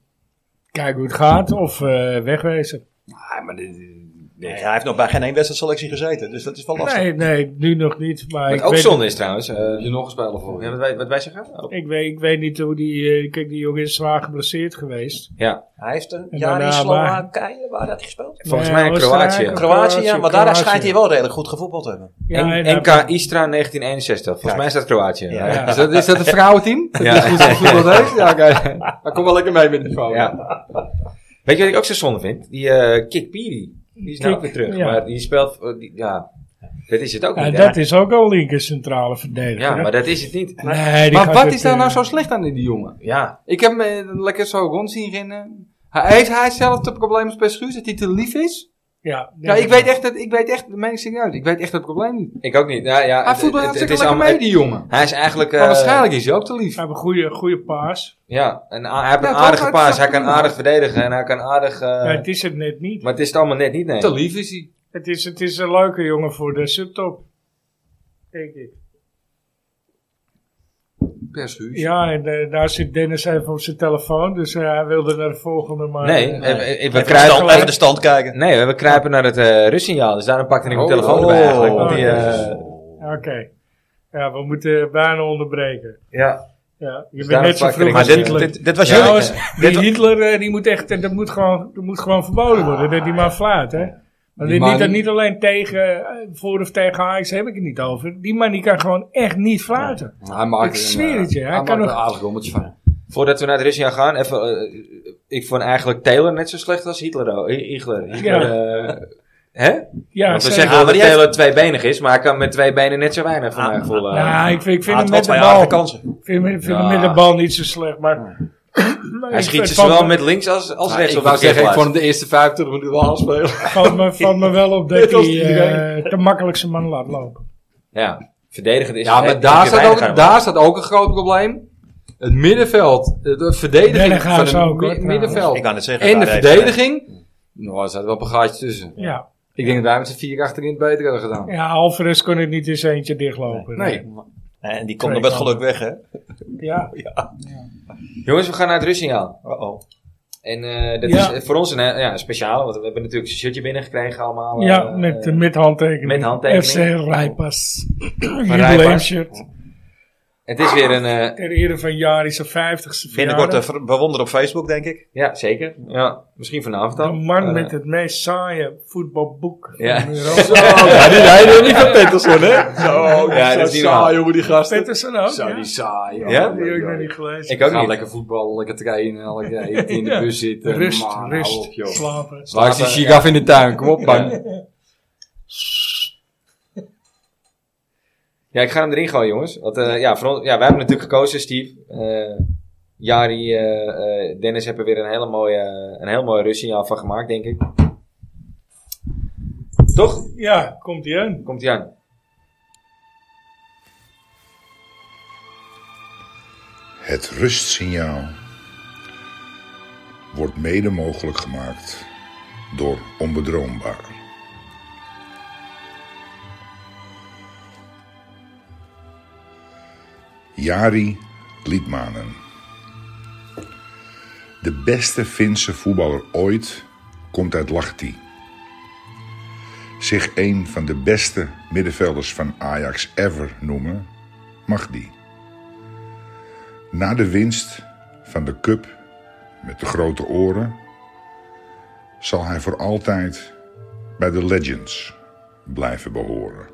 Speaker 2: kijk hoe het gaat of eh, wegwezen.
Speaker 3: Ah, maar dit,
Speaker 4: Nee, hij heeft nog bij geen één wedstrijdselectie gezeten, dus dat is wel lastig.
Speaker 2: Nee, nee, nu nog niet. Maar
Speaker 1: Wat
Speaker 2: ik
Speaker 1: ook
Speaker 2: weet,
Speaker 1: zonde is trouwens. eh,
Speaker 3: je nog een speler voor.
Speaker 1: ja, wat, wij, wat wij zeggen? Oh.
Speaker 2: Ik weet, ik weet niet hoe die. eh, kijk, die jongen is zwaar geblesseerd geweest.
Speaker 1: Ja.
Speaker 4: Hij heeft een
Speaker 2: En
Speaker 4: jaar in
Speaker 2: daarna
Speaker 4: Slowakije, waar had hij gespeeld?
Speaker 1: Volgens
Speaker 2: Nee,
Speaker 1: mij in
Speaker 2: Oostenrijk
Speaker 1: Kroatië.
Speaker 2: of-
Speaker 4: Kroatië, ja, maar daar
Speaker 2: Kroatië.
Speaker 4: schijnt hij wel redelijk goed gevoetbald te hebben.
Speaker 2: Ja,
Speaker 1: En-
Speaker 2: en
Speaker 1: NK
Speaker 2: daar-
Speaker 1: Istra 1961. Volgens
Speaker 4: Kijk.
Speaker 1: mij staat Kroatië.
Speaker 4: Ja.
Speaker 1: Ja.
Speaker 2: Ja.
Speaker 3: Is dat, is dat een vrouwenteam? Dat is goed gevoetbald heeft? Ja, oké. Daar kom wel lekker mee met die vrouwen.
Speaker 1: Ja. Weet je wat ik ook zo zonde vind? Die eh Kik Piri. Die is nou ook weer terug.
Speaker 2: ja.
Speaker 1: Maar die speelt... eh, die- ja, dat is het ook
Speaker 2: Ja,
Speaker 1: niet.
Speaker 2: dat
Speaker 1: hè?
Speaker 2: is ook al linker centrale verdediger.
Speaker 1: Ja,
Speaker 2: hè?
Speaker 1: maar dat is het niet.
Speaker 2: Nee, die
Speaker 3: Maar
Speaker 2: gaat
Speaker 3: wat
Speaker 2: het,
Speaker 3: is daar
Speaker 2: eh,
Speaker 3: nou zo slecht aan in die jongen?
Speaker 1: Ja,
Speaker 3: Ik heb hem eh, lekker zo rond zien rennen. Hij- Heeft hij zelf de problemen bij Schuurs dat hij te lief is?
Speaker 2: Ja,
Speaker 7: Ja, ik weet echt, dat, ik weet echt, dat meen ik serieus, ik weet echt dat probleem niet.
Speaker 1: Ik ook niet. Ja, ja,
Speaker 7: Hij
Speaker 1: het-
Speaker 7: voelt wel
Speaker 1: het- het
Speaker 7: hartstikke
Speaker 1: is
Speaker 7: lekker
Speaker 1: allemaal-
Speaker 7: mee, die jongen.
Speaker 1: Hij is eigenlijk... eh,
Speaker 7: Maar waarschijnlijk is hij ook te lief.
Speaker 2: Hij heeft een goede, goede paas.
Speaker 1: Ja, en a- hij heeft
Speaker 7: Ja,
Speaker 1: een
Speaker 7: toch?
Speaker 1: aardige
Speaker 7: Hij
Speaker 1: paas.
Speaker 7: snapt
Speaker 1: Hij kan
Speaker 7: het wel.
Speaker 1: aardig verdedigen en hij kan aardig... eh,
Speaker 2: Maar het is het net niet.
Speaker 1: maar het is het allemaal net niet, nee.
Speaker 7: Te lief is hij.
Speaker 2: Het is, het is een leuke jongen voor de subtop. Denk ik.
Speaker 7: Per schuus.
Speaker 2: Ja, en eh, daar zit Dennis even op zijn telefoon. Dus eh, hij wilde naar de volgende. Maar,
Speaker 1: Nee,
Speaker 2: eh,
Speaker 1: eh, eh, we
Speaker 4: Even de, stand, even de
Speaker 1: kruipen...
Speaker 4: stand kijken.
Speaker 1: Nee, we kruipen naar het eh rustsignaal. Dus daarom pakte ik mijn
Speaker 3: Oh,
Speaker 1: telefoon
Speaker 3: oh.
Speaker 1: erbij eigenlijk. Want die,
Speaker 2: Oh,
Speaker 1: eh,
Speaker 2: Oké. Ja, we moeten bijna onderbreken.
Speaker 1: ja.
Speaker 2: Ja, je bent
Speaker 1: daarom
Speaker 2: net zo
Speaker 1: pak ik
Speaker 2: vroeg
Speaker 1: er
Speaker 4: Maar
Speaker 2: als
Speaker 1: niet
Speaker 4: dit,
Speaker 2: Hitler.
Speaker 4: dit, dit was
Speaker 2: Ja,
Speaker 4: jullie.
Speaker 2: jongens, die Hitler, eh, die moet echt, eh, dat moet gewoon, dat moet gewoon verboden worden, dat die man fluit, hè. Want dit
Speaker 3: Die man-
Speaker 2: niet, dat niet alleen tegen, eh, voor of tegen Ajax heb ik het niet over. Die man die kan gewoon echt niet fluiten.
Speaker 3: Hij maakt
Speaker 2: Ik
Speaker 3: er een,
Speaker 2: zweer het je,
Speaker 3: eh,
Speaker 2: hij kan
Speaker 3: Hij maakt er
Speaker 2: nog-
Speaker 3: een aardig rommeltje van.
Speaker 1: Voordat we naar het Russia gaan, even, eh, ik vond eigenlijk Taylor net zo slecht als Hitler. oh, Hi- Hitler. Hitler, eh, hè?
Speaker 2: Ja,
Speaker 1: Want we
Speaker 2: zeker.
Speaker 1: zeggen wel
Speaker 4: maar
Speaker 1: dat
Speaker 4: die heeft-
Speaker 1: Taylor tweebenig is, maar hij kan met twee benen net zo weinig van
Speaker 4: Ah,
Speaker 1: mij gevoel. eh.
Speaker 2: nou, Ja, ik vind, ik vind
Speaker 4: Ah,
Speaker 2: hem met
Speaker 4: het was
Speaker 2: de
Speaker 4: twee aardige
Speaker 2: bal,
Speaker 4: kansen.
Speaker 2: vind hem, vind hem
Speaker 3: Ja.
Speaker 2: met de bal niet zo slecht, maar... maar
Speaker 1: hij
Speaker 2: ik-
Speaker 1: schiet
Speaker 2: het
Speaker 1: ze
Speaker 2: valt
Speaker 1: zowel
Speaker 2: me-
Speaker 1: met links als, als
Speaker 3: Nou,
Speaker 1: rechts.
Speaker 3: ik
Speaker 1: op de
Speaker 3: wou zeggen, ik
Speaker 1: keerplaats.
Speaker 3: vond hem de eerste 50 minuten wel aanspelen.
Speaker 2: Valt *laughs* me, valt me wel op dat
Speaker 3: Net als
Speaker 2: hij eh
Speaker 3: iedereen.
Speaker 2: te makkelijk zijn man laat lopen.
Speaker 1: Ja, verdedigend is
Speaker 3: Ja, maar daar staat, ook, daar staat ook een groot probleem. Het middenveld, eh, de verdediging van
Speaker 2: Berghuis
Speaker 3: het
Speaker 2: ook, hoor,
Speaker 3: mi- middenveld
Speaker 4: Ik kan het zeggen.
Speaker 3: en de
Speaker 4: daar heeft-
Speaker 3: verdediging. Nou, er zat wel een gaatje tussen.
Speaker 2: Ja,
Speaker 3: Ik denk dat wij met z'n vier achterin het beter hadden gedaan.
Speaker 2: ja Alvarez kon het niet eens eentje dichtlopen.
Speaker 3: Nee.
Speaker 4: En die komt nog met geluk weg, hè?
Speaker 2: Ja,
Speaker 1: Jongens, we gaan naar het Russignaal.
Speaker 4: Uh-oh.
Speaker 1: En eh, dat
Speaker 2: Ja.
Speaker 1: is voor ons een eh, ja, speciale, want we hebben natuurlijk een shirtje binnengekregen allemaal.
Speaker 2: ja
Speaker 1: eh,
Speaker 2: met,
Speaker 1: eh,
Speaker 2: met handtekening.
Speaker 1: met handtekening.
Speaker 2: FC Rijpas.
Speaker 1: Rijpas.
Speaker 2: Jubileumshirt.
Speaker 1: Het is weer een... eh,
Speaker 2: Ter ere van Jari zijn 50ste
Speaker 4: Binnenkort
Speaker 2: verjaardag.
Speaker 4: eh, ver- bewonder op Facebook, denk ik.
Speaker 1: ja, zeker. Ja, misschien vanavond
Speaker 2: De
Speaker 1: dan.
Speaker 2: man
Speaker 1: Maar, eh,
Speaker 2: met het meest saaie voetbalboek
Speaker 1: Ja.
Speaker 2: van Europa.
Speaker 3: ja, die rijden niet van Pettersson, hè? Zo,
Speaker 1: Ja, dat is niet normaal.
Speaker 3: jongen, die gasten.
Speaker 2: Pettersson ook,
Speaker 3: Zo,
Speaker 2: ja.
Speaker 3: die saai. joh.
Speaker 1: Ja?
Speaker 2: Die heb ik nog niet gelezen.
Speaker 1: Ik ook
Speaker 3: Ga
Speaker 1: niet.
Speaker 3: lekker voetballen, lekker
Speaker 2: *laughs*
Speaker 3: trainen, lekker eten, in de bus zitten.
Speaker 2: rust,
Speaker 3: Man, hou
Speaker 2: rust,
Speaker 3: op, joh.
Speaker 2: slapen.
Speaker 3: Waar is die gigaf in de tuin? Kom op, man.
Speaker 1: Ja, ik ga hem erin gooien, jongens. Want, eh, ja, voor ons- ja, wij hebben natuurlijk gekozen, Steve. Eh, Jari, eh, eh, Dennis hebben er weer een, hele mooie, een heel mooi rustsignaal van gemaakt, denk ik. Toch?
Speaker 2: Ja, komt hij aan.
Speaker 1: Komt hij aan.
Speaker 8: Het rustsignaal wordt mede mogelijk gemaakt door onbedroombaar. Jari Liedmanen. De beste Finse voetballer ooit komt uit Lahti. Zich een van de beste middenvelders van Ajax ever noemen, mag die. Na de winst van de cup met de grote oren zal hij voor altijd bij de Legends blijven behoren.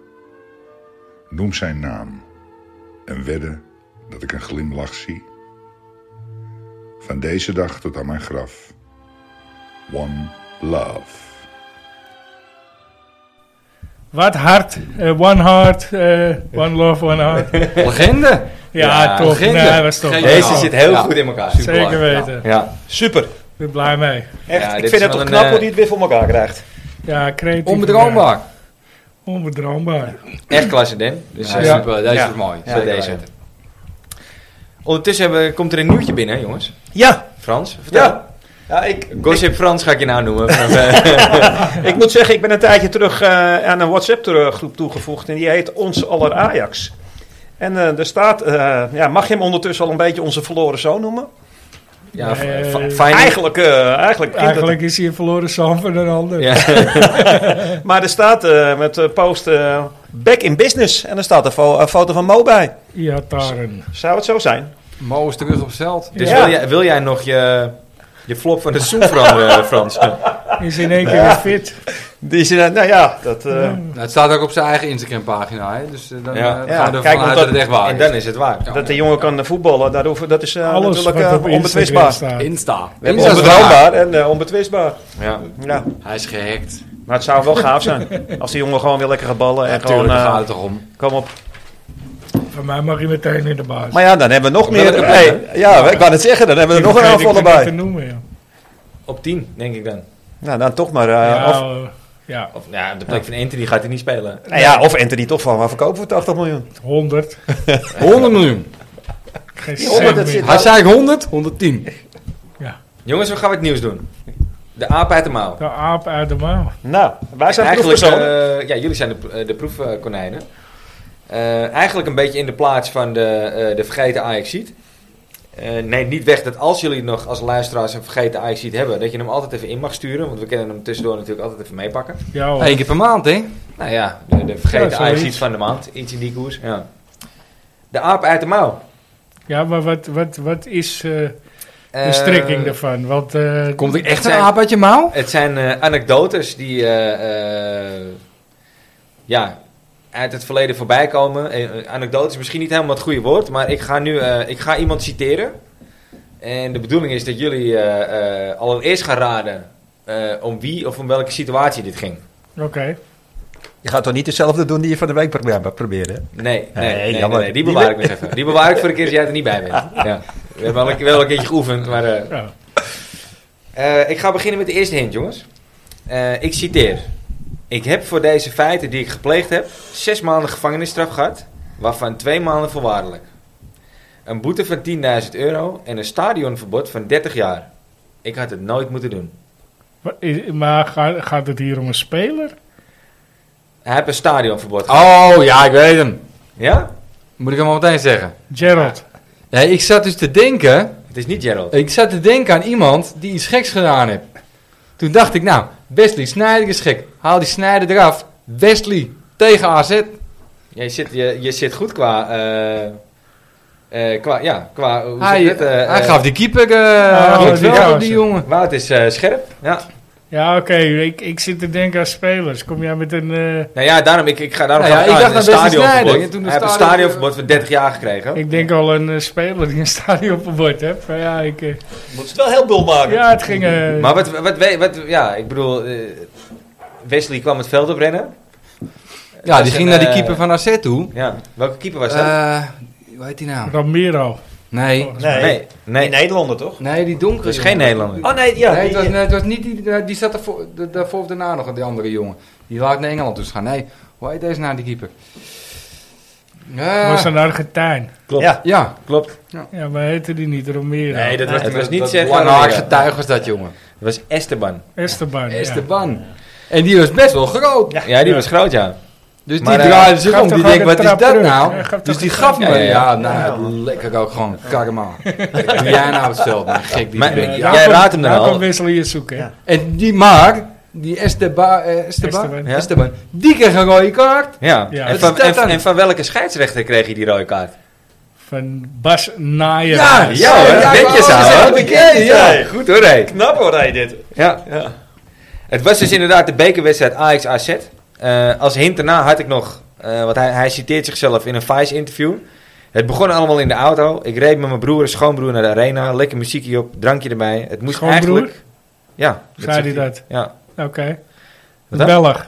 Speaker 8: Noem zijn naam en wedden dat ik een glimlach zie. Van deze dag tot aan mijn graf. One love.
Speaker 2: Wat hart. eh, one heart. eh, one love, one heart. Ja,
Speaker 3: Legende.
Speaker 2: toch.
Speaker 3: legende.
Speaker 2: Nee, hij was toch.
Speaker 3: Geen-
Speaker 1: Deze
Speaker 3: Ja.
Speaker 1: zit heel
Speaker 3: Ja.
Speaker 1: goed in elkaar.
Speaker 2: Zeker weten. Ik
Speaker 1: Ja.
Speaker 4: Super.
Speaker 2: ben blij mee.
Speaker 4: Echt,
Speaker 1: Ja, dit
Speaker 4: ik vind
Speaker 1: is
Speaker 4: het
Speaker 1: wel
Speaker 4: toch
Speaker 1: een,
Speaker 4: knap hoe
Speaker 1: eh,
Speaker 4: die het weer voor elkaar krijgt.
Speaker 2: Ja, creatief.
Speaker 3: Onbedroombaar.
Speaker 2: Ja, Onbedroombaar.
Speaker 1: Echt klasse, Den. Dus,
Speaker 3: Ja,
Speaker 1: eh,
Speaker 2: ja.
Speaker 3: super. Deze
Speaker 4: Ja.
Speaker 3: is mooi.
Speaker 1: zo deze. Ondertussen hebben, komt er een nieuwtje binnen, jongens.
Speaker 4: Ja.
Speaker 1: Frans, vertel.
Speaker 4: Ja. Ja, ik,
Speaker 1: Gossip Frans ga ik je nou noemen.
Speaker 4: *laughs*
Speaker 1: Frans, eh.
Speaker 4: ik moet zeggen, ik ben een tijdje terug eh, aan een WhatsApp-groep toegevoegd. En die heet Ons Aller Ajax. En eh er staat, eh, ja, mag je hem ondertussen al een beetje onze verloren zoon noemen?
Speaker 1: ja,
Speaker 2: Nee.
Speaker 1: fa- fijn.
Speaker 4: Eigenlijk, eh eigenlijk, kind dat-
Speaker 2: Eigenlijk is hij een verloren zoon van een ander.
Speaker 1: Ja.
Speaker 4: Maar er staat eh, met eh, post eh, back in business. En er staat een, fo- een foto van Mo bij.
Speaker 2: Ja, Taren.
Speaker 4: Zou het zo zijn?
Speaker 3: Mo is terug op zeld.
Speaker 1: Dus
Speaker 4: Ja.
Speaker 1: wil, jij, wil jij nog je, je flop van de soep
Speaker 4: *laughs*
Speaker 1: veranderen, Frans?
Speaker 2: Is in één keer weer fit.
Speaker 4: Die is, eh, nou ja, dat, eh,
Speaker 3: Nou, het staat ook op zijn eigen Instagram-pagina. hè. Dus eh, dan
Speaker 1: Ja.
Speaker 3: eh,
Speaker 4: Ja,
Speaker 3: gaan we
Speaker 4: kijk,
Speaker 3: ervan uit
Speaker 4: want
Speaker 3: dat
Speaker 4: dat-
Speaker 3: het echt waar
Speaker 1: En
Speaker 3: is.
Speaker 1: dan is het waar.
Speaker 4: dat de jongen kan eh, voetballen. Daar hoeven, dat is eh,
Speaker 2: Alles wat
Speaker 4: natuurlijk eh,
Speaker 2: op Instagram
Speaker 4: onbetwistbaar.
Speaker 2: staat.
Speaker 3: Insta.
Speaker 4: We hebben
Speaker 3: Insta is waar.
Speaker 4: onbetrouwbaar en eh, onbetwistbaar.
Speaker 1: Ja.
Speaker 4: Ja,
Speaker 3: Hij is gehackt.
Speaker 4: maar het
Speaker 2: *laughs*
Speaker 4: zou wel gaaf zijn als die jongen gewoon weer lekker gaat ballen. En
Speaker 3: Natuurlijk,
Speaker 4: gewoon,
Speaker 3: daar
Speaker 4: eh,
Speaker 3: gaat het toch om.
Speaker 4: kom op.
Speaker 2: Van mij mag je meteen in de baas.
Speaker 4: Maar ja, dan hebben we nog
Speaker 1: Eh,
Speaker 4: meer.
Speaker 3: hebben
Speaker 4: Hey, ja, ik wou het zeggen, dan hebben we er nog een aanvaller
Speaker 2: bij.
Speaker 4: bij.
Speaker 2: Te noemen, ja.
Speaker 1: Op 10, denk ik dan.
Speaker 4: Nou, dan toch maar. eh,
Speaker 2: Ja,
Speaker 4: of,
Speaker 2: eh, Ja,
Speaker 1: Of ja, op de plek van Anthony gaat hij niet spelen.
Speaker 4: Nou ja, of Anthony toch van, maar verkopen voor 80 miljoen.
Speaker 2: 100.
Speaker 7: 100 miljoen.
Speaker 2: Geen
Speaker 4: Die 100,
Speaker 2: cent
Speaker 4: dat
Speaker 2: meer.
Speaker 4: zit-
Speaker 7: Hij zei 100, 110.
Speaker 1: Jongens, we gaan wat nieuws doen. De aap uit de mouw.
Speaker 2: De aap uit de mouw.
Speaker 4: Nou, wij zijn
Speaker 1: eigenlijk,
Speaker 4: proefpersonen.
Speaker 1: eh, ja, jullie zijn de, eh, de proefkonijnen. Eh, eigenlijk een beetje in de plaats van de, eh, de vergeten ajax Eh, nee, niet weg dat als jullie nog als luisteraars een vergeten ajax hebben, dat je hem altijd even in mag sturen. Want we kunnen hem tussendoor natuurlijk altijd even meepakken.
Speaker 2: Ja, hoor.
Speaker 3: Eén keer per maand, hè?
Speaker 1: Nou ja, de, de vergeten
Speaker 2: Ja,
Speaker 1: ajax
Speaker 2: zoiets.
Speaker 1: van de maand. Iets in die koers. Ja. De aap uit de mouw.
Speaker 2: ja maar wat, wat, wat is eh, de
Speaker 1: Eh,
Speaker 2: strekking daarvan? Want eh,
Speaker 7: Komt er echt
Speaker 1: Het
Speaker 7: een
Speaker 1: zijn-
Speaker 7: aap uit je mouw?
Speaker 1: Het zijn eh, anekdotes die eh, eh, ja, uit het verleden voorbij komen. Eh, eh, anekdotes is misschien niet helemaal het goede woord, maar ik ga nu eh, ik ga iemand citeren. En de bedoeling is dat jullie eh, eh, allereerst gaan raden eh, om wie of om welke situatie dit ging.
Speaker 2: oké.
Speaker 4: eh,
Speaker 9: Je gaat toch niet dezelfde doen die je van de week probeert proberen? hè?
Speaker 1: Nee, nee,
Speaker 9: Nee,
Speaker 1: nee, nee,
Speaker 9: jammer.
Speaker 1: nee, die bewaar ik nog even. Die bewaar ik voor de keer dat jij er niet bij bent. Ja. We hebben al een, wel een keertje geoefend, maar... eh,
Speaker 2: Ja.
Speaker 1: Eh, ik ga beginnen met de eerste hint, jongens. Eh, ik citeer. Ik heb voor deze feiten die ik gepleegd heb... zes maanden gevangenisstraf gehad... waarvan twee maanden voorwaardelijk. Een boete van 10.000 euro... en een stadionverbod van 30 jaar. Ik had het nooit moeten doen.
Speaker 2: Maar is- Maar gaat, gaat het hier om een speler?
Speaker 1: Hij heeft een stadionverbod gehad.
Speaker 3: Oh, ja, ik weet hem.
Speaker 1: Ja?
Speaker 3: Moet ik hem al meteen zeggen.
Speaker 2: Gerald.
Speaker 3: Nee, ik zat dus te denken...
Speaker 1: Het is niet Gerald.
Speaker 3: Ik zat te denken aan iemand die iets geks gedaan heeft. Toen dacht ik, nou, Wesley Sneijder is gek. Haal die Sneijder eraf. Wesley tegen AZ.
Speaker 1: Jij zit, je, je zit goed qua... eh, eh, qua, ja, qua... Hoe
Speaker 3: Hij,
Speaker 1: zeg je dat? Eh,
Speaker 3: hij
Speaker 1: eh,
Speaker 3: gaf de keeper eh
Speaker 2: dat
Speaker 3: het
Speaker 2: wel,
Speaker 3: wel op die
Speaker 2: zeg.
Speaker 3: jongen.
Speaker 1: Wout is eh, scherp. Ja.
Speaker 2: Ja, oké. Ik, ik zit te denken aan spelers. Kom jij met een... eh,
Speaker 1: Nou ja, daarom, ik, ik ga daarom
Speaker 3: Nou ja,
Speaker 1: gaan
Speaker 3: ik dacht
Speaker 1: een
Speaker 3: aan Wesley
Speaker 1: stadionverbod.
Speaker 3: Sneijder. En toen de
Speaker 1: Hij heeft een
Speaker 3: stadion-
Speaker 1: stadionverbod van 30 jaar gekregen.
Speaker 2: ik denk al een eh, speler die een *laughs* stadionverbod heeft. Maar ja, ik, eh,
Speaker 4: Moet het wel heel bul maken.
Speaker 2: ja, het ging... eh,
Speaker 1: Maar wat, wat, wat, wat- ja, ik bedoel, eh, Wesley kwam het veld oprennen.
Speaker 3: Ja,
Speaker 1: Dat
Speaker 3: die
Speaker 1: is
Speaker 3: ging
Speaker 1: een,
Speaker 3: naar die
Speaker 1: eh,
Speaker 3: keeper van AZ toe.
Speaker 1: Ja, welke keeper was dat?
Speaker 3: Eh, hoe heet die nou?
Speaker 2: Ramiro.
Speaker 3: Nee,
Speaker 4: Nee,
Speaker 1: nee, nee,
Speaker 4: die Nederlander toch?
Speaker 3: nee die donkere
Speaker 1: dat is geen
Speaker 3: jongen.
Speaker 1: Nederlander.
Speaker 4: Oh nee, ja.
Speaker 3: nee, het
Speaker 4: die-
Speaker 3: was, nee, het was niet die, die zat ervoor, de- daarvoor of daarna nog, die andere jongen. Die laat naar Engeland dus gaan. Nee, hoe heet deze nou, die keeper? Ja,
Speaker 2: was een Argentijn.
Speaker 1: klopt,
Speaker 4: ja.
Speaker 3: ja.
Speaker 1: klopt.
Speaker 2: Ja, maar heette die niet Romero? Nee,
Speaker 1: dat was, het was niet
Speaker 3: dat
Speaker 1: Sergio
Speaker 3: langharig
Speaker 1: Romero.
Speaker 3: getuig was dat jongen.
Speaker 1: Het was Esteban.
Speaker 2: Esteban. ja.
Speaker 3: Esteban. En die was best wel groot.
Speaker 1: Ja, die was groot, ja.
Speaker 3: Dus die
Speaker 1: Maar, eh,
Speaker 3: draaide zich
Speaker 2: gaf
Speaker 3: om.
Speaker 2: toch
Speaker 3: Die
Speaker 2: ook
Speaker 3: denkt,
Speaker 2: een
Speaker 3: wat is
Speaker 2: trap
Speaker 3: dat
Speaker 2: terug? Hij
Speaker 3: nou?
Speaker 2: gaf
Speaker 3: Dus
Speaker 2: toch
Speaker 3: die
Speaker 2: een
Speaker 3: gaf
Speaker 1: trap
Speaker 3: me. Ja,
Speaker 1: terug?
Speaker 3: nou, lekker ook gewoon.
Speaker 2: *laughs*
Speaker 3: Karma. Doe jij nou hetzelfde, nou, gek die
Speaker 1: Maar-
Speaker 3: ik ben.
Speaker 2: Eh,
Speaker 1: Jij
Speaker 2: daar komt-
Speaker 1: raadt hem dan
Speaker 2: daar
Speaker 1: al.
Speaker 2: komt Wesley je zoeken. hè?
Speaker 3: En die maar, die Esteba, eh, Esteba,
Speaker 2: Esteban.
Speaker 1: Ja.
Speaker 3: Esteban, die kreeg een rode kaart.
Speaker 1: ja.
Speaker 2: Ja.
Speaker 1: En,
Speaker 3: Wat
Speaker 1: van,
Speaker 3: is dat
Speaker 1: en,
Speaker 3: dan?
Speaker 1: en van welke scheidsrechter kreeg je die rode kaart?
Speaker 2: Van Bas Naaier.
Speaker 1: ja, hoor, netjes aan, hoor.
Speaker 4: Ja.
Speaker 1: Goed hoor, hé.
Speaker 4: Knap hoor, hij dit.
Speaker 1: Ja.
Speaker 4: Ja.
Speaker 1: Het was dus inderdaad de bekerwedstrijd Ajax-AZ. Eh, als hint daarna had ik nog, eh, want hij, hij citeert zichzelf in een Vice-interview. Het begon allemaal in de auto. Ik reed met mijn broer en schoonbroer naar de arena. Lekker muziekje op, drankje erbij. Het moest
Speaker 2: Schoonbroer?
Speaker 1: eigenlijk... Ja.
Speaker 2: Zei hij
Speaker 1: zegt
Speaker 2: dat?
Speaker 1: Ja.
Speaker 2: Oké.
Speaker 1: Wat
Speaker 2: Een
Speaker 1: dan?
Speaker 2: Belg.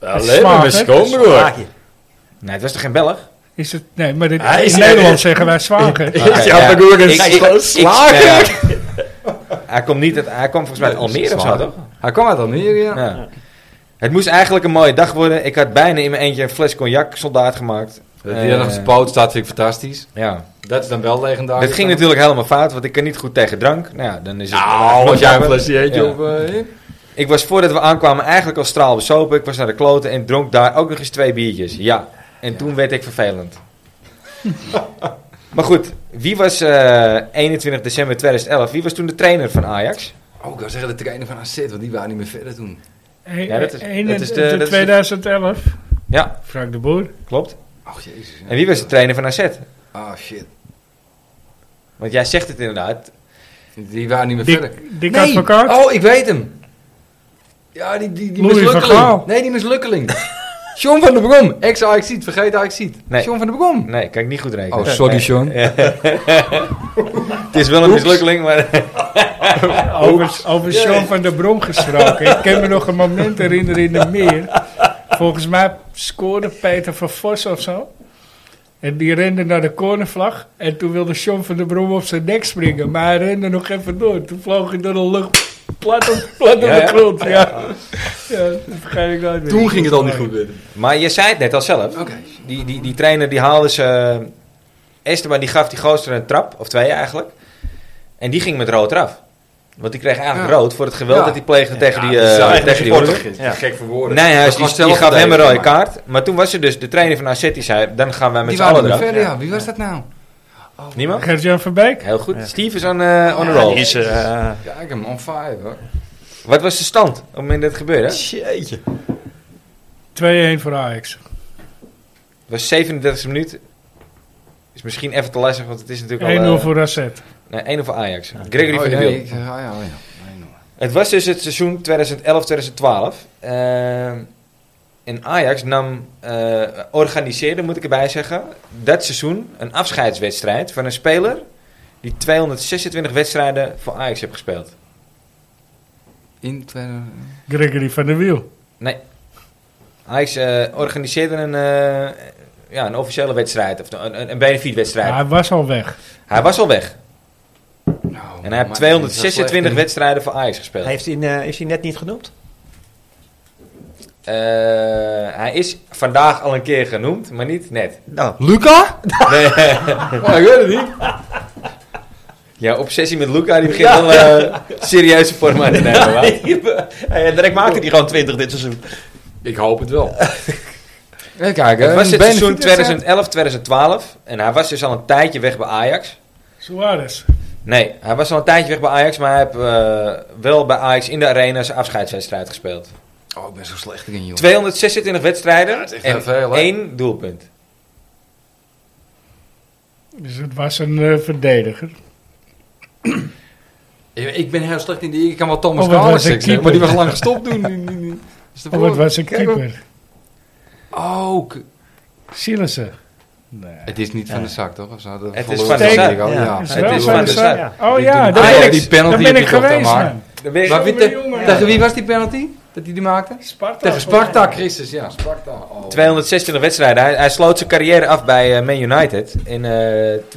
Speaker 7: Alleen maar
Speaker 2: Smaak,
Speaker 7: met
Speaker 2: hè?
Speaker 7: schoonbroer.
Speaker 1: Nee, het was toch geen Belg?
Speaker 2: Is het, nee, maar dit,
Speaker 7: Hij
Speaker 2: in
Speaker 7: is-
Speaker 2: Nederland zeggen wij zwager.
Speaker 1: Oké,
Speaker 7: Ja, maar goed, een
Speaker 1: Eh, Ik- ik-
Speaker 7: scho-
Speaker 1: ik-
Speaker 7: slager.
Speaker 1: nee, ja. Hij komt niet uit- hij kwam volgens mij uit Almere of zo, toch?
Speaker 3: Hij kwam uit Almere, ja.
Speaker 1: Ja. Het moest eigenlijk een mooie dag worden. Ik had bijna in mijn eentje een fles cognac soldaat gemaakt. Eh,
Speaker 3: Dat hij dan op zijn poot staat, vind ik fantastisch.
Speaker 1: Ja.
Speaker 3: Dat is dan wel legendarisch.
Speaker 1: Dit ging natuurlijk helemaal fout, want ik kan niet goed tegen drank. Nou ja, dan is het...
Speaker 7: Nou, als jij een flesje
Speaker 1: Ja.
Speaker 7: eentje op...
Speaker 1: Ik was voordat we aankwamen eigenlijk al straal bezopen. Ik was naar de kloten en dronk daar ook nog eens twee biertjes. Ja, en toen werd ik vervelend. *laughs* maar goed, wie was eh, 21 december 2011? Wie was toen de trainer van Ajax?
Speaker 3: Oh, ik wou zeggen de trainer van AZ, want die wou niet meer verder doen.
Speaker 1: Ja, dat is-
Speaker 2: Eén-
Speaker 1: dat is de-
Speaker 2: de
Speaker 1: dat is de-
Speaker 2: 2011.
Speaker 1: Ja,
Speaker 2: Frank de Boer.
Speaker 1: klopt.
Speaker 3: Oh, jezus. ja.
Speaker 1: En wie was de trainer van AZ?
Speaker 3: Ah, shit.
Speaker 1: Want jij zegt het inderdaad.
Speaker 3: Die wou niet meer
Speaker 2: Dick,
Speaker 3: verder.
Speaker 2: Dick Advocaat.
Speaker 3: oh, ik weet hem. Ja, die, die, die
Speaker 2: Louis van Gaal.
Speaker 3: mislukkeling. Nee, die mislukkeling. John van der Brom, ex ajax vergeet ajax
Speaker 1: Nee.
Speaker 3: John van der Brom.
Speaker 1: Nee, kan ik niet goed rekenen.
Speaker 3: Oh, sorry,
Speaker 1: *laughs*
Speaker 3: John.
Speaker 1: Het is wel een mislukking, maar... *laughs*
Speaker 2: Over, over Sean van der Brom gesproken. Ik kan me nog een moment herinneren in de meer. Volgens mij scoorde Peter van Vos of zo. En die rende naar de cornervlag. En toen wilde Sean van der Brom op zijn nek springen. Maar hij rende nog even door. Toen vloog hij door de lucht. plat op, plat op
Speaker 1: Ja, ja.
Speaker 2: de grond. Ja. Ja. dat vergeet ik nooit meer.
Speaker 10: Toen ging het al niet goed met hem.
Speaker 1: Maar je zei het net al zelf. Die, die, die trainer die haalde ze... eh, Esteban die gaf die gozer een trap, of twee eigenlijk. En die ging met rood eraf. Want die kreeg eigenlijk rood voor het geweld
Speaker 10: Ja.
Speaker 1: dat hij pleegde tegen die...
Speaker 10: Ja,
Speaker 1: eh
Speaker 10: dat is
Speaker 1: tegen die
Speaker 10: supporter.
Speaker 1: hoeder.
Speaker 10: Ja. Gek voor woorden.
Speaker 1: Nee, hij
Speaker 10: Dat
Speaker 1: is, die,
Speaker 10: was
Speaker 1: die gaf hem een rode
Speaker 10: zelfverdediging, maar-
Speaker 1: kaart. Maar toen was er dus de trainer van AZ die zei... Dan gaan wij met
Speaker 3: Die
Speaker 1: z'n
Speaker 3: waren
Speaker 1: allen
Speaker 3: niet
Speaker 1: eraf.
Speaker 3: verder, ja. Wie was dat nou?
Speaker 1: Niemand?
Speaker 2: Gert-Jan van Beek?
Speaker 1: Heel goed. Steve is on, eh on a roll.
Speaker 4: Is, eh,
Speaker 3: Kijk hem, on fire hoor.
Speaker 1: Wat was de stand op het moment dat het gebeurde? Het
Speaker 11: Jeetje.
Speaker 2: 2-1 voor Ajax.
Speaker 1: was 37e minuut. Is misschien even te lastig, want het is
Speaker 2: 1-0
Speaker 1: natuurlijk al... eh,
Speaker 2: voor AZ.
Speaker 1: Nee, 1 voor Ajax. Gregory
Speaker 3: Oh,
Speaker 1: van der
Speaker 3: nee,
Speaker 1: Wiel.
Speaker 3: ik- ah, ja, oh, ja. Nee, no.
Speaker 1: Het was dus het seizoen 2011-2012. Ehm, en Ajax nam, eh, organiseerde, moet ik erbij zeggen, dat seizoen een afscheidswedstrijd van een speler die 226 wedstrijden voor Ajax heeft gespeeld.
Speaker 3: In tweede-
Speaker 2: Gregory van der Wiel.
Speaker 1: Ajax eh, organiseerde een, eh, ja, een officiële wedstrijd, of een, een, een benefietwedstrijd.
Speaker 2: Ja, hij was al weg.
Speaker 1: Hij was al weg.
Speaker 3: Nou,
Speaker 1: En hij heeft
Speaker 3: maar-
Speaker 1: 226 wedstrijden voor Ajax gespeeld.
Speaker 4: heeft hij, eh, is hij net niet genoemd?
Speaker 1: Eh, hij is vandaag al een keer genoemd, maar niet net.
Speaker 4: *laughs*
Speaker 3: Luca? *laughs*
Speaker 1: Nee.
Speaker 3: Oh, ik weet het niet.
Speaker 1: Ja, obsessie met Luca, die begint wel eh, serieuze vorm aan te nemen. hoor.
Speaker 4: Hey, direct eh, maakte hij gewoon 20 dit seizoen.
Speaker 10: Ik hoop het wel.
Speaker 3: Even kijken.
Speaker 1: Het was
Speaker 3: een
Speaker 1: het seizoen
Speaker 3: benefietwedstrijd.
Speaker 1: 2011-2012 en hij was dus al een tijdje weg bij Ajax.
Speaker 2: Suarez.
Speaker 1: Nee, hij was al een tijdje weg bij Ajax, maar hij heeft eh, wel bij Ajax in de arena zijn afscheidswedstrijd gespeeld.
Speaker 3: Oh, ik ben zo slecht erin, joh.
Speaker 1: 226 wedstrijden
Speaker 3: is echt
Speaker 1: en
Speaker 3: wel veel, hè?
Speaker 1: één doelpunt.
Speaker 2: Dus het was een eh, verdediger.
Speaker 3: Ik- Ik ben heel slecht in die... Ik kan wel Thomas
Speaker 2: Oh, wat was
Speaker 3: Carlos
Speaker 2: een
Speaker 3: zeggen,
Speaker 2: keeper.
Speaker 3: maar die was lang gestopt toen. Nu- nu- nu. Is de
Speaker 2: Of Oh, het
Speaker 3: voor-
Speaker 2: was een
Speaker 3: Kijk hoor.
Speaker 2: keeper.
Speaker 3: Oh, k-
Speaker 2: Silissen. Nee.
Speaker 3: het is niet van de zak, toch? Of zo?
Speaker 1: Het
Speaker 3: Dat
Speaker 1: is
Speaker 3: verloren
Speaker 1: van de
Speaker 3: zag
Speaker 1: zak.
Speaker 3: ik al,
Speaker 4: Ja.
Speaker 3: ja.
Speaker 2: Is
Speaker 1: het
Speaker 2: wel
Speaker 1: is
Speaker 2: van
Speaker 1: van
Speaker 2: de
Speaker 1: de
Speaker 2: zak.
Speaker 3: zak.
Speaker 2: Oh ja,
Speaker 3: Die
Speaker 2: daar
Speaker 1: Ajax,
Speaker 2: ben ik,
Speaker 3: die penalty
Speaker 2: daar ben
Speaker 3: heb
Speaker 2: ik
Speaker 3: je toch
Speaker 2: geweest.
Speaker 3: gemaakt?
Speaker 2: man.
Speaker 1: Dan ben je-
Speaker 3: Maar wie
Speaker 2: Jongen,
Speaker 3: te-
Speaker 2: jongen.
Speaker 3: tegen wie was die penalty? Dat hij die maakte?
Speaker 2: Sparta.
Speaker 3: Tegen eh, Sparta, Christus, ja. Sparta. Oh.
Speaker 1: 226 wedstrijden. Hij, hij sloot zijn carrière af bij eh, Man United in eh, tw-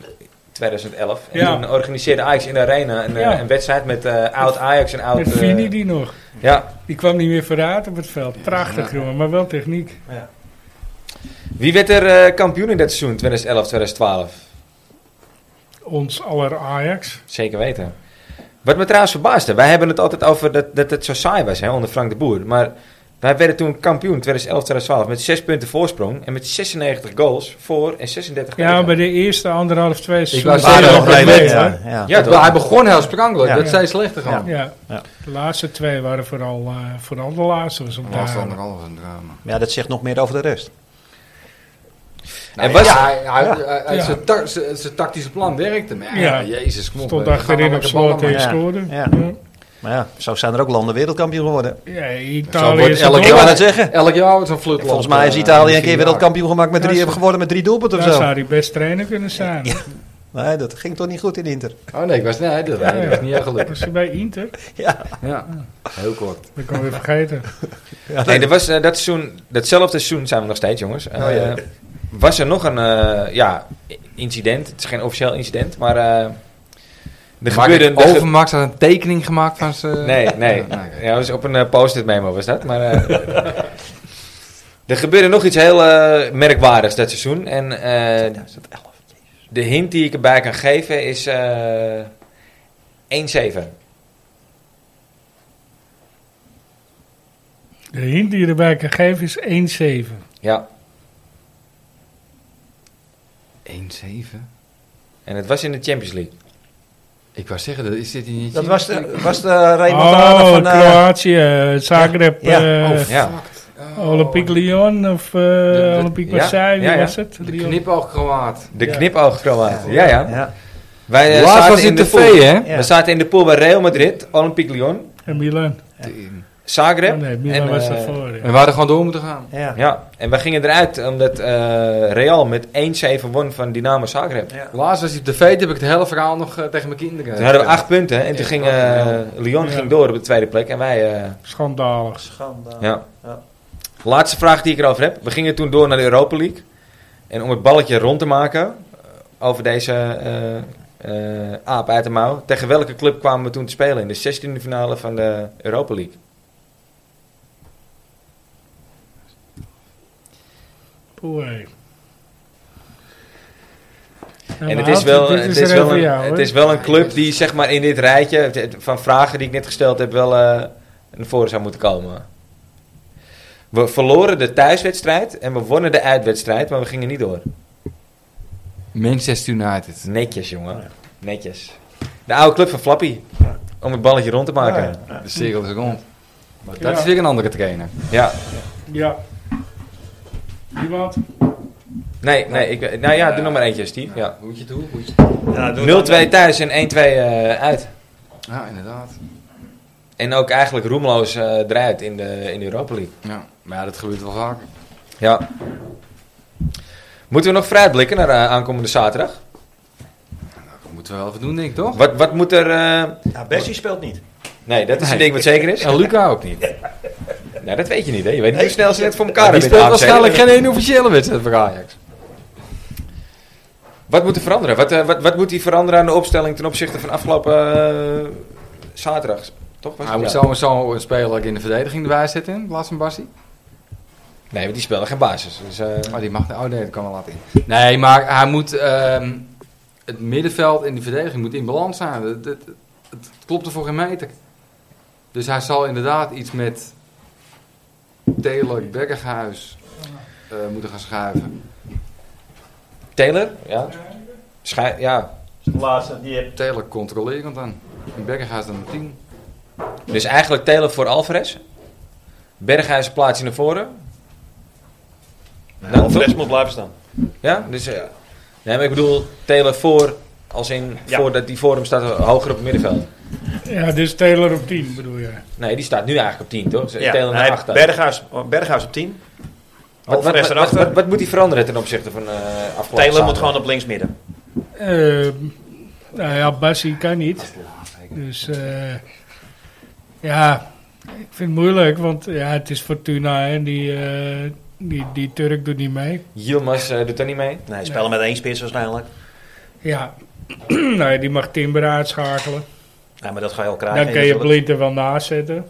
Speaker 1: 2011. En
Speaker 2: Ja.
Speaker 1: toen organiseerde Ajax in de arena een, eh,
Speaker 2: Ja.
Speaker 1: een wedstrijd met eh, oud Ajax en oud...
Speaker 2: Met
Speaker 1: eh,
Speaker 2: Vini die nog.
Speaker 1: ja,
Speaker 2: Die kwam niet meer vooruit op het veld. Prachtig, jongen, maar wel techniek.
Speaker 1: Wie werd er eh, kampioen in dat seizoen, 2011-2012?
Speaker 2: Ons aller Ajax.
Speaker 1: Zeker weten. Wat me trouwens verbaasde, wij hebben het altijd over dat, dat het zo saai was hè, onder Frank de Boer. Maar wij werden toen kampioen 2011-2012 met 6 punten voorsprong en met 96 goals voor en 36
Speaker 2: Ja,
Speaker 1: tegen.
Speaker 2: bij de eerste anderhalf, twee seizoenen.
Speaker 3: wou zeggen,
Speaker 2: waren
Speaker 3: nog
Speaker 2: we
Speaker 3: blij
Speaker 2: mee,
Speaker 4: Ja,
Speaker 2: hoor.
Speaker 4: ja.
Speaker 1: Ja,
Speaker 3: Het- hij
Speaker 1: toch?
Speaker 3: begon heel sprankelijk.
Speaker 4: Ja.
Speaker 3: Dat zei slechter gewoon.
Speaker 2: Ja.
Speaker 4: Ja.
Speaker 2: de laatste twee waren vooral, eh, vooral de laatste. Was om te
Speaker 3: Last
Speaker 2: halen.
Speaker 3: anderhalf een drama.
Speaker 4: Maar ja, dat zegt nog meer over de rest.
Speaker 1: En was,
Speaker 3: Nou, ja, hij, hij, hij- hij-
Speaker 2: Ja.
Speaker 3: Zijn, ta- zijn- zijn tactische plan werkte. Maar ja,
Speaker 2: Ja.
Speaker 3: jezus, kom op.
Speaker 2: Stond
Speaker 3: hè. Ga
Speaker 2: achterin
Speaker 3: maar
Speaker 2: op
Speaker 3: met de ballen,
Speaker 2: slot en
Speaker 4: maar. Ja.
Speaker 2: scoorde.
Speaker 4: Ja.
Speaker 2: Ja.
Speaker 4: Maar ja, zo zijn er ook landen wereldkampioen geworden.
Speaker 2: Ja,
Speaker 3: Zo
Speaker 2: Italië
Speaker 3: wordt
Speaker 2: is
Speaker 3: elk
Speaker 2: het
Speaker 4: Ik wou
Speaker 3: jaar,
Speaker 4: net zeggen.
Speaker 3: elk jaar wordt zo'n eh, flut.
Speaker 4: Volgens mij is Italië een keer wereldkampioen gemaakt met drie,
Speaker 2: Ja, ze-
Speaker 4: geworden met drie doelpunten of
Speaker 2: Daar
Speaker 4: zo.
Speaker 2: zou hij best trainer kunnen zijn.
Speaker 4: Nee, dat ging toch niet goed in Inter.
Speaker 3: Oh nee, ik was, nee dat,
Speaker 2: Ja,
Speaker 3: dat
Speaker 2: ja.
Speaker 3: was niet echt gelukkig.
Speaker 2: Was hij bij Inter?
Speaker 3: Ja, heel kort.
Speaker 2: Dat kan ik weer vergeten.
Speaker 1: nee, er was, eh, dat seizoen, datzelfde seizoen zijn we nog steeds, jongens.
Speaker 3: Oh,
Speaker 1: Eh, was er nog een eh, ja, incident? Het is geen officieel incident, maar eh, er gebeurde... er ge-
Speaker 3: Overmax had een tekening gemaakt van zijn...
Speaker 1: Nee, nee.
Speaker 3: Ja, nou, oké.
Speaker 1: Ja, was op een eh, post-it memo was dat. Maar, eh, *laughs* er gebeurde nog iets heel eh, merkwaardigs dat seizoen. En eh, de hint die ik erbij kan geven is eh 1-7.
Speaker 2: De hint die je erbij kan geven is 1-7.
Speaker 1: Ja.
Speaker 3: 1-7.
Speaker 1: En het was in de Champions League.
Speaker 3: Ik wou zeggen, dat is dit in je
Speaker 4: Dat was de, was de remontade
Speaker 2: Oh,
Speaker 4: van... eh,
Speaker 2: Kroatië, Zagreb,
Speaker 4: Ja.
Speaker 2: eh,
Speaker 1: Oh, ja.
Speaker 2: Oh,
Speaker 1: Oh,
Speaker 2: Olympique Lyon of eh,
Speaker 3: de-
Speaker 2: Olympique
Speaker 1: ja,
Speaker 2: Marseille,
Speaker 1: ja,
Speaker 2: wie
Speaker 1: ja.
Speaker 2: was het?
Speaker 3: De
Speaker 2: Lyon.
Speaker 3: knipoog gewaard.
Speaker 1: De knipoog Kroaat. Ja, ja.
Speaker 4: ja.
Speaker 1: Wij, eh,
Speaker 3: Laatst
Speaker 1: zaten
Speaker 3: was
Speaker 1: in
Speaker 3: in
Speaker 1: de
Speaker 3: tv,
Speaker 1: pool.
Speaker 3: hè?
Speaker 4: Ja.
Speaker 1: We zaten in de pool bij Real Madrid, Olympique Lyon,
Speaker 2: En Milan.
Speaker 1: Zagreb.
Speaker 2: Oh, nee, Milan was
Speaker 1: eh,
Speaker 2: daarvoor. ja.
Speaker 3: En we hadden gewoon door moeten gaan.
Speaker 4: Ja.
Speaker 1: Ja, en wij gingen eruit omdat eh, Real met 1-7 won van Dynamo Zagreb.
Speaker 3: Laatst was hij op de feest, heb ik het hele verhaal nog eh, tegen mijn kinderen.
Speaker 1: Toen hadden we acht punten en toen
Speaker 3: Echt
Speaker 1: ging
Speaker 3: wel,
Speaker 1: eh,
Speaker 3: ja.
Speaker 1: Lyon
Speaker 2: Ja.
Speaker 1: ging door op de tweede plek en wij. eh,
Speaker 2: Schandalig.
Speaker 1: ja.
Speaker 4: ja.
Speaker 1: Laatste vraag die ik erover heb. We gingen toen door naar de Europa League. En om het balletje rond te maken eh, over deze eh, eh, aap uit de mouw. Tegen welke club kwamen we toen te spelen? In de 16e finale van de Europa League.
Speaker 2: Poeh, hey. Nou,
Speaker 1: En het is wel, eh, het is wel, een, het is
Speaker 2: is
Speaker 1: wel een club die zeg maar in dit rijtje het- het- van vragen die ik net gesteld heb wel eh, naar voren zou moeten komen. We verloren de thuiswedstrijd en we wonnen de uitwedstrijd, maar we gingen niet door.
Speaker 3: Manchester United.
Speaker 1: Netjes, jongen. Netjes. De oude club van Flappy. Om het balletje rond te maken.
Speaker 3: De cirkel is rond. Maar dat
Speaker 2: Ja.
Speaker 3: is weer een andere trainer.
Speaker 1: Ja.
Speaker 2: Ja. Iemand?
Speaker 1: Nee, nee. Ik, nou ja, doe nog maar eentje, Steve. Ja.
Speaker 3: Hoedje toe, hoedje.
Speaker 4: Ja, Nou, doe
Speaker 1: 0-2 thuis en 1-2 eh, uit.
Speaker 3: Ja, inderdaad.
Speaker 1: En ook eigenlijk roemloos eh, eruit in de, in de Europa League.
Speaker 3: Ja. Maar ja, dat gebeurt wel vaak.
Speaker 1: Ja. Moeten we nog vooruitblikken naar eh, aankomende zaterdag?
Speaker 3: Dat moeten we wel even doen, denk ik, toch?
Speaker 1: Wat, wat moet er... eh,
Speaker 4: dan- Ja, Bessie speelt niet.
Speaker 1: Nee, dat is
Speaker 3: Nee.
Speaker 1: een ding wat zeker is.
Speaker 3: En Luca ook niet.
Speaker 1: Nou, dat weet je niet, hè. Je weet niet hoe snel ze net voor elkaar
Speaker 3: die
Speaker 1: hebben. in de
Speaker 3: speelt
Speaker 1: AFC.
Speaker 3: waarschijnlijk geen één officiële wedstrijd voor Ajax.
Speaker 1: Wat moet er veranderen? Wat, eh, wat, wat moet hij veranderen aan de opstelling ten opzichte van afgelopen eh, zaterdag? Toch? Was
Speaker 3: Hij
Speaker 1: het?
Speaker 3: moet
Speaker 1: Ja.
Speaker 3: zomaar zo een speler in de verdediging erbij zetten, in plaats van Bassi.
Speaker 1: Nee, want die spelen geen basis. Dus, eh,
Speaker 3: Oh, die mag. Oh nee, dat kan wel laten in. Nee, maar hij moet. ehm, het middenveld en die verdediging moet in balans zijn. Het, het, het, het klopt er voor geen meter. Dus hij zal inderdaad iets met. Taylor Berghuis eh, moeten gaan schuiven.
Speaker 1: Taylor? Ja. Schij- ja.
Speaker 12: De laatste, die heb
Speaker 3: Taylor controlerend dan. En Berghuis dan op 10.
Speaker 1: Dus eigenlijk Taylor voor Alvarez. Berghuis een plaatsje naar voren.
Speaker 4: Nou, Fles moet blijven staan.
Speaker 1: Ja, dus... eh, nee, maar ik bedoel Taylor voor... Als in,
Speaker 4: Ja.
Speaker 1: voordat die voor hem staat eh, hoger op het middenveld.
Speaker 2: Ja, dus Taylor op 10 bedoel je.
Speaker 1: Nee, die staat nu eigenlijk op 10, toch?
Speaker 4: Ja,
Speaker 1: Taylor naar
Speaker 4: nee,
Speaker 1: 8
Speaker 4: Berghuis, Berghuis op 10.
Speaker 1: Wat, wat,
Speaker 4: Alvarez
Speaker 1: wat,
Speaker 4: erachter.
Speaker 1: wat- wat moet hij veranderen ten opzichte van eh afgelopen
Speaker 4: Taylor moet
Speaker 1: zaterdag?
Speaker 4: gewoon op links midden.
Speaker 2: Ehm, nou ja, Bassi kan niet. Dus eh, ja, ik vind het moeilijk, want ja, het is Fortuna en die, eh, die, die Turk doet niet mee.
Speaker 1: Yilmaz eh, doet daar niet mee.
Speaker 4: Nee, spelen met één spits waarschijnlijk.
Speaker 2: Ja, *clears throat* nou, ja, die mag Timber uitschakelen.
Speaker 4: Ja, maar dat ga je al krijgen.
Speaker 2: Dan kun je
Speaker 4: natuurlijk.
Speaker 2: Blind er wel naast zetten.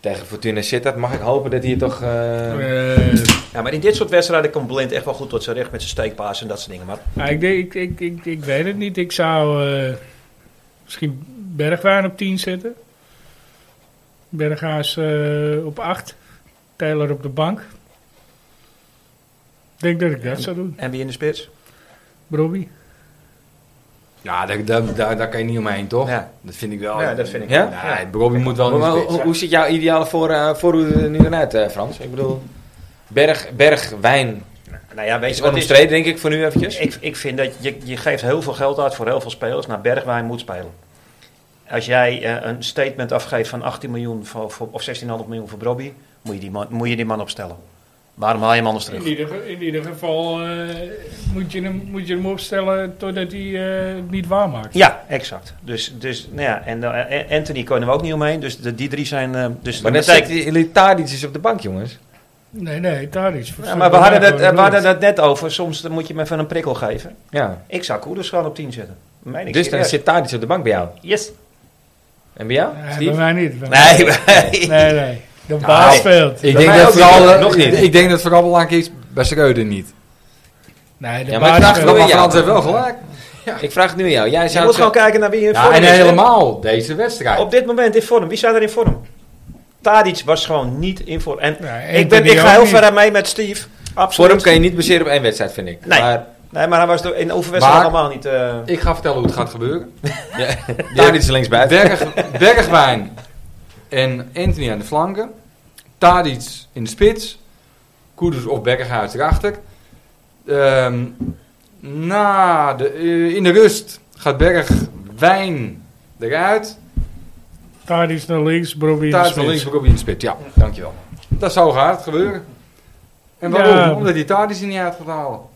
Speaker 1: Tegen Fortuna Sittard mag ik hopen dat hij toch...
Speaker 3: Oh
Speaker 1: eh,
Speaker 2: Eh,
Speaker 4: Ja, maar in dit soort wedstrijden komt Blind echt wel goed tot zijn recht met zijn steekpaas en dat soort dingen. Maar
Speaker 2: nou, ik, denk- ik, ik, ik, ik weet het niet. Ik zou eh, misschien Bergwijn op 10 zetten. Berghuis eh, op 8. Taylor op de bank. Ik denk dat ik dat zou doen.
Speaker 4: en wie in de spits?
Speaker 2: Robbie.
Speaker 3: Ja, daar, daar, daar, daar kan je niet omheen, toch?
Speaker 4: Ja.
Speaker 3: Dat vind ik wel.
Speaker 4: Ja, dat vind ik.
Speaker 1: Ja?
Speaker 3: Nee, Bobby moet wel
Speaker 1: Maar,
Speaker 3: in de
Speaker 1: maar
Speaker 3: spits.
Speaker 1: hoe, hoe ziet jouw ideale voor, eh, voorhoede er nu dan uit, eh, Frans? Ik bedoel, berg, bergwijn
Speaker 4: Nou ja, weet
Speaker 1: is
Speaker 4: je wat het is?
Speaker 1: onomstreden, denk ik, voor nu eventjes.
Speaker 4: Ik, ik vind dat je, je geeft heel veel geld uit voor heel veel spelers. Nou, Bergwijn moet spelen. Als jij eh, een statement afgeeft van 18 miljoen voor, voor- of 16,5 miljoen voor Brobby, moet je die man, moet je die man opstellen. Waarom haal je hem anders
Speaker 2: In
Speaker 4: terug?
Speaker 2: ieder, ge- in ieder geval eh, moet, je hem, moet je hem opstellen totdat hij eh, het niet waarmaakt.
Speaker 4: Ja, exact. Dus, dus nou ja, en eh, Anthony kon er ook niet omheen. Dus de, die drie zijn. eh, dus
Speaker 1: maar net
Speaker 4: dat
Speaker 1: zit
Speaker 4: betekent-
Speaker 1: die- jullie Tadic is op de bank, jongens.
Speaker 2: Nee, nee, daar is.
Speaker 4: Ja, maar we hadden, dat, eh, we hadden dat net over. Soms dan moet je me even een prikkel geven.
Speaker 1: Ja.
Speaker 4: Ik zou Koeders gewoon op 10 zetten. Meen ik
Speaker 1: Dus dan
Speaker 4: serieus.
Speaker 1: zit Tadic op de bank bij jou.
Speaker 4: Yes.
Speaker 1: En bij jou,
Speaker 2: Nee, bij
Speaker 1: Steve?
Speaker 2: mij niet. Bij mij-
Speaker 1: Nee,
Speaker 4: *laughs*
Speaker 1: nee.
Speaker 2: Nee, nee. De
Speaker 4: Nou,
Speaker 2: baas speelt.
Speaker 3: Ik
Speaker 1: Bij
Speaker 3: denk,
Speaker 1: mij
Speaker 3: dat
Speaker 1: ook niet,
Speaker 3: vooral, eh,
Speaker 1: nog niet.
Speaker 3: ik denk dat vooral belangrijk is bij Schreuder niet.
Speaker 2: Nee, de
Speaker 1: Ja, maar
Speaker 2: baas
Speaker 1: ik vraag
Speaker 2: speelt.
Speaker 1: het
Speaker 3: Maar
Speaker 1: wel- ja.
Speaker 3: Frans heeft wel gelijk.
Speaker 1: Ik vraag het nu aan jou. Jij
Speaker 4: Je
Speaker 1: zou
Speaker 4: moet gewoon kijken naar wie je in
Speaker 3: Ja,
Speaker 4: vorm
Speaker 3: en
Speaker 4: is, hè?
Speaker 3: helemaal deze wedstrijd.
Speaker 4: Op dit moment in vorm. Wie staat er in vorm? Tadic was gewoon niet in vorm. En
Speaker 2: Nee,
Speaker 4: ik, ben,
Speaker 2: Anthony
Speaker 4: ik ga heel
Speaker 2: ook
Speaker 4: ver aan mee met Steve. Absoluut.
Speaker 1: Vorm kan je niet baseren op één wedstrijd, vind ik.
Speaker 4: Nee.
Speaker 1: Maar
Speaker 4: Nee, maar hij was door- in de oefenwedstrijd
Speaker 3: Maar-
Speaker 4: allemaal niet... eh,
Speaker 1: Nou,
Speaker 3: Ik ga vertellen hoe het gaat gebeuren.
Speaker 1: Tadic is linksbuiten.
Speaker 3: Berg, Bergwijn en Anthony aan de flanken. Tadic in de spits. Koeders of Berghuis erachter. Ehm, na de, eh, in de rust gaat Bergwijn eruit.
Speaker 2: Tadic naar links, Brobbey naar
Speaker 3: Tadic van
Speaker 2: links.
Speaker 3: links, ook in de spits. Ja, dankjewel. Dat zou gaat gebeuren. En waarom?
Speaker 2: Ja.
Speaker 3: Omdat die Tadic er niet uit gaat halen.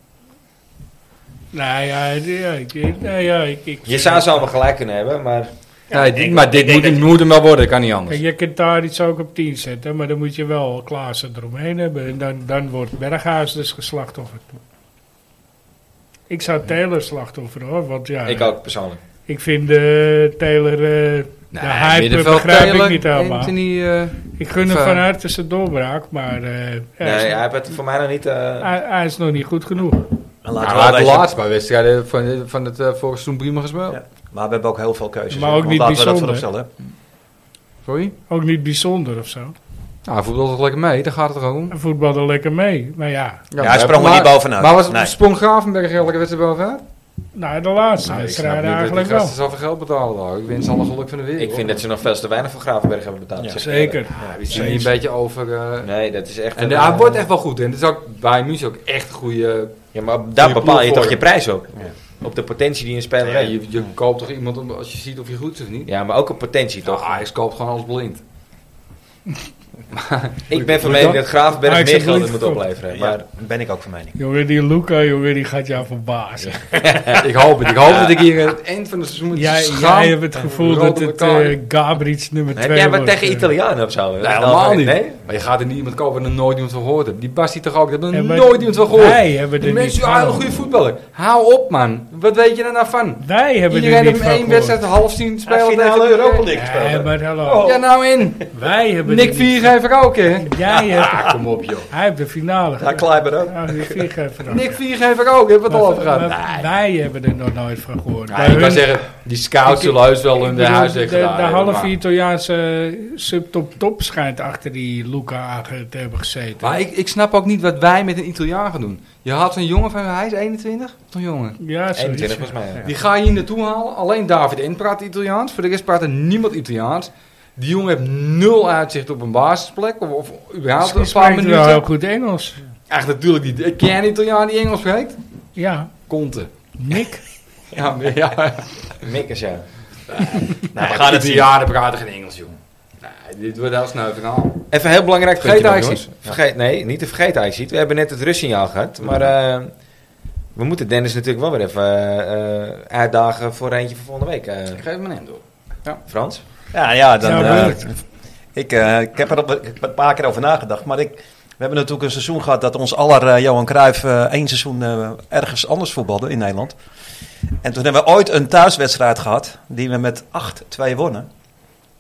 Speaker 2: Nou ja, ja, ik, ik- nou ja, ik, ik
Speaker 1: Je zou ze allemaal gelijk kunnen hebben, maar...
Speaker 3: nee, dit- maar dit moet, hem- moet hem wel worden, kan niet anders.
Speaker 2: Kijk, je kunt Tadic ook op 10 zetten, maar dan moet je wel Klaassen eromheen hebben. En dan, dan wordt Berghuis dus geslachtoffer. Ik zou Taylor slachtoffer hoor. Want ja,
Speaker 1: Ik ook persoonlijk.
Speaker 2: ik vind eh Taylor. eh, de hype
Speaker 3: middenveld
Speaker 2: begrijp ik
Speaker 3: Taylor,
Speaker 2: niet helemaal.
Speaker 3: Anthony, eh,
Speaker 2: Ik gun hem
Speaker 3: Of, eh,
Speaker 2: van harte zijn doorbraak, maar eh, hij, is,
Speaker 1: Nee, hij heeft het voor mij nog niet. eh,
Speaker 2: hij, hij is nog niet goed genoeg.
Speaker 4: En
Speaker 3: nou,
Speaker 4: laten
Speaker 3: hij
Speaker 4: we wel
Speaker 3: heeft de
Speaker 4: wezen,
Speaker 3: laatste paar wedstrijden van, van het eh, vorige seizoen prima gespeeld.
Speaker 4: Ja. maar we hebben ook heel veel keuzes.
Speaker 2: Maar
Speaker 4: hè.
Speaker 2: ook
Speaker 4: Want
Speaker 2: niet
Speaker 4: laten we dat
Speaker 2: bijzonder.
Speaker 4: vooropstellen. hè.
Speaker 3: Sorry?
Speaker 2: Ook niet bijzonder of zo.
Speaker 3: Nou, voetbal toch lekker mee, dan gaat het gewoon.
Speaker 2: Hij voetbalde lekker mee, maar ja.
Speaker 4: Ja, hij sprong er
Speaker 3: maar-
Speaker 4: niet bovenuit.
Speaker 3: Maar was,
Speaker 4: Nee.
Speaker 3: sprong Gravenberg elke wedstrijd bovenuit?
Speaker 2: Nou, de laatste
Speaker 3: Nou, ik snap
Speaker 2: wedstrijd
Speaker 3: niet dat
Speaker 2: eigenlijk
Speaker 3: die
Speaker 2: wel.
Speaker 3: gasten zoveel geld betalen. daar. Ik wens alle geluk van de wereld.
Speaker 1: ik vind dat ze nog veel te weinig voor Gravenberg hebben betaald.
Speaker 4: Ja,
Speaker 1: zeg ik eerlijk.
Speaker 2: Zeker.
Speaker 3: Ja, die zien hier een beetje over... eh,
Speaker 1: Nee, dat is echt.
Speaker 3: en
Speaker 1: een,
Speaker 3: hij
Speaker 1: eh,
Speaker 3: wordt echt wel goed. En het is ook bij München ook echt een goede...
Speaker 1: Ja, maar daar
Speaker 3: goede
Speaker 1: bepaal je
Speaker 3: ploeg
Speaker 1: toch
Speaker 3: voor.
Speaker 1: je prijs op. Op de potentie die een speler
Speaker 3: Ja,
Speaker 1: heeft.
Speaker 3: je, je koopt toch iemand om, als je ziet of je goed is of niet?
Speaker 1: Ja, maar ook op potentie
Speaker 3: Ja,
Speaker 1: toch?
Speaker 3: Ajax koopt gewoon alles blind.
Speaker 1: ik ben van mening dat Gravenberg
Speaker 2: Ajax
Speaker 1: meer
Speaker 2: heeft
Speaker 1: geld
Speaker 2: niet
Speaker 1: moet
Speaker 2: verkocht.
Speaker 1: opleveren.
Speaker 4: Ja,
Speaker 1: Maar
Speaker 4: ben ik ook van mening.
Speaker 2: Jongen, die Luca, jongen, die gaat jou verbazen.
Speaker 3: ik hoop het. Ik hoop dat ik hier aan het eind van het seizoen... met
Speaker 2: Jij,
Speaker 3: schaam-
Speaker 2: jij hebt het gevoel
Speaker 3: rood
Speaker 2: dat
Speaker 3: op
Speaker 2: het
Speaker 3: elkaar.
Speaker 2: eh Gabrits nummer 2
Speaker 1: heb jij wat
Speaker 2: wordt,
Speaker 1: tegen
Speaker 2: eh.
Speaker 1: Italianen of zo?
Speaker 3: Nee, helemaal niet.
Speaker 1: Nee?
Speaker 3: Maar je gaat er niet iemand kopen en er nooit iemand van gehoord hebt. Die Basti toch ook, dat hebben
Speaker 2: Ja,
Speaker 3: er
Speaker 2: maar
Speaker 3: nooit iemand van gehoord.
Speaker 2: Wij hebben
Speaker 3: Die
Speaker 2: er niet
Speaker 3: mensen zijn een
Speaker 2: van.
Speaker 3: goede voetballer. Hou op, man. Wat weet je er nou van?
Speaker 2: Wij hebben
Speaker 3: Iedereen
Speaker 2: er niet
Speaker 3: heeft
Speaker 2: van
Speaker 3: één
Speaker 2: gehoord.
Speaker 3: wedstrijd half zien spelen.
Speaker 13: finale
Speaker 3: tegen-
Speaker 13: Europa League gespeeld.
Speaker 2: Ja,
Speaker 13: hè.
Speaker 2: maar hallo.
Speaker 3: Ja, nou in.
Speaker 2: Wij hebben
Speaker 3: Nick
Speaker 2: er niet
Speaker 3: Viergever ook, hè?
Speaker 2: van. Jij hebt...
Speaker 3: Ah, Kom op, joh.
Speaker 2: Hij heeft de finale.
Speaker 13: Ja, Kleiber ook.
Speaker 2: Ja, die viergever ook.
Speaker 3: Nick Viergever ook, hebben we het al over
Speaker 2: Maar-
Speaker 3: gehad.
Speaker 2: maar Wij hebben er nog nooit van gehoord.
Speaker 3: Ja,
Speaker 2: Bij
Speaker 3: ik
Speaker 2: hun-
Speaker 3: kan zeggen, die scouts zullen heus wel hun
Speaker 2: bedoel,
Speaker 3: huis
Speaker 2: de,
Speaker 3: dicht
Speaker 2: de
Speaker 3: gedaan hebben,
Speaker 2: halve
Speaker 3: maar-
Speaker 2: Italiaanse subtop-top schijnt achter die Luca aan te hebben gezeten.
Speaker 3: Maar ik, ik snap ook niet wat wij met een Italiaan gaan doen. Je had zo'n jongen van, hij is 21, toch jongen?
Speaker 2: Ja, zoiets.
Speaker 1: 21 volgens mij. ja.
Speaker 3: Die ga je hier naartoe halen. Alleen David N praat Italiaans. Voor de rest praat er niemand Italiaans. Die jongen heeft nul uitzicht op een basisplek. Of, of überhaupt
Speaker 2: Misschien
Speaker 3: een paar
Speaker 2: spreekt hij wel heel
Speaker 3: minuten.
Speaker 2: goed Engels.
Speaker 3: Echt natuurlijk niet. Ik ken een Italiaan die Engels spreekt.
Speaker 2: Ja,
Speaker 3: Conte.
Speaker 2: Nick.
Speaker 3: *laughs* Ja, maar ja.
Speaker 1: Mikkers, ja.
Speaker 3: Nee,
Speaker 4: gaan het zien.
Speaker 3: Italianen praten geen Engels, joh. Nee, dit wordt heel snel verhaal.
Speaker 1: Even een heel belangrijk
Speaker 3: Vergeet
Speaker 1: puntje nog,
Speaker 3: Ajax
Speaker 1: jongens. Vergeet, nee, niet te vergeten Ajax ziet. We hebben net het rustsignaal gehad. Maar eh, we moeten Dennis natuurlijk wel weer even eh, eh, uitdagen voor eentje van volgende week. eh,
Speaker 3: Geef me een door.
Speaker 1: Frans?
Speaker 4: Ja, ja, dan,
Speaker 2: Ja,
Speaker 4: eh,
Speaker 2: werkt.
Speaker 4: ik, eh, ik heb er op- ik heb er een paar keer over nagedacht. Maar ik, we hebben natuurlijk een seizoen gehad dat ons aller eh, Johan Cruijff eh, één seizoen eh, ergens anders voetbalde in Nederland. En toen hebben we ooit een thuiswedstrijd gehad die we met 8-2 wonnen.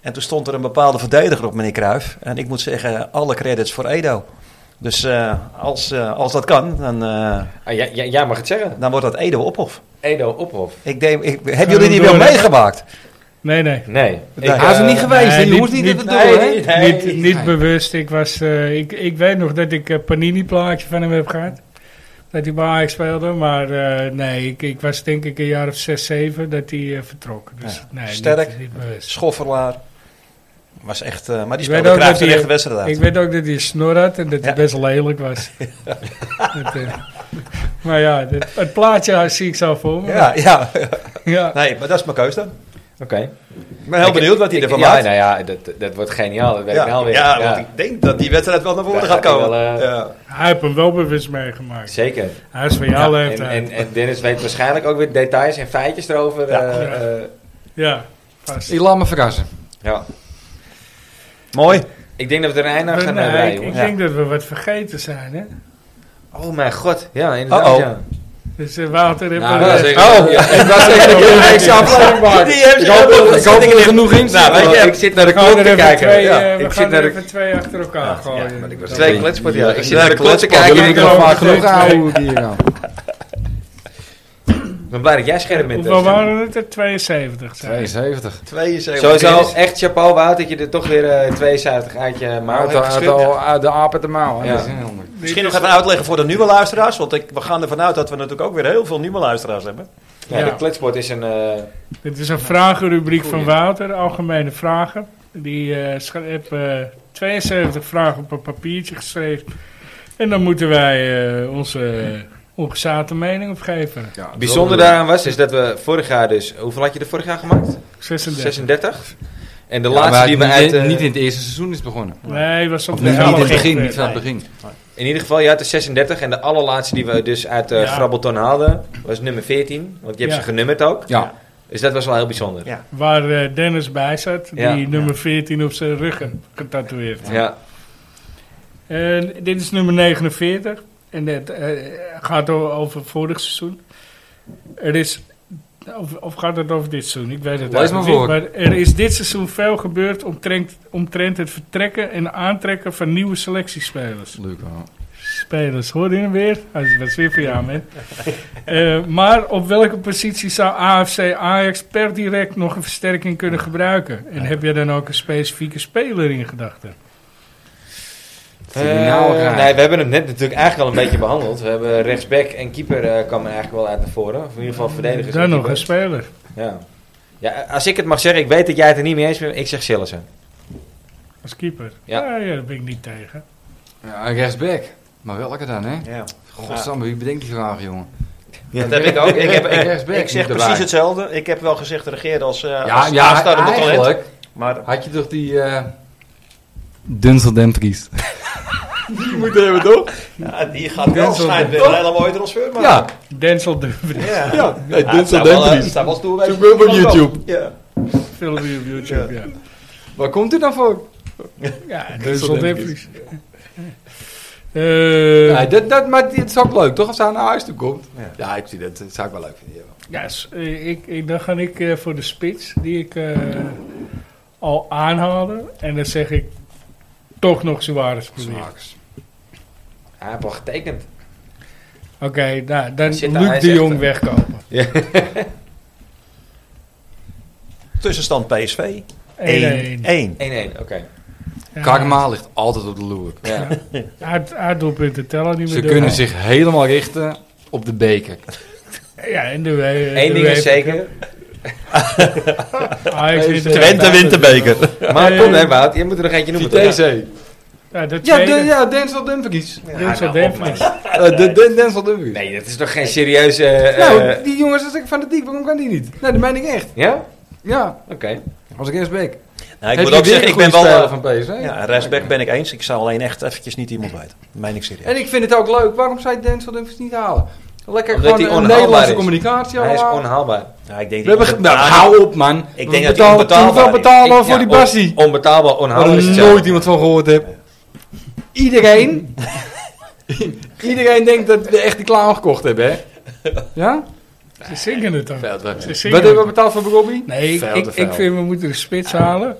Speaker 4: En toen stond er een bepaalde verdediger op, meneer Cruijff. En ik moet zeggen, alle credits voor Edo. Dus eh, als, eh, als dat kan, dan, eh,
Speaker 1: Ah, jij, jij- jij mag het zeggen.
Speaker 4: dan wordt dat Edo Ophof.
Speaker 1: Edo Ophof.
Speaker 4: Ik denk, ik,
Speaker 2: Gaan
Speaker 4: hebben jullie
Speaker 2: we
Speaker 4: die
Speaker 2: door,
Speaker 4: wel
Speaker 2: hè?
Speaker 4: meegemaakt?
Speaker 2: Nee, nee.
Speaker 1: Nee.
Speaker 4: Nee.
Speaker 1: Ik,
Speaker 3: Hij is er
Speaker 1: eh,
Speaker 3: niet geweest, hè?
Speaker 2: nee,
Speaker 3: je
Speaker 2: niet-
Speaker 3: hoort niet,
Speaker 2: niet-
Speaker 3: even door,
Speaker 1: nee,
Speaker 3: hè?
Speaker 1: niet- nee.
Speaker 2: niet niet bewust. Ik, was, eh, ik, ik weet nog dat ik een Panini-plaatje van hem heb gehad. Dat hij bij Ajax speelde. Maar eh, nee, ik, ik was denk ik een jaar of zes, zeven dat hij eh, vertrok. Dus, nee, niet-
Speaker 4: Sterk.
Speaker 2: Niet, bewust.
Speaker 4: Schoffelaar. Was echt, eh, maar die
Speaker 2: Ik weet
Speaker 4: speelde
Speaker 2: ook
Speaker 4: Cruijff
Speaker 2: dat
Speaker 4: de
Speaker 2: hij-
Speaker 4: echte wedstrijd uit.
Speaker 2: Ik weet ook dat hij een snor had en dat hij
Speaker 4: Ja.
Speaker 2: best lelijk
Speaker 1: *laughs*
Speaker 2: was. Dat, eh, maar ja, dit- het plaatje zie ik zo voor me.
Speaker 4: Ja, ja. *laughs*
Speaker 2: Ja.
Speaker 4: Nee, maar dat is mijn keuze dan.
Speaker 1: Oké.
Speaker 4: Ik ben heel benieuwd wat hij ervan
Speaker 1: ja,
Speaker 4: maakt.
Speaker 1: nou ja, dat, dat wordt geniaal. Dat weet ik nou
Speaker 4: ja,
Speaker 1: weer.
Speaker 4: ja, want ik denk dat die wedstrijd wel naar voren
Speaker 1: Daar
Speaker 4: gaat
Speaker 1: gaat hij
Speaker 4: komen.
Speaker 1: wel, eh,
Speaker 4: ja.
Speaker 2: Hij heeft hem wel bewust meegemaakt.
Speaker 1: Zeker.
Speaker 2: Hij is van jouw
Speaker 1: En,
Speaker 2: leeftijd.
Speaker 1: en, en Dennis weet waarschijnlijk ook weer details en feitjes erover.
Speaker 4: Ja.
Speaker 1: eh, eh,
Speaker 2: ja, vast.
Speaker 3: Ik laat me verrassen.
Speaker 1: ja.
Speaker 4: Mooi.
Speaker 1: Ik denk dat we er een eind aan
Speaker 2: Nee,
Speaker 1: gaan
Speaker 2: nee,
Speaker 1: eh, breien,
Speaker 2: ik, ik
Speaker 1: jongens.
Speaker 2: denk dat we wat vergeten zijn. Hè?
Speaker 1: Oh mijn god. Ja, inderdaad.
Speaker 4: Uh-oh.
Speaker 1: ja.
Speaker 2: Dus eh, Wouter heeft
Speaker 3: Nou,
Speaker 2: een,
Speaker 3: dat
Speaker 2: eh,
Speaker 3: is echt-
Speaker 1: Oh.
Speaker 3: Ja, ik was echt een keer een extra aflevering maken.
Speaker 4: Die heeft
Speaker 3: Ik hoop dat- Ik hoop dat er genoeg in
Speaker 1: Nou,
Speaker 3: zit.
Speaker 1: weet je, ik zit naar de
Speaker 2: we gaan
Speaker 1: klok
Speaker 2: er
Speaker 1: te
Speaker 2: even
Speaker 1: kijken.
Speaker 2: twee,
Speaker 1: ja,
Speaker 2: eh, we
Speaker 1: ik
Speaker 2: gaan
Speaker 1: zit naar
Speaker 2: er
Speaker 1: de
Speaker 2: even twee achter elkaar gooien.
Speaker 1: twee kletspot, ja. Ik zit naar de klok te
Speaker 3: kletspot,
Speaker 1: kijken. en
Speaker 3: Ik
Speaker 1: ik
Speaker 3: heb
Speaker 1: denk,
Speaker 3: al
Speaker 1: oh,
Speaker 3: vaak genoeg gehouden hier nou.
Speaker 1: Ik ben blij dat jij scherp bent.
Speaker 2: Hoeveel
Speaker 1: Dustin.
Speaker 2: waren het er? 72 zijn.
Speaker 3: 72.
Speaker 4: 72.
Speaker 1: Sowieso echt chapeau, Wout, dat je er toch weer eh, 72 uit je mouw
Speaker 3: Uit
Speaker 1: hebt
Speaker 3: de- uit
Speaker 1: geschud.
Speaker 3: de- uit de aap uit de mouw. hè.
Speaker 1: Ja.
Speaker 3: Dat is heel handig.
Speaker 4: Misschien nog even uitleggen voor de nieuwe luisteraars. Want ik, we gaan ervan uit dat we natuurlijk ook weer heel veel nieuwe luisteraars hebben.
Speaker 1: Ja,
Speaker 2: Ja.
Speaker 1: de kletspot is een... eh,
Speaker 2: Dit is een vragenrubriek van Wouter, algemene vragen. Die eh, scha- heb eh, 72 vragen op een papiertje geschreven. En dan moeten wij eh, onze eh, ongezaagde mening op geven.
Speaker 3: Ja, dat
Speaker 1: bijzonder
Speaker 3: is wel-
Speaker 1: daaraan was, is dat we vorig jaar dus... Hoeveel had je er vorig jaar gemaakt?
Speaker 2: 36.
Speaker 1: 36. En de
Speaker 3: Ja,
Speaker 1: laatste
Speaker 3: maar
Speaker 1: die we
Speaker 3: niet
Speaker 1: uit...
Speaker 3: in-
Speaker 1: eh,
Speaker 3: Niet in het eerste seizoen is begonnen.
Speaker 2: Nee, was op
Speaker 3: Niet
Speaker 2: de
Speaker 3: in
Speaker 2: helft.
Speaker 3: het begin, niet
Speaker 2: Eh,
Speaker 3: van het begin.
Speaker 1: in ieder geval, je had de 36. En de allerlaatste die we dus uit eh
Speaker 2: Ja.
Speaker 1: Grabbelton haalden, was nummer 14. Want je hebt
Speaker 2: Ja.
Speaker 1: ze genummerd ook.
Speaker 3: Ja,
Speaker 1: Dus dat was wel heel bijzonder.
Speaker 4: Ja.
Speaker 2: Waar eh, Dennis bij zat, die
Speaker 1: Ja.
Speaker 2: nummer 14 op zijn rug getatoeëerd.
Speaker 1: Ja.
Speaker 2: En dit is nummer 49. En het eh, gaat o- over vorig seizoen. Er is, of, of gaat het over dit seizoen? Ik weet het
Speaker 3: Lees maar
Speaker 2: eigenlijk niet.
Speaker 3: voor.
Speaker 2: Maar er is dit seizoen veel gebeurd omtrent, omtrent het vertrekken en aantrekken van nieuwe selectiespelers.
Speaker 3: Leuk wel.
Speaker 2: Spelers, hoor je hem weer? Hij is best weer voor jou,
Speaker 3: *laughs*
Speaker 2: man. Eh, maar op welke positie zou AFC Ajax per direct nog een versterking kunnen gebruiken? En heb je dan ook een specifieke speler in gedachten?
Speaker 3: Fenomenaal
Speaker 1: Eh,
Speaker 3: graag.
Speaker 1: nee, we hebben hem net natuurlijk eigenlijk al een beetje behandeld. We hebben rechtsback en keeper eh kwam er eigenlijk wel uit naar voren. Of in ieder geval verdedigers. en
Speaker 2: Dan Mm, nog een
Speaker 1: keeper.
Speaker 2: speler.
Speaker 1: Ja. ja, als ik het mag zeggen, ik weet dat jij het er niet mee eens bent. Ik zeg Sillessen.
Speaker 2: Als keeper?
Speaker 1: Ja.
Speaker 2: Ja. ja, daar ben ik niet tegen.
Speaker 3: Ja, rechtsback. Maar welke dan, hè?
Speaker 14: Ja.
Speaker 3: Godsamme, wie bedenkt die vraag, jongen?
Speaker 1: Ja, dat heb ik ook. Ik heb, ik,
Speaker 3: *laughs* rechtsback
Speaker 4: Ik zeg
Speaker 3: moet
Speaker 4: precies
Speaker 3: erbij.
Speaker 4: hetzelfde. Ik heb wel gezegd, regeer als, eh
Speaker 3: Ja,
Speaker 4: als
Speaker 3: ja,
Speaker 4: aanstarende talent.
Speaker 3: eigenlijk
Speaker 4: Maar
Speaker 3: had je toch die... eh Denzel *laughs* Dumfries. die moeten hebben, toch?
Speaker 4: ja, die eh, gaat wel
Speaker 3: Denzel
Speaker 4: schijnt weer een hele mooie transfer maken.
Speaker 3: Ja,
Speaker 2: Denzel Dumfries.
Speaker 4: Ja.
Speaker 3: ja. Nee,
Speaker 1: Ja,
Speaker 3: Denzel
Speaker 1: het zou wel, eh,
Speaker 3: Dumfries.
Speaker 1: het zou wel stoer wezen.
Speaker 3: Zoek hem op YouTube.
Speaker 4: Ja.
Speaker 2: Filmpje op YouTube, ja.
Speaker 3: Waar komt u dan voor?
Speaker 2: Ja,
Speaker 3: Denzel
Speaker 2: Denzel
Speaker 3: Dumfries.
Speaker 2: Dumfries. *laughs* Eh,
Speaker 3: Ja, dat, dat, maar het is ook leuk, toch? Als hij naar huis toe komt. Ja, ik zie dat. Dat zou ik wel leuk vinden. ja.
Speaker 2: ja, s- eh, ik, ik, dan ga ik eh, voor de spits die ik eh, al aanhaalde. En dan zeg ik toch nog Suarez proberen.
Speaker 1: Hij heeft al getekend.
Speaker 2: Oké, nou, dan
Speaker 1: Hij zit daar, hij is
Speaker 2: Luc de
Speaker 1: echt
Speaker 2: Jong
Speaker 1: een-
Speaker 2: wegkopen. 1-1.
Speaker 4: Tussenstand PSV 1-1.
Speaker 1: 1-1, oké.
Speaker 2: Ja,
Speaker 3: Karma ligt altijd op de loer.
Speaker 1: Ja.
Speaker 2: haar- Haar doelpunten tellen niet meer
Speaker 3: Ze
Speaker 2: door.
Speaker 3: kunnen zich helemaal richten op de beker.
Speaker 2: Ja, en de we- de
Speaker 1: Eén ding is
Speaker 2: we-
Speaker 1: zeker.
Speaker 2: Ajax wint de-
Speaker 15: Twente wint de beker.
Speaker 1: Maar kom hè, Wout. Je moet er nog eentje noemen. toch?
Speaker 3: Vitesse.
Speaker 2: Ja, de
Speaker 3: Ja,
Speaker 2: tweede.
Speaker 3: de, ja Denzel Dumfries.
Speaker 2: Denzel Dumfries.
Speaker 3: Eh, de, de- Denzel Dumfries.
Speaker 1: Nee, dat is toch geen serieuze... eh,
Speaker 3: Nou,
Speaker 1: eh,
Speaker 3: die jongens, dat is ik van de diep. Waarom kan die niet? Nee, dat meen ik echt.
Speaker 1: ja?
Speaker 3: Ja,
Speaker 1: Oké.
Speaker 3: als ik eerst bek.
Speaker 4: Nou, ik
Speaker 3: Heb
Speaker 4: moet
Speaker 3: je
Speaker 4: ook
Speaker 3: weer
Speaker 4: zeggen,
Speaker 3: een
Speaker 4: ik ben
Speaker 3: goede
Speaker 4: wel...
Speaker 3: speler
Speaker 4: eh,
Speaker 3: van PSV.
Speaker 4: ja, rechtsback ben ik eens. Ik zou alleen echt eventjes niet iemand weten. Dat meen ik serieus.
Speaker 3: En ik vind het ook leuk. Waarom zou je Denzel Dumfries niet halen? Lekker
Speaker 1: Omdat hij
Speaker 3: gewoon een
Speaker 1: onhaalbaar
Speaker 3: Nederlandse
Speaker 1: is.
Speaker 3: communicatie
Speaker 1: Hij is
Speaker 3: allemaal.
Speaker 1: onhaalbaar.
Speaker 4: Nou, ik denk
Speaker 3: We
Speaker 4: dat
Speaker 3: hebben... ge- Nou, hou op, man.
Speaker 4: denk
Speaker 3: We
Speaker 4: dat hij
Speaker 3: betalen
Speaker 4: onbetaalbaar
Speaker 3: wel
Speaker 4: is.
Speaker 3: betalen
Speaker 1: Ik-
Speaker 3: voor
Speaker 1: ja,
Speaker 3: die
Speaker 1: on-
Speaker 3: Bassie.
Speaker 1: Onbetaalbaar,
Speaker 3: Waar
Speaker 1: onhaalbaar
Speaker 3: ik
Speaker 1: is
Speaker 3: nooit
Speaker 1: hetzelfde.
Speaker 3: iemand van gehoord heb. Iedereen... Iedereen denkt dat we echt die clown gekocht hebben, hè? Ja?
Speaker 2: Ze zingen het ook.
Speaker 3: Veld weg.
Speaker 2: Ze
Speaker 3: Wat
Speaker 2: zingen
Speaker 3: hebben we
Speaker 2: het.
Speaker 3: betaald voor Robbie?
Speaker 2: Nee, ik,
Speaker 3: Veld te
Speaker 2: ik, ik
Speaker 3: veel.
Speaker 2: vind we moeten de spits halen.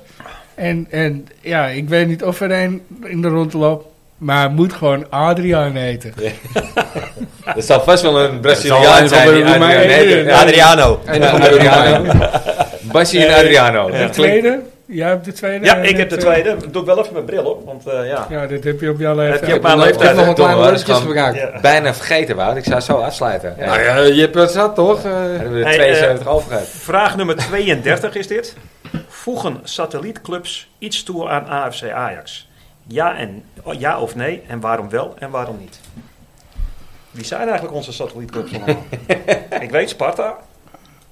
Speaker 2: En, en ja, ik weet niet of er een in de rondloop. Maar hij moet gewoon Adriaan heten.
Speaker 1: Er zal vast wel een
Speaker 3: Dat zal
Speaker 1: Braziliaan
Speaker 3: een
Speaker 1: zijn
Speaker 3: van
Speaker 1: die
Speaker 3: de
Speaker 1: Adriano
Speaker 3: Roemenen-
Speaker 1: heet. Ja,
Speaker 15: Adriano.
Speaker 3: En
Speaker 1: Ja, *laughs*
Speaker 3: dan
Speaker 1: Adriano. Bassi en Adriano.
Speaker 2: De
Speaker 1: Dat klinkt...
Speaker 2: tweede? Jij hebt de tweede?
Speaker 4: Ja,
Speaker 2: eh,
Speaker 4: ik heb
Speaker 2: net,
Speaker 4: de
Speaker 2: eh,
Speaker 4: tweede. Doe ik wel even mijn bril op, want eh, ja.
Speaker 2: Ja, dit heb je op jouw lijst.
Speaker 4: Heb je op
Speaker 3: Maar
Speaker 4: mijn
Speaker 3: leeftijd
Speaker 4: leeftijd.
Speaker 3: nog een klein
Speaker 1: Domme, dat is
Speaker 3: woordje
Speaker 1: gewoon-
Speaker 3: gebruikt.
Speaker 4: Ja.
Speaker 1: Bijna vergeten, Wout. Ik zou zo afsluiten. Ja.
Speaker 3: Nou ja, je hebt het zat toch? Eh,
Speaker 1: hebben we er
Speaker 4: Hey,
Speaker 1: 72 over gehad.
Speaker 4: Vraag nummer 32 is dit. Voegen satellietclubs iets toe aan AFC Ajax? Ja, en, oh, ja of nee? En waarom wel en waarom niet? Wie zijn eigenlijk onze satellietclubs
Speaker 3: *laughs*
Speaker 4: allemaal? ik weet Sparta.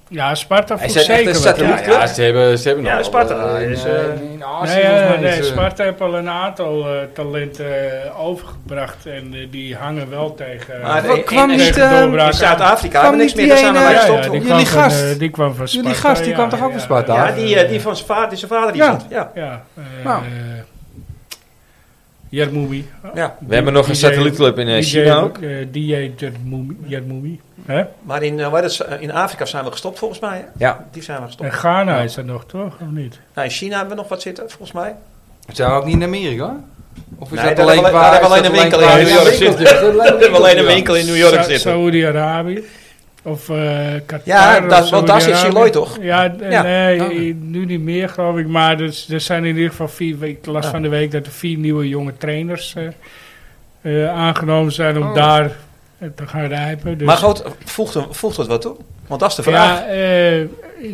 Speaker 2: Ja, Sparta
Speaker 1: Hij
Speaker 2: voelt
Speaker 1: zei echt
Speaker 2: zeker
Speaker 1: een
Speaker 2: wat.
Speaker 1: satelliet.
Speaker 2: Ja.
Speaker 3: ja, ja, ze hebben, ze hebben
Speaker 4: Ja,
Speaker 3: nog
Speaker 4: Sparta
Speaker 3: eh,
Speaker 4: is,
Speaker 3: in, eh,
Speaker 4: eh,
Speaker 3: in Azië
Speaker 2: Nee,
Speaker 3: volgens mij
Speaker 2: eh, nee,
Speaker 3: is, eh,
Speaker 2: Sparta heeft al een aantal eh, talenten eh, overgebracht. En eh, die hangen wel tegen,
Speaker 4: Maar
Speaker 2: tegen
Speaker 3: Wat kwam
Speaker 4: in-
Speaker 3: niet,
Speaker 2: de
Speaker 3: eh,
Speaker 2: doorbraak
Speaker 4: In
Speaker 2: aan.
Speaker 4: Zuid-Afrika
Speaker 3: Kwam
Speaker 4: hebben niks
Speaker 3: niet
Speaker 4: meer
Speaker 3: die
Speaker 4: gedaan aan
Speaker 3: ene-
Speaker 4: mij
Speaker 3: Ja,
Speaker 2: Ja,
Speaker 3: ja,
Speaker 4: gestopt.
Speaker 2: die,
Speaker 4: worden.
Speaker 3: jullie
Speaker 2: kwam
Speaker 3: gast.
Speaker 2: Van, eh, die kwam van Sparta.
Speaker 3: Jullie gast, die
Speaker 2: ja,
Speaker 3: kwam toch ook van Sparta?
Speaker 4: Ja,
Speaker 3: Ja,
Speaker 4: die, eh, die van zijn vader, die zijn vader die
Speaker 3: Ja.
Speaker 4: zat. Ja.
Speaker 2: Ja, eh
Speaker 3: Nou.
Speaker 2: Jarmoumi.
Speaker 4: Ja.
Speaker 1: We hebben nog een
Speaker 2: DJ
Speaker 1: satellietclub in eh, China ook.
Speaker 2: eh, DJ Jarmoumi. Jarmoumi. Hè?
Speaker 4: Maar in, eh, waar dat is, eh, in Afrika zijn we gestopt volgens mij. hè?
Speaker 1: Ja.
Speaker 4: Die zijn we gestopt.
Speaker 2: En Ghana is er nog, toch? Of niet?
Speaker 4: Nou, in China hebben we nog wat zitten, volgens mij.
Speaker 3: Zijn we ook niet in Amerika? Of is
Speaker 4: Nee,
Speaker 3: dat
Speaker 4: daar hebben
Speaker 3: alleen
Speaker 4: we- daar
Speaker 3: qua...
Speaker 4: hebben we
Speaker 3: is dat
Speaker 4: alleen een winkel
Speaker 3: qua-
Speaker 4: in New York
Speaker 3: Ja,
Speaker 4: zitten.
Speaker 3: winkeltje. Dat
Speaker 4: We hebben alleen een
Speaker 3: winkeltje, ja.
Speaker 4: winkel in New York
Speaker 2: Sa-
Speaker 4: zitten.
Speaker 2: Saoedi-Arabië. Of eh Qatar.
Speaker 4: Ja,
Speaker 2: of
Speaker 4: daar- want daar zit
Speaker 2: Saoedi-Arabië.
Speaker 4: Siloy toch?
Speaker 2: Ja, d-
Speaker 4: Ja. Oh.
Speaker 2: nee,
Speaker 3: Ja.
Speaker 2: nu niet meer geloof ik. Maar er, s- er zijn in ieder geval vier, ik las
Speaker 4: Ja.
Speaker 2: van de week dat er vier nieuwe jonge trainers eh, eh, aangenomen zijn om
Speaker 4: Oh.
Speaker 2: daar eh, te gaan rijpen. Dus,
Speaker 4: Maar goed, voegt, hem- voegt dat wat toe? Want dat is de vraag.
Speaker 2: ja, eh,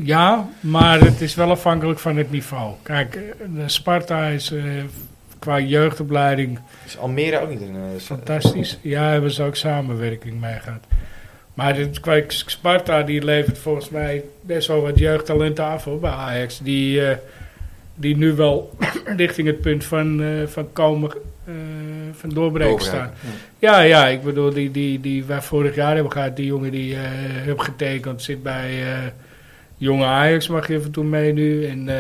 Speaker 2: ja, maar het is wel afhankelijk van het niveau. Kijk, eh, de Sparta is eh, qua jeugdopleiding
Speaker 1: Is Almere ook niet een... eh, sa-
Speaker 2: Fantastisch. Ja, hebben ze ook samenwerking mee gehad. Maar dit, kijk, Sparta die levert volgens mij best wel wat jeugdtalenten af hoor, bij Ajax. Die, eh, die nu wel *coughs* richting het punt van, eh, van komen, eh, van doorbreken
Speaker 3: Doorbreken,
Speaker 2: staan. Ja, ja, ik bedoel, die, die, die wij vorig jaar hebben gehad, die jongen die eh heb getekend, zit bij eh, jonge Ajax, mag je even toe mee nu. En eh,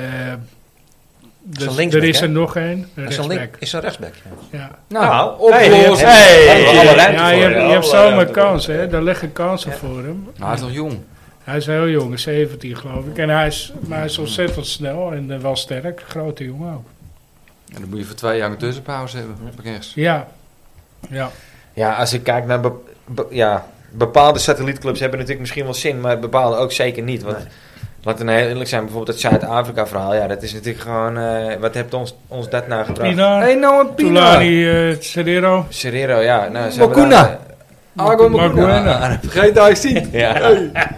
Speaker 2: Dus
Speaker 16: een
Speaker 2: er
Speaker 16: linksback,
Speaker 2: is
Speaker 16: hè?
Speaker 2: er nog één. Een
Speaker 16: Is een, link,
Speaker 2: rechtsback.
Speaker 16: is een rechtsback. ja.
Speaker 2: Ja.
Speaker 3: Nou,
Speaker 1: hey, die
Speaker 3: opgelost.
Speaker 1: hebben-
Speaker 3: Hey.
Speaker 1: hebben we alle ruimte
Speaker 2: Ja, je
Speaker 1: voor,
Speaker 2: hebt,
Speaker 1: ja.
Speaker 2: je hebt
Speaker 1: Alle
Speaker 2: zomaar
Speaker 1: ruimte voor.
Speaker 2: kansen, hè. Daar liggen kansen voor hem.
Speaker 3: Maar hij is nog jong.
Speaker 2: Hij is heel jong, 17 geloof ik. En hij is, maar hij is ontzettend snel en eh, wel sterk. Grote jongen ook.
Speaker 3: En dan moet je voor twee jaar een tussenpauze hebben. op rechts.
Speaker 2: Ja. Ja.
Speaker 1: Ja, als ik kijk naar be- be- ja, bepaalde satellietclubs hebben natuurlijk misschien wel zin, maar bepaalde ook zeker niet. Want laten we nou heel eerlijk zijn, bijvoorbeeld het Zuid-Afrika verhaal, ja, dat is natuurlijk gewoon, eh, wat hebt ons, ons dat nou gebracht?
Speaker 2: Pinar,
Speaker 3: Hey, nou een Pina.
Speaker 2: Tulani, eh, Cerero.
Speaker 1: Serrero, ja. Nou, ze
Speaker 3: Makuna.
Speaker 1: hebben
Speaker 3: Argo
Speaker 2: Maguena.
Speaker 3: Maguena. Vergeet dat eens
Speaker 1: daar-
Speaker 3: niet.
Speaker 1: ja.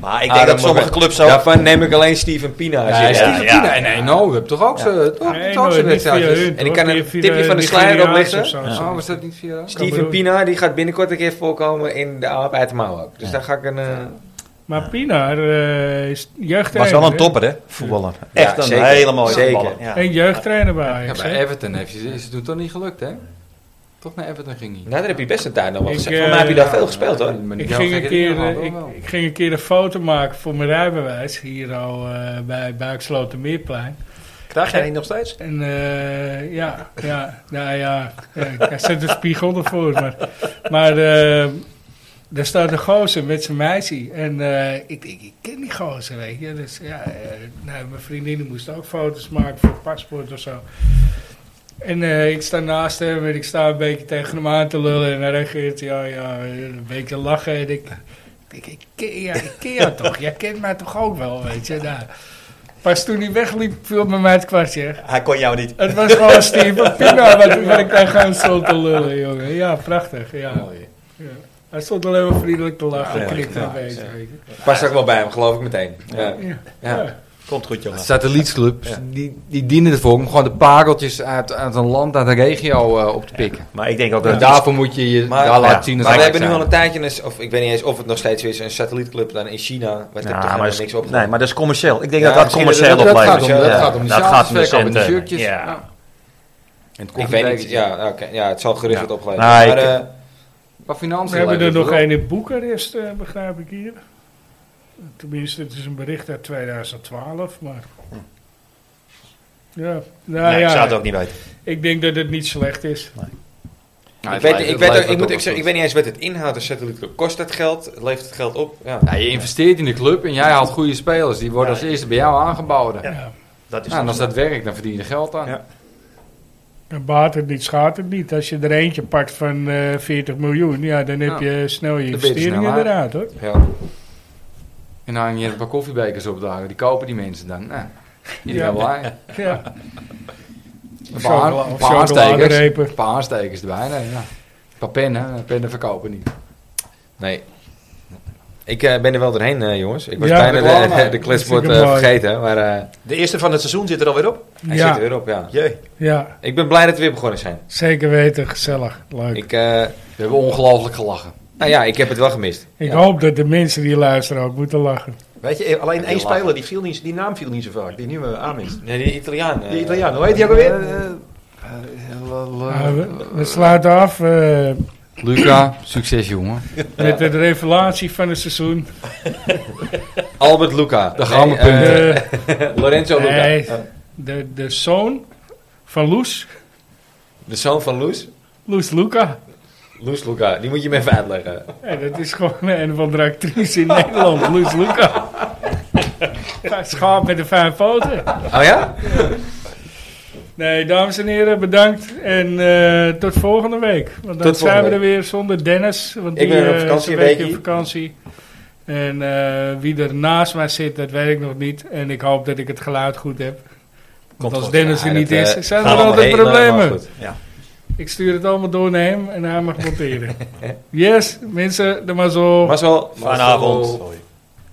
Speaker 4: Maar ik
Speaker 1: Ah,
Speaker 4: denk
Speaker 1: dan
Speaker 4: dat sommige
Speaker 1: moet-
Speaker 4: clubs ook...
Speaker 1: Daarvan neem ik alleen Steven Pina. als
Speaker 3: Nee,
Speaker 1: je-
Speaker 3: Steven
Speaker 4: ja.
Speaker 3: Pina. Nee, nou, we hebben toch ook ze- toch-
Speaker 2: Nee,
Speaker 3: toch
Speaker 2: nooit,
Speaker 3: ze
Speaker 2: niet via
Speaker 3: wedstrijdjes.
Speaker 1: En
Speaker 2: hun,
Speaker 1: ik
Speaker 2: hoor.
Speaker 1: kan een
Speaker 2: Via- via
Speaker 1: tipje van de slijer
Speaker 2: Nigeriaans
Speaker 1: opleggen.
Speaker 2: of zo.
Speaker 3: Oh, was dat niet via?
Speaker 1: Steven Pina die gaat binnenkort een keer voorkomen in de aap uit de mouw ook. Dus daar ga ik een... eh,
Speaker 2: Maar Pinar eh, is jeugdtrainer.
Speaker 17: Was wel een
Speaker 2: hè?
Speaker 17: topper, hè?
Speaker 16: Voetballer.
Speaker 1: Ja,
Speaker 4: Echt een
Speaker 1: zeker.
Speaker 4: hele mooie
Speaker 1: Zeker.
Speaker 4: voetballer. Ja.
Speaker 2: En jeugdtrainer bij
Speaker 3: Ja,
Speaker 2: Ajax,
Speaker 3: bij
Speaker 2: hè.
Speaker 3: Everton heeft je, is het toen toch niet gelukt, hè? Toch naar Everton ging hij.
Speaker 1: Nou, daar heb je best een tijd nog wel
Speaker 2: Ik,
Speaker 1: gezegd. Voor mij heb je
Speaker 2: eh,
Speaker 1: daar veel gespeeld hoor.
Speaker 3: Maar niet
Speaker 2: Ik
Speaker 3: heel
Speaker 2: ging,
Speaker 3: gek
Speaker 2: een
Speaker 3: in
Speaker 2: keer,
Speaker 3: Nederland,
Speaker 2: eh, ik,
Speaker 3: hoor wel.
Speaker 2: ik ging een keer een foto maken voor mijn rijbewijs. Hier al eh, bij Buikslotermeerplein.
Speaker 16: Krijg jij die nog steeds?
Speaker 2: En eh, ja, ja, nou ja, ja, ik zet een spiegel ervoor. Maar, maar eh, daar staat een gozer met zijn meisje. En eh, ik denk, ik ken die gozer, weet je. Dus ja, eh, nou, mijn vriendinnen moesten ook foto's maken voor het paspoort of zo. En eh, ik sta naast hem en ik sta een beetje tegen hem aan te lullen. En hij reageert, ja, ja, een beetje lachen. En ik denk, ik ken, ja, ik ken jou toch? Jij kent mij toch ook wel, weet je. Nou, pas toen hij wegliep, viel bij mij het kwartje.
Speaker 4: Hij kon jou niet.
Speaker 2: Het was gewoon Steven Pina wat, wat ik daar gewoon stond te lullen, jongen. Ja, prachtig. Ja. Ja. Hij stond alleen maar vriendelijk te lachen.
Speaker 4: Ja,
Speaker 2: Ja, knikte
Speaker 4: ja,
Speaker 2: een beetje. weet je.
Speaker 1: Past ook wel bij hem, geloof ik meteen. Ja.
Speaker 2: Ja.
Speaker 1: Ja.
Speaker 2: Ja.
Speaker 4: Komt goed, jongen.
Speaker 3: Satellietclubs, die, die dienen ervoor om gewoon de pareltjes uit, uit een land, uit een regio eh, op te pikken.
Speaker 4: Maar ik denk ook
Speaker 3: En
Speaker 4: dat...
Speaker 3: daarvoor moet je je
Speaker 1: Maar,
Speaker 3: daar
Speaker 1: ja,
Speaker 3: laten zien. dat
Speaker 1: maar we
Speaker 3: ze
Speaker 1: hebben nu al
Speaker 3: zijn.
Speaker 1: een tijdje, een, of ik weet niet eens of het nog steeds is, een satellietclub dan in China. Wat
Speaker 4: Nou,
Speaker 1: heb er
Speaker 4: maar
Speaker 1: niks op.
Speaker 4: nee, maar dat is commercieel. Ik denk
Speaker 1: Ja,
Speaker 4: dat dat
Speaker 1: misschien
Speaker 4: commercieel
Speaker 1: dat-
Speaker 3: dat gaat
Speaker 4: oplevert.
Speaker 3: om- dat
Speaker 4: Ja, Nou,
Speaker 3: gaat om die zaalverkoop en die shirtjes.
Speaker 4: Ja.
Speaker 3: Ja. En het
Speaker 1: ik weet niet.
Speaker 3: koffiebekentje.
Speaker 1: Ja, oké, ja, het zal gerust wat opgeleverd
Speaker 4: Nee,
Speaker 1: maar,
Speaker 4: ik-
Speaker 1: eh,
Speaker 3: Qua financiën
Speaker 2: We hebben er
Speaker 3: levert
Speaker 2: nog
Speaker 3: het
Speaker 2: één in Boekarest, eh, begrijp ik hier. Tenminste, het is een bericht uit 2012, maar... Ja, nou
Speaker 4: Nee, Ik zou
Speaker 2: ja,
Speaker 4: het ook niet weten.
Speaker 2: ik denk dat het niet slecht is.
Speaker 3: op. Nou,
Speaker 1: ik weet,
Speaker 3: het levert-
Speaker 1: ik,
Speaker 3: het
Speaker 1: weet, ook-
Speaker 3: levert
Speaker 1: ik, moet,
Speaker 3: ook
Speaker 1: ik, zeg,
Speaker 3: wel
Speaker 1: ik weet niet eens wat het inhoudt, een satellietclub. Kost het geld? Het Levert het geld op? Ja.
Speaker 3: Ja, je investeert in de club en jij haalt goede spelers. Die worden als eerste bij jou aangeboden.
Speaker 4: Ja. Dat is
Speaker 3: Nou, en als dat werkt, dan verdien je er geld aan.
Speaker 4: Ja.
Speaker 2: En baat het niet, schaadt het niet. Als je er eentje pakt van eh 40 miljoen, ja, dan heb
Speaker 3: Ja.
Speaker 2: je snel je
Speaker 3: Dan ben je er snel
Speaker 2: investeringen
Speaker 3: uit.
Speaker 2: eruit, hoor.
Speaker 1: Ja.
Speaker 3: En dan hang je een paar koffiebekers op dagen. Die kopen die mensen dan. Nou, iedereen
Speaker 2: Ja.
Speaker 3: blij. Een
Speaker 2: Ja.
Speaker 3: paar-
Speaker 2: Chocola-
Speaker 3: Een
Speaker 2: of
Speaker 3: paar aanstekers.
Speaker 2: chocoladerepen.
Speaker 3: Een paar aanstekers erbij. Nee, ja. Een paar pennen. Pennen verkopen niet.
Speaker 1: Nee. Ik eh, ben er wel doorheen, eh, jongens. Ik was
Speaker 2: Ja, dat
Speaker 1: bijna de,
Speaker 3: wel,
Speaker 1: de, de kletsbord
Speaker 2: Dat vind ik
Speaker 1: eh,
Speaker 2: mooi.
Speaker 1: vergeten, maar eh,
Speaker 4: De eerste van het seizoen zit er alweer op.
Speaker 1: hij
Speaker 2: Ja,
Speaker 1: zit er weer op, ja.
Speaker 4: Jee.
Speaker 2: ja,
Speaker 1: Ik ben blij dat we weer begonnen zijn.
Speaker 2: zeker weten. Gezellig. Leuk. Ik,
Speaker 1: Ik, eh,
Speaker 3: We hebben ongelooflijk gelachen.
Speaker 1: nou ja, ik heb het wel gemist. Ja.
Speaker 2: hoop dat de mensen die luisteren ook moeten lachen.
Speaker 4: Weet je, alleen één
Speaker 3: lachen.
Speaker 4: speler, die, viel niet, die naam viel niet zo vaak. Die nieuwe aanwinst.
Speaker 1: Nee, die Italiaan. eh,
Speaker 4: Die Italiaan, hoe heet die ook alweer?
Speaker 2: Nou, we, we sluiten af eh,
Speaker 3: Luca, succes jongen.
Speaker 2: met de revelatie van het seizoen.
Speaker 1: Albert Luca.
Speaker 3: De gouden
Speaker 1: Nee, eh,
Speaker 3: punten.
Speaker 2: De,
Speaker 1: Lorenzo Luca.
Speaker 2: nee, de, de zoon van Loes,
Speaker 1: De zoon van Loes.
Speaker 2: Loes Luca.
Speaker 1: Loes Luca. Die moet je me even uitleggen.
Speaker 2: Ja, dat is gewoon een van de actrice in Nederland, Loes Luca. Schaap met de vijf poten.
Speaker 1: Oh ja?
Speaker 2: Nee, dames en heren, bedankt. En eh, tot volgende week. Want dan
Speaker 1: Tot
Speaker 2: zijn we
Speaker 1: volgende
Speaker 2: er weer zonder Dennis. Want
Speaker 1: Ik
Speaker 2: die,
Speaker 1: ben op
Speaker 2: eh, is
Speaker 1: vakantie,
Speaker 2: een
Speaker 1: een
Speaker 2: weekje op
Speaker 1: weekie.
Speaker 2: vakantie. En eh, wie er naast mij zit, dat weet ik nog niet. En ik hoop dat ik het geluid goed heb. Want als Dennis er
Speaker 1: Ja,
Speaker 2: niet
Speaker 1: dat, eh,
Speaker 2: is, zijn er
Speaker 1: gaat allemaal
Speaker 2: altijd
Speaker 1: helemaal
Speaker 2: problemen.
Speaker 1: goed.
Speaker 2: Ik stuur het allemaal door naar
Speaker 1: *laughs*
Speaker 2: hem en hij mag monteren. yes, mensen, de mazzel.
Speaker 1: Maar zo.
Speaker 4: Vanavond. Sorry.